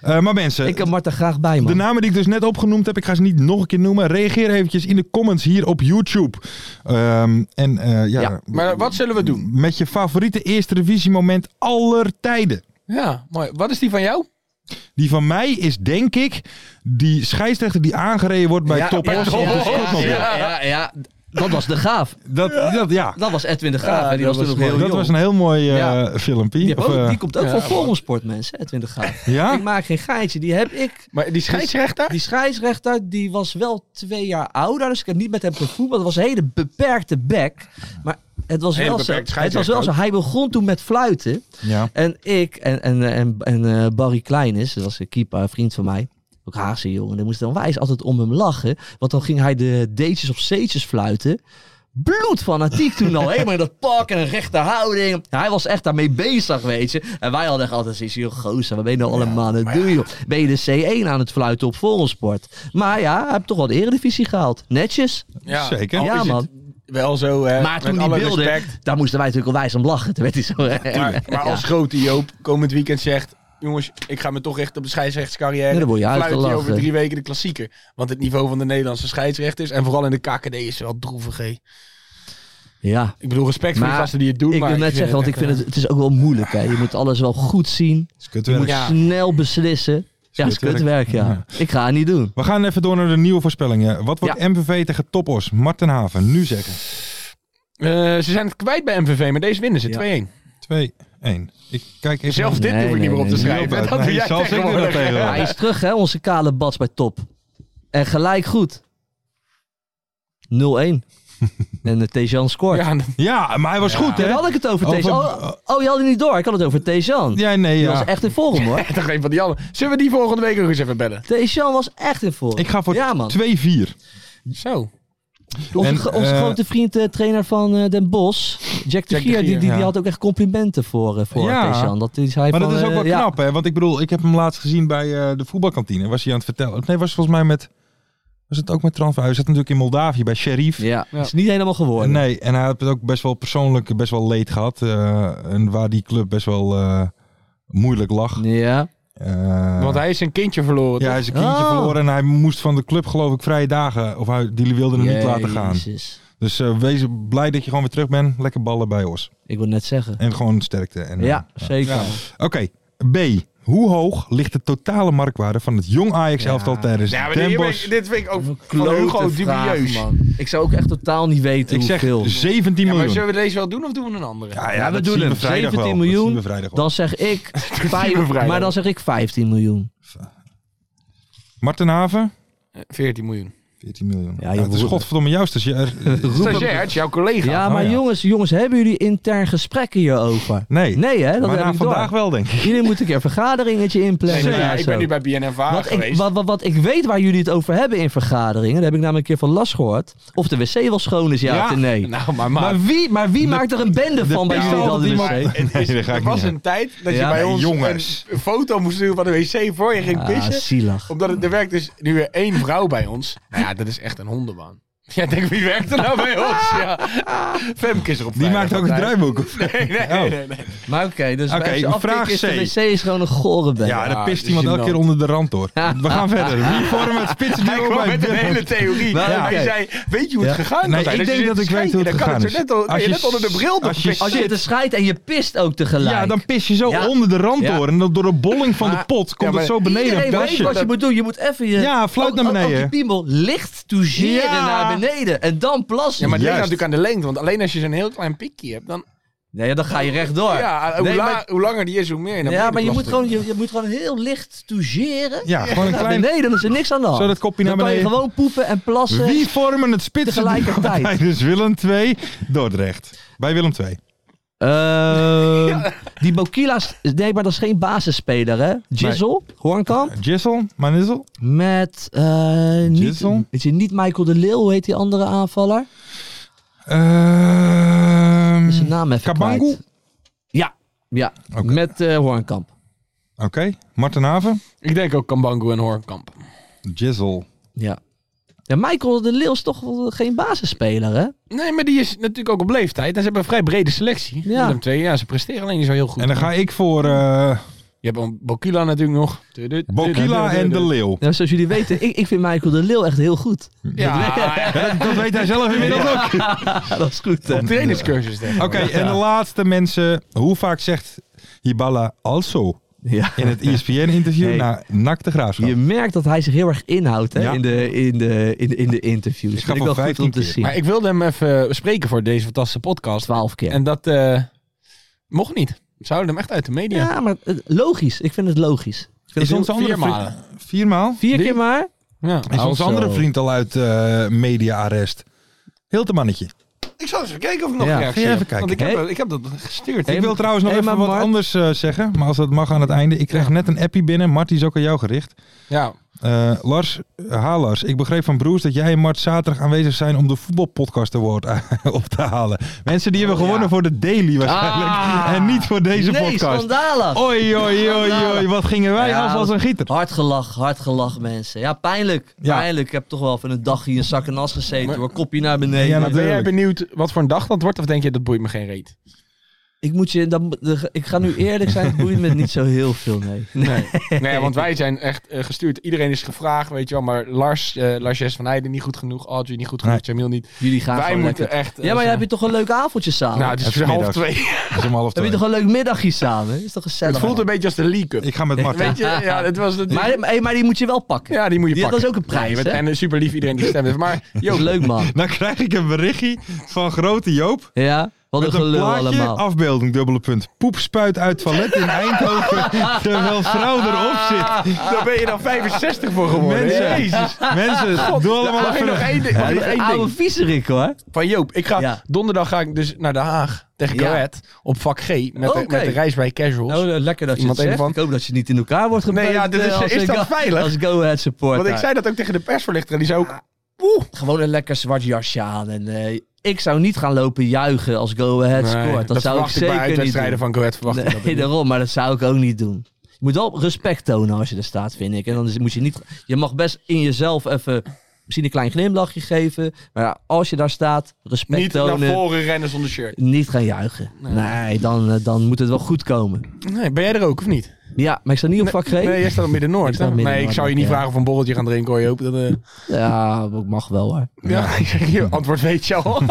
Speaker 3: Eh, maar mensen,
Speaker 4: Ik heb Mart er graag bij,
Speaker 3: de
Speaker 4: man.
Speaker 3: namen die ik dus net opgenoemd heb, ik ga ze niet nog een keer noemen. Reageer eventjes in de comments hier op YouTube. Ehm, en eh, ja,
Speaker 4: Ja.
Speaker 5: Maar wat zullen we doen?
Speaker 3: met je favoriete eerste revisiemoment aller tijden.
Speaker 5: Ja, mooi. Wat is die van jou?
Speaker 3: Die van mij is denk ik die scheidsrechter die aangereden wordt bij Top
Speaker 4: ja,
Speaker 3: Os op de Skotmobile.
Speaker 4: ja, ja, ja. Dat was de gaaf.
Speaker 3: Dat, dat, ja.
Speaker 4: Dat was Edwin de Graaf.
Speaker 5: Ja,
Speaker 4: hè. die was
Speaker 5: dat
Speaker 4: toen nog
Speaker 5: was
Speaker 4: heel
Speaker 3: dat
Speaker 4: jong.
Speaker 3: was een heel mooi eh,
Speaker 4: Ja.
Speaker 3: filmpje.
Speaker 4: die,
Speaker 3: Of,
Speaker 4: ook-
Speaker 3: eh,
Speaker 4: die komt ook
Speaker 5: ja,
Speaker 4: van
Speaker 5: maar-
Speaker 4: Forum mensen, Edwin de Graaf.
Speaker 3: ja?
Speaker 4: Ik maak geen geintje. Die heb ik
Speaker 5: Maar die scheidsrechter?
Speaker 4: Die scheidsrechter die was wel twee jaar ouder, dus ik heb niet met hem gevoetbald. Het was een hele beperkte bek. Maar het was,
Speaker 5: Hele
Speaker 4: wel zo,
Speaker 5: beperkt
Speaker 4: het was wel zo.
Speaker 5: scheidsrechter
Speaker 4: Hij begon toen met fluiten.
Speaker 3: ja.
Speaker 4: En ik en, en, en, en eh, Barry Kleinis, dat was een keeper, een vriend van mij. Ook Haagse jongen. Dan moest dan wijs altijd om hem lachen. Want dan ging hij de D'tjes of C'tjes fluiten. Bloedfanatiek toen al. Helemaal in dat pak en een rechte houding. Hij was echt daarmee bezig, weet je. En wij hadden echt altijd zoiets. Joh, gozer, wat ben je nou allemaal aan het doen, joh? Ben je de C1 aan het fluiten op Volgensport? Maar ja, hij heeft toch wel de eredivisie gehaald. Netjes.
Speaker 5: Ja,
Speaker 3: Zeker.
Speaker 5: al
Speaker 4: Ja,
Speaker 5: is het
Speaker 4: man.
Speaker 5: Wel zo, eh,
Speaker 4: Maar toen
Speaker 5: met
Speaker 4: die
Speaker 5: alle
Speaker 4: beelden,
Speaker 5: respect.
Speaker 4: daar moesten wij natuurlijk al wijs om lachen. Toen werd hij zo...
Speaker 5: Maar, maar als grote Joop komend weekend zegt... Jongens, ik ga me toch richten op de scheidsrechtscarrière.
Speaker 4: Ja, dan word je
Speaker 5: Fluit je over
Speaker 4: uitgelachen.
Speaker 5: drie weken de klassieker. Want het niveau van de Nederlandse scheidsrechters... en vooral in de KKD is wel droevig, hè.
Speaker 4: ja.
Speaker 5: Ik bedoel, respect voor
Speaker 4: Maar
Speaker 5: die gasten die het eh, doen.
Speaker 4: ik
Speaker 5: maar
Speaker 4: wil net zeggen, want ik vind het, het is ook wel moeilijk. Hè. Je moet alles wel goed zien.
Speaker 3: is
Speaker 4: Je
Speaker 3: kutwerk.
Speaker 4: moet
Speaker 5: Ja.
Speaker 4: snel beslissen. Ja, het is
Speaker 3: kutwerk.
Speaker 4: kutwerk, ja. Ik ga het niet doen.
Speaker 3: We gaan even door naar de nieuwe voorspellingen. Wat wordt
Speaker 4: Ja.
Speaker 3: MVV tegen Topos? Marten Haven, nu zeggen.
Speaker 5: Eh, ze zijn het kwijt bij MVV, maar deze winnen ze
Speaker 4: Ja.
Speaker 5: 2-1.
Speaker 3: 2-1. Ik kijk even...
Speaker 5: Zelf dit
Speaker 4: Nee,
Speaker 5: hoef
Speaker 4: nee,
Speaker 5: ik niet meer op
Speaker 4: nee,
Speaker 5: te
Speaker 4: nee.
Speaker 5: schrijven. dat doe
Speaker 3: Nee,
Speaker 5: jij
Speaker 3: zelfs ik doe dat
Speaker 5: tegenwoordig.
Speaker 3: tegenwoordig.
Speaker 4: Hij is terug, hè, onze kale bats bij top. En gelijk goed. 0-1. en de Tejan scoort.
Speaker 5: Ja, dat-
Speaker 3: Ja, maar hij was goed, hè?
Speaker 4: Daar had ik het over
Speaker 3: Over-
Speaker 4: Tejan. Oh, oh, je had het niet door. Ik had het over Tejan.
Speaker 3: Ja, nee,
Speaker 4: Die was
Speaker 3: ja.
Speaker 4: echt in vorm, hoor.
Speaker 5: ik dacht even van die anderen. Zullen we die volgende week nog eens even bellen?
Speaker 4: Tejan was echt in vorm.
Speaker 3: Ik ga voor
Speaker 4: Ja, man.
Speaker 3: 2-4.
Speaker 5: Zo.
Speaker 4: Onze,
Speaker 3: En,
Speaker 4: gro- onze
Speaker 3: eh,
Speaker 4: grote vriend, eh, trainer van eh, Den Bos, Jack de
Speaker 5: de
Speaker 4: Gier, die, die,
Speaker 5: Gier,
Speaker 4: die
Speaker 3: ja.
Speaker 4: had ook echt complimenten voor, eh, voor
Speaker 3: Ja.
Speaker 4: Tejan. Dat hij zei
Speaker 3: Maar
Speaker 4: van,
Speaker 3: dat is ook
Speaker 4: eh,
Speaker 3: wel
Speaker 4: ja.
Speaker 3: knap, hè? Want ik bedoel, ik heb hem laatst gezien bij eh, de voetbalkantine. Was hij aan het vertellen? Oh, Nee, was volgens mij met... Was het ook met transfer? Hij zat natuurlijk in Moldavië bij Sheriff.
Speaker 4: Ja, het is niet helemaal geworden.
Speaker 3: Nee, en hij had het ook best wel persoonlijk best wel leed gehad. eh, en waar die club best wel eh, moeilijk lag.
Speaker 4: Ja.
Speaker 3: Eh,
Speaker 5: Want hij is een kindje verloren.
Speaker 3: Ja,
Speaker 5: toch?
Speaker 3: hij is een kindje
Speaker 4: Oh.
Speaker 3: verloren en hij moest van de club geloof ik vrije dagen. Of hij, die wilden hem niet laten gaan.
Speaker 4: Jezus.
Speaker 3: Dus eh, wees blij dat je gewoon weer terug bent. Lekker ballen bij ons.
Speaker 4: Ik wil net zeggen.
Speaker 3: En gewoon sterkte. En, eh,
Speaker 4: Ja, zeker.
Speaker 3: Oké, B. Hoe hoog ligt de totale marktwaarde van het jong Ajax-elftal tijdens
Speaker 5: Ja, maar dit,
Speaker 3: Den
Speaker 5: dit
Speaker 3: Bosch?
Speaker 5: vind ik- dit vind ik ook
Speaker 4: Een
Speaker 5: van
Speaker 4: klote
Speaker 5: Hugo
Speaker 4: vraag,
Speaker 5: dubieus.
Speaker 4: man. Ik zou ook echt totaal niet weten
Speaker 3: Ik zeg Dus-
Speaker 4: hoeveel.
Speaker 3: 17
Speaker 5: Ja, maar
Speaker 3: miljoen.
Speaker 5: zullen we deze wel doen of doen we een andere?
Speaker 3: Ja,
Speaker 4: Ja, we
Speaker 3: dat
Speaker 4: doen
Speaker 3: zien
Speaker 4: hem.
Speaker 3: vrijdag wel.
Speaker 4: 17
Speaker 3: Dat
Speaker 4: miljoen.
Speaker 3: zien we vrijdag wel.
Speaker 4: Dan zeg ik... vijf-
Speaker 5: we vrijdag.
Speaker 4: maar dan zeg ik 15 miljoen.
Speaker 3: Marten Haven?
Speaker 5: Eh, 14 miljoen.
Speaker 3: 14 miljoen.
Speaker 4: Ja,
Speaker 3: Ja,
Speaker 4: je
Speaker 3: het is
Speaker 4: hoort-
Speaker 3: godverdomme jouw stagiair.
Speaker 5: Stagiair, het is jouw collega.
Speaker 4: Ja,
Speaker 3: oh
Speaker 4: maar
Speaker 3: ja.
Speaker 4: jongens, jongens, hebben jullie intern gesprekken hierover?
Speaker 3: Nee,
Speaker 4: Nee, hè? Dat
Speaker 3: maar
Speaker 4: heb
Speaker 3: na
Speaker 4: ik
Speaker 3: vandaag
Speaker 4: door.
Speaker 3: wel denk ik.
Speaker 4: Jullie moeten een keer een vergaderingetje
Speaker 5: Nee,
Speaker 4: inplannen.
Speaker 5: maar ja,
Speaker 4: of
Speaker 5: ik
Speaker 4: zo.
Speaker 5: ben nu bij BNNVA
Speaker 4: Wat ik,
Speaker 5: geweest.
Speaker 4: wat, wat, wat ik weet waar jullie het over hebben in vergaderingen, daar heb ik namelijk een keer van Las gehoord. Of de wc wel schoon is, ja, of nee.
Speaker 5: Nou, maar, maar,
Speaker 4: maar wie, maar wie maakt er een bende van bij jullie
Speaker 3: pistool
Speaker 4: dan de
Speaker 3: die
Speaker 4: wc?
Speaker 3: maar-
Speaker 5: het is-
Speaker 3: Nee, dat ga ik
Speaker 5: er
Speaker 3: niet
Speaker 5: was
Speaker 3: doen.
Speaker 5: een tijd dat
Speaker 4: Ja.
Speaker 5: je bij
Speaker 3: Nee,
Speaker 5: ons
Speaker 3: jongens.
Speaker 5: een foto moest doen van de wc voor je ging
Speaker 4: Ah,
Speaker 5: pissen.
Speaker 4: zielig.
Speaker 5: Omdat het, er werkt dus nu weer één vrouw bij ons. Nou ja, dat is echt een hondenbaan. Ja, ik denk, wie werkt er nou bij ons? Ja. Femke is erop.
Speaker 3: Die maakt ook een draaiboek. of-
Speaker 5: Nee, nee,
Speaker 3: Oh.
Speaker 5: nee, nee.
Speaker 4: Maar oké, dus
Speaker 3: Oké,
Speaker 4: bij zo'n
Speaker 3: vraag
Speaker 4: afkik is de
Speaker 3: C.
Speaker 4: wc is gewoon een gore bende.
Speaker 3: Ja, daar
Speaker 5: Ja,
Speaker 3: pist
Speaker 5: dus
Speaker 3: iemand elke
Speaker 5: gênant.
Speaker 3: keer onder de rand door. We gaan verder. Wie vormen het
Speaker 5: Hij
Speaker 3: spitsduo
Speaker 5: kwam
Speaker 3: bij
Speaker 5: met een
Speaker 3: Den Bosch?
Speaker 5: hele theorie.
Speaker 4: Nou,
Speaker 5: Hij
Speaker 4: oké.
Speaker 5: zei, weet je hoe het
Speaker 3: Ja. Nee,
Speaker 5: gegaan kan zijn?
Speaker 3: ik
Speaker 5: Als je
Speaker 3: denk
Speaker 5: zit
Speaker 3: dat
Speaker 5: te
Speaker 3: ik weet hoe het
Speaker 5: schijten, dan kan
Speaker 3: gegaan
Speaker 5: er
Speaker 3: is.
Speaker 5: net al-
Speaker 3: Als
Speaker 5: je
Speaker 3: je
Speaker 5: net onder de bril
Speaker 3: als
Speaker 5: nog
Speaker 3: je
Speaker 5: pissen.
Speaker 4: Als je te scheidt en je pist ook tegelijk.
Speaker 3: Ja, dan pis je zo
Speaker 4: Ja.
Speaker 3: onder de rand
Speaker 4: Ja.
Speaker 3: door. En dan door de bolling van de
Speaker 5: Maar-
Speaker 3: pot komt
Speaker 5: Ja,
Speaker 3: het
Speaker 5: maar
Speaker 3: zo beneden.
Speaker 4: Iedereen
Speaker 3: een
Speaker 4: weet wat je
Speaker 3: plasje.
Speaker 4: moet doen. Je moet even je...
Speaker 3: Ja, fluit
Speaker 4: ook-
Speaker 3: naar
Speaker 4: ook-
Speaker 3: beneden.
Speaker 4: Ook je piemel licht toucheren
Speaker 3: Ja.
Speaker 4: naar beneden. En dan plassen.
Speaker 5: Ja, maar het ligt
Speaker 3: Juist.
Speaker 5: natuurlijk aan de lengte. Want alleen als je zo'n heel klein pikje hebt, dan...
Speaker 4: Nee, dan ga je
Speaker 3: Oh
Speaker 4: rechtdoor.
Speaker 5: Ja, hoe,
Speaker 4: Nee,
Speaker 5: la-
Speaker 4: maar-
Speaker 5: hoe langer die is, hoe meer.
Speaker 4: ja, maar je moet, gewoon, je, je moet gewoon heel licht toucheren.
Speaker 3: Ja, gewoon een
Speaker 4: Naar
Speaker 3: klein...
Speaker 4: beneden, dan is er niks aan de hand.
Speaker 3: Zo dat kopje
Speaker 4: dan
Speaker 3: naar beneden.
Speaker 4: kan je gewoon poepen en plassen.
Speaker 3: Wie vormen het spitsduo
Speaker 4: Tegelijkertijd.
Speaker 3: tijdens Willem 2 Dordrecht? Bij Willem 2.
Speaker 4: Ehm, Die Bokila, is- nee, maar dat is geen basisspeler, hè? Jizzle, Hoornkamp.
Speaker 3: Jizzle, Manizzle.
Speaker 4: Met, eh, niet,
Speaker 3: Jizzle?
Speaker 4: weet je, niet Michael de Leeuw, hoe heet die andere aanvaller?
Speaker 3: Ehm,
Speaker 4: Zijn naam even
Speaker 3: Kabangu?
Speaker 4: kwijt. Ja, ja. met eh, Hoornkamp.
Speaker 3: Oké, Marten Haven.
Speaker 5: Ik denk ook Kambangu en Hoornkamp.
Speaker 3: Jizzle.
Speaker 4: Ja. Ja, Michael de Leeuw is toch wel geen basisspeler, hè?
Speaker 5: Nee, maar die is natuurlijk ook op leeftijd. En ze hebben een vrij brede selectie.
Speaker 4: Ja.
Speaker 5: Willem II, ja, ze presteren alleen niet zo heel goed.
Speaker 3: En dan ga ik voor eh,
Speaker 5: Je hebt een Bokila natuurlijk nog. Du- du- du- du-
Speaker 3: Bokila
Speaker 5: du-
Speaker 3: en
Speaker 5: du-
Speaker 3: De Leeuw.
Speaker 4: Nou, zoals jullie weten, ik, ik vind Michael de Leeuw echt heel goed.
Speaker 5: Ja,
Speaker 3: Dat, dat weet hij zelf inmiddels ook.
Speaker 4: Ja, dat is goed, hè?
Speaker 5: op trainingscursus denk ik.
Speaker 3: Oké, en de laatste mensen. Hoe vaak zegt Hibala also
Speaker 4: Ja.
Speaker 3: in het E ESPN-interview
Speaker 4: Hey.
Speaker 3: naar Nak de Graafschap?
Speaker 4: Je merkt dat hij zich heel erg inhoudt hè,
Speaker 3: Ja.
Speaker 4: in, de, in, de, in, de, in de interviews.
Speaker 3: ga
Speaker 4: Vind ik
Speaker 3: voor
Speaker 4: wel goed
Speaker 3: 15
Speaker 4: om te
Speaker 3: keer.
Speaker 4: zien.
Speaker 5: Maar ik wilde hem even eh, bespreken voor deze fantastische podcast.
Speaker 4: 12 keer.
Speaker 5: En dat eh, mocht niet. Ze houden hem echt uit de media.
Speaker 4: ja, maar eh, logisch. Ik vind het logisch.
Speaker 5: Is
Speaker 3: Is
Speaker 5: ons
Speaker 3: onze andere
Speaker 5: andere
Speaker 3: vriend, viermaal?
Speaker 4: Vier
Speaker 5: Wie?
Speaker 4: keer maar.
Speaker 5: Ja.
Speaker 3: Is onze andere vriend al uit eh media-arrest? Heel te mannetje.
Speaker 5: Ik zal eens even kijken of ik nog
Speaker 4: Ja,
Speaker 5: een
Speaker 4: ga
Speaker 5: reactie
Speaker 3: je even
Speaker 5: heb.
Speaker 3: kijken.
Speaker 5: Want ik heb,
Speaker 4: Hey.
Speaker 5: ik heb dat gestuurd.
Speaker 4: Hey,
Speaker 3: Ik wil trouwens nog
Speaker 4: hey,
Speaker 3: even
Speaker 4: maar
Speaker 3: wat
Speaker 4: Mart-
Speaker 3: anders eh, zeggen, maar als dat mag aan het einde. Ik kreeg net een appie binnen, Mart die is ook aan jou gericht.
Speaker 5: Ja.
Speaker 3: Eh, Lars, ha Lars, ik begreep van Broers dat jij en Mart zaterdag aanwezig zijn om de voetbalpodcast award eh, op te halen. Mensen die hebben gewonnen voor de Daily waarschijnlijk
Speaker 4: Oh, Ah.
Speaker 3: en niet voor deze
Speaker 4: nee,
Speaker 3: podcast.
Speaker 4: schandalig.
Speaker 3: Oei, oei, oei, oei, wat gingen wij
Speaker 4: Ja, Oh,
Speaker 3: af als een gieter.
Speaker 4: Hard gelach, hard gelach, mensen. Ja mensen. Ja,
Speaker 3: Ja.
Speaker 4: pijnlijk. Ik heb toch wel even een dagje in zak en as gezeten. hoor. kopje naar beneden.
Speaker 3: Ja,
Speaker 5: Maar ben jij
Speaker 3: natuurlijk.
Speaker 5: benieuwd wat voor een dag dat wordt? Of denk je, dat boeit me geen reet?
Speaker 4: ik, moet je, dan, de- ik ga nu eerlijk zijn, het boeit me niet zo heel veel, nee.
Speaker 5: Nee. nee, want wij zijn echt eh, gestuurd. Iedereen is gevraagd, weet je wel. Maar Lars, eh Lars Jes van Heijden niet goed genoeg. Audrey niet goed genoeg.
Speaker 3: Nee.
Speaker 5: Jamil niet.
Speaker 4: Jullie gaan
Speaker 5: wij
Speaker 4: gewoon
Speaker 5: moeten
Speaker 4: lekker.
Speaker 5: echt... eh,
Speaker 4: Ja, maar
Speaker 5: zo-
Speaker 4: heb je toch een leuke avondje samen?
Speaker 5: Nou, het
Speaker 3: Het
Speaker 5: is
Speaker 3: is
Speaker 5: half
Speaker 3: middags.
Speaker 5: twee.
Speaker 3: Het is om half
Speaker 4: heb je
Speaker 3: twee.
Speaker 4: toch een leuk middagje samen? Is toch gezellig?
Speaker 5: Het voelt een beetje als de League Cup.
Speaker 3: Ik ga met Mart.
Speaker 5: Weet je, ja, dat was het.
Speaker 4: Maar, hey, maar die moet je wel pakken.
Speaker 5: ja, die moet je
Speaker 4: Die- dat
Speaker 5: pakken.
Speaker 4: is ook een prijs,
Speaker 5: Nee,
Speaker 4: hè?
Speaker 5: En super lief iedereen die gestemd heeft. Maar
Speaker 4: Dat
Speaker 5: joh,
Speaker 4: is leuk, man.
Speaker 3: Dan krijg ik een berichtje van grote Joop.
Speaker 4: Ja, wat een
Speaker 3: Met een
Speaker 4: gelul
Speaker 3: plaatje,
Speaker 4: allemaal.
Speaker 5: oh,
Speaker 3: afbeelding, dubbele punt. Poep spuit uit toilet in Eindhoven, terwijl vrouw erop zit.
Speaker 5: daar ben je dan 65 voor geworden.
Speaker 3: Mensen.
Speaker 5: Jezus.
Speaker 3: Mensen, doe allemaal
Speaker 5: Mag ik
Speaker 3: even...
Speaker 5: nog één ding? Mag ik nog één
Speaker 4: Oude
Speaker 5: ding?
Speaker 4: viezerik, hoor.
Speaker 5: Van Joop, ik ga,
Speaker 4: Ja.
Speaker 5: donderdag ga ik dus naar Den Haag tegen
Speaker 4: Ja.
Speaker 5: Coët op vak G met, de,
Speaker 4: Oké.
Speaker 5: met de reis bij Casuals.
Speaker 4: Nou, eh, lekker dat je
Speaker 5: Iemand
Speaker 4: het
Speaker 5: een
Speaker 4: zegt. Ik
Speaker 5: van-
Speaker 4: hoop dat je niet in elkaar wordt gepleegd.
Speaker 5: Nee, ja, dit is-
Speaker 4: eh, als
Speaker 5: is
Speaker 4: een
Speaker 5: dat
Speaker 4: Go-
Speaker 5: veilig?
Speaker 4: Als Go Ahead supporter.
Speaker 5: Want ik zei dat ook tegen de persvoorlichter en die zei ook... Oeh,
Speaker 4: Gewoon een lekker zwart jasje aan. En, eh, ik zou niet gaan lopen juichen als Go Ahead scoort. Dat, zou ik
Speaker 5: verwacht ik bij
Speaker 4: zeker niet
Speaker 5: uitwedstrijden
Speaker 4: doen.
Speaker 5: van Coët verwacht ik dat
Speaker 4: nee,
Speaker 5: niet.
Speaker 4: daarom, maar dat zou ik ook niet doen. Je moet wel respect tonen als je er staat, vind ik. En dan is- moet je niet. Je mag best in jezelf even misschien een klein glimlachje geven. Maar ja, als je daar staat, respect
Speaker 5: Niet naar
Speaker 4: tonen.
Speaker 5: voren rennen zonder shirt.
Speaker 4: Niet gaan juichen. Nee, dan, eh, dan moet het wel goed komen.
Speaker 5: Nee, ben jij er ook of niet?
Speaker 4: Ja, maar ik sta niet op vak G.
Speaker 5: Nee, jij staat op
Speaker 4: Ik
Speaker 5: Midden-Noord.
Speaker 4: sta op
Speaker 5: hè? Nee, ik
Speaker 4: Midden-Noord,
Speaker 5: zou je niet
Speaker 4: ja.
Speaker 5: vragen of een borreltje gaan drinken hoor, Joop. Dat, eh,
Speaker 4: Ja, ik mag wel hoor.
Speaker 5: ja, ik zeg, je antwoord weet je al.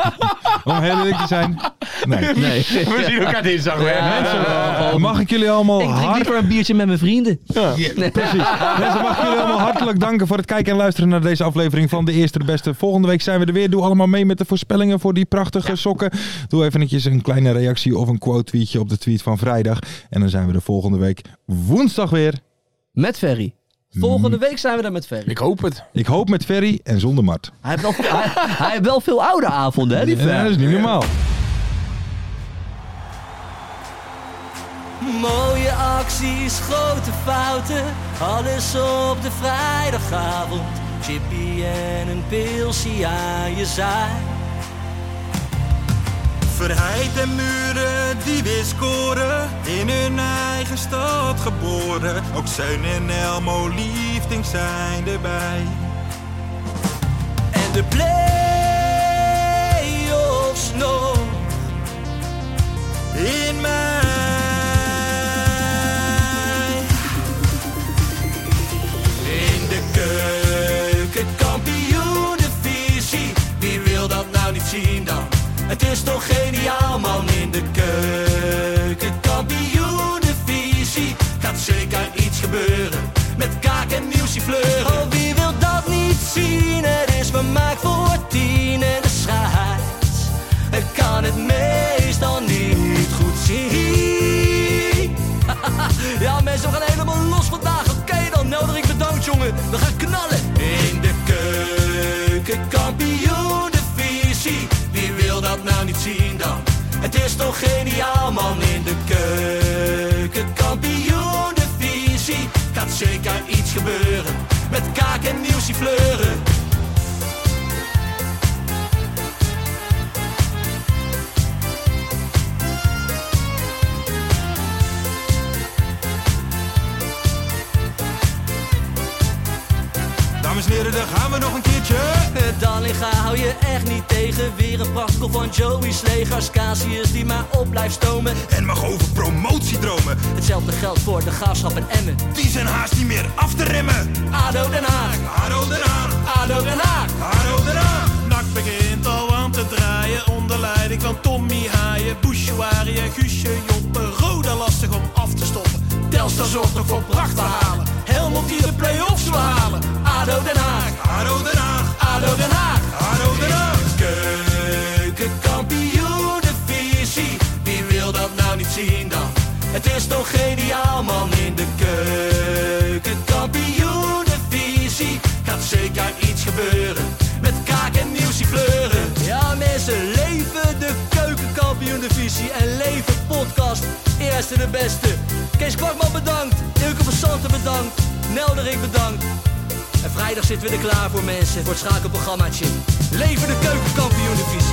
Speaker 3: Om heel eerlijk te zijn. Nee.
Speaker 4: Nee.
Speaker 5: We zien elkaar dinsdag weer.
Speaker 4: Ja,
Speaker 3: Eh, Mag ik jullie allemaal
Speaker 4: ik
Speaker 5: Oh,
Speaker 4: drink
Speaker 3: hart...
Speaker 4: liever een biertje met mijn vrienden. Nee.
Speaker 3: Mensen, mag ik jullie allemaal hartelijk danken voor het kijken en luisteren naar deze aflevering van De Eerste de Beste. Volgende week zijn we er weer. Doe allemaal mee met de voorspellingen voor die prachtige sokken. Doe eventjes een kleine reactie of een quote tweetje op de tweet van vrijdag. En dan zijn we er volgende week woensdag weer.
Speaker 4: Met Ferry. Volgende week zijn we daar met Ferry.
Speaker 5: Ik hoop het.
Speaker 3: Ik hoop met Ferry en zonder Mart.
Speaker 4: Hij heeft, wel, hij, hij heeft wel veel oude avonden, hè, die
Speaker 3: Ja,
Speaker 4: Ferry.
Speaker 3: dat is niet normaal.
Speaker 4: Mooie acties, grote fouten, alles op de vrijdagavond. Chippy en een pilsie aan je zaai.
Speaker 2: Verheid en muren die weer scoren, in hun eigen stad geboren. Ook Zijn en Elmo liefding zijn erbij.
Speaker 4: En de play-offs nog.
Speaker 2: In mij.
Speaker 1: In de keuken, kampioen de visie. Wie wil dat nou niet zien dan? Het is toch geniaal man in de keuken, kampioen de visie. Gaat zeker iets gebeuren met kaak en nieuwsie fleuren. Oh, wie wil dat niet zien? Het is vermaakt voor tien en de scheids. Ik kan het meestal niet goed zien. Ja, mensen, we gaan helemaal los vandaag. Oké dan, Nelderik bedankt, jongen. We gaan knallen. In de keuken, kampioen, de visie. Wie wil dat nou niet zien dan? Het is toch toch geniaal man in de keuken. Kampioen de visie, gaat zeker iets gebeuren. Met kaak en nieuwsie fleuren.
Speaker 2: Dames en heren, daar gaan we nog een keertje.
Speaker 1: Dan liggen hou je echt niet tegen. Weer een prachtkel van Joey's legers. Casius die maar op blijft stomen.
Speaker 2: En mag over promotie dromen.
Speaker 1: Hetzelfde geldt voor de gaafschap en Emmen.
Speaker 2: Die zijn haast niet meer af te remmen.
Speaker 1: ADO Den Haag.
Speaker 2: ADO Den Haag.
Speaker 1: ADO Den Haag.
Speaker 2: ADO Den Haag.
Speaker 10: Nak begint al aan te draaien onder leiding van Tommy Haaien, Bouchoirie, Guusje, Joppe. Roda lastig om af te stoppen. Telstar zorgt nog voor pracht te halen. Helmond die de play-offs wil halen.
Speaker 1: ADO Den Haag.
Speaker 2: ADO Den Haag.
Speaker 1: ADO Den Haag.
Speaker 2: ADO Den Haag.
Speaker 1: Keukenkampioen de visie. Wie wil dat nou niet zien dan? Het is toch geniaal man in de keukenkampioen de visie. Gaat zeker iets gebeuren. Met kaak en nieuwsie fleuren. Ja mensen, leven de keukenkampioen divisie en leven podcast. Eerste de beste. Kees Kwakman bedankt. Ilke van Santen bedankt. Nelderik bedankt. En vrijdag zitten we er klaar voor mensen. Voor het schakelprogrammaatje. Leven de keukenkampioen divisie.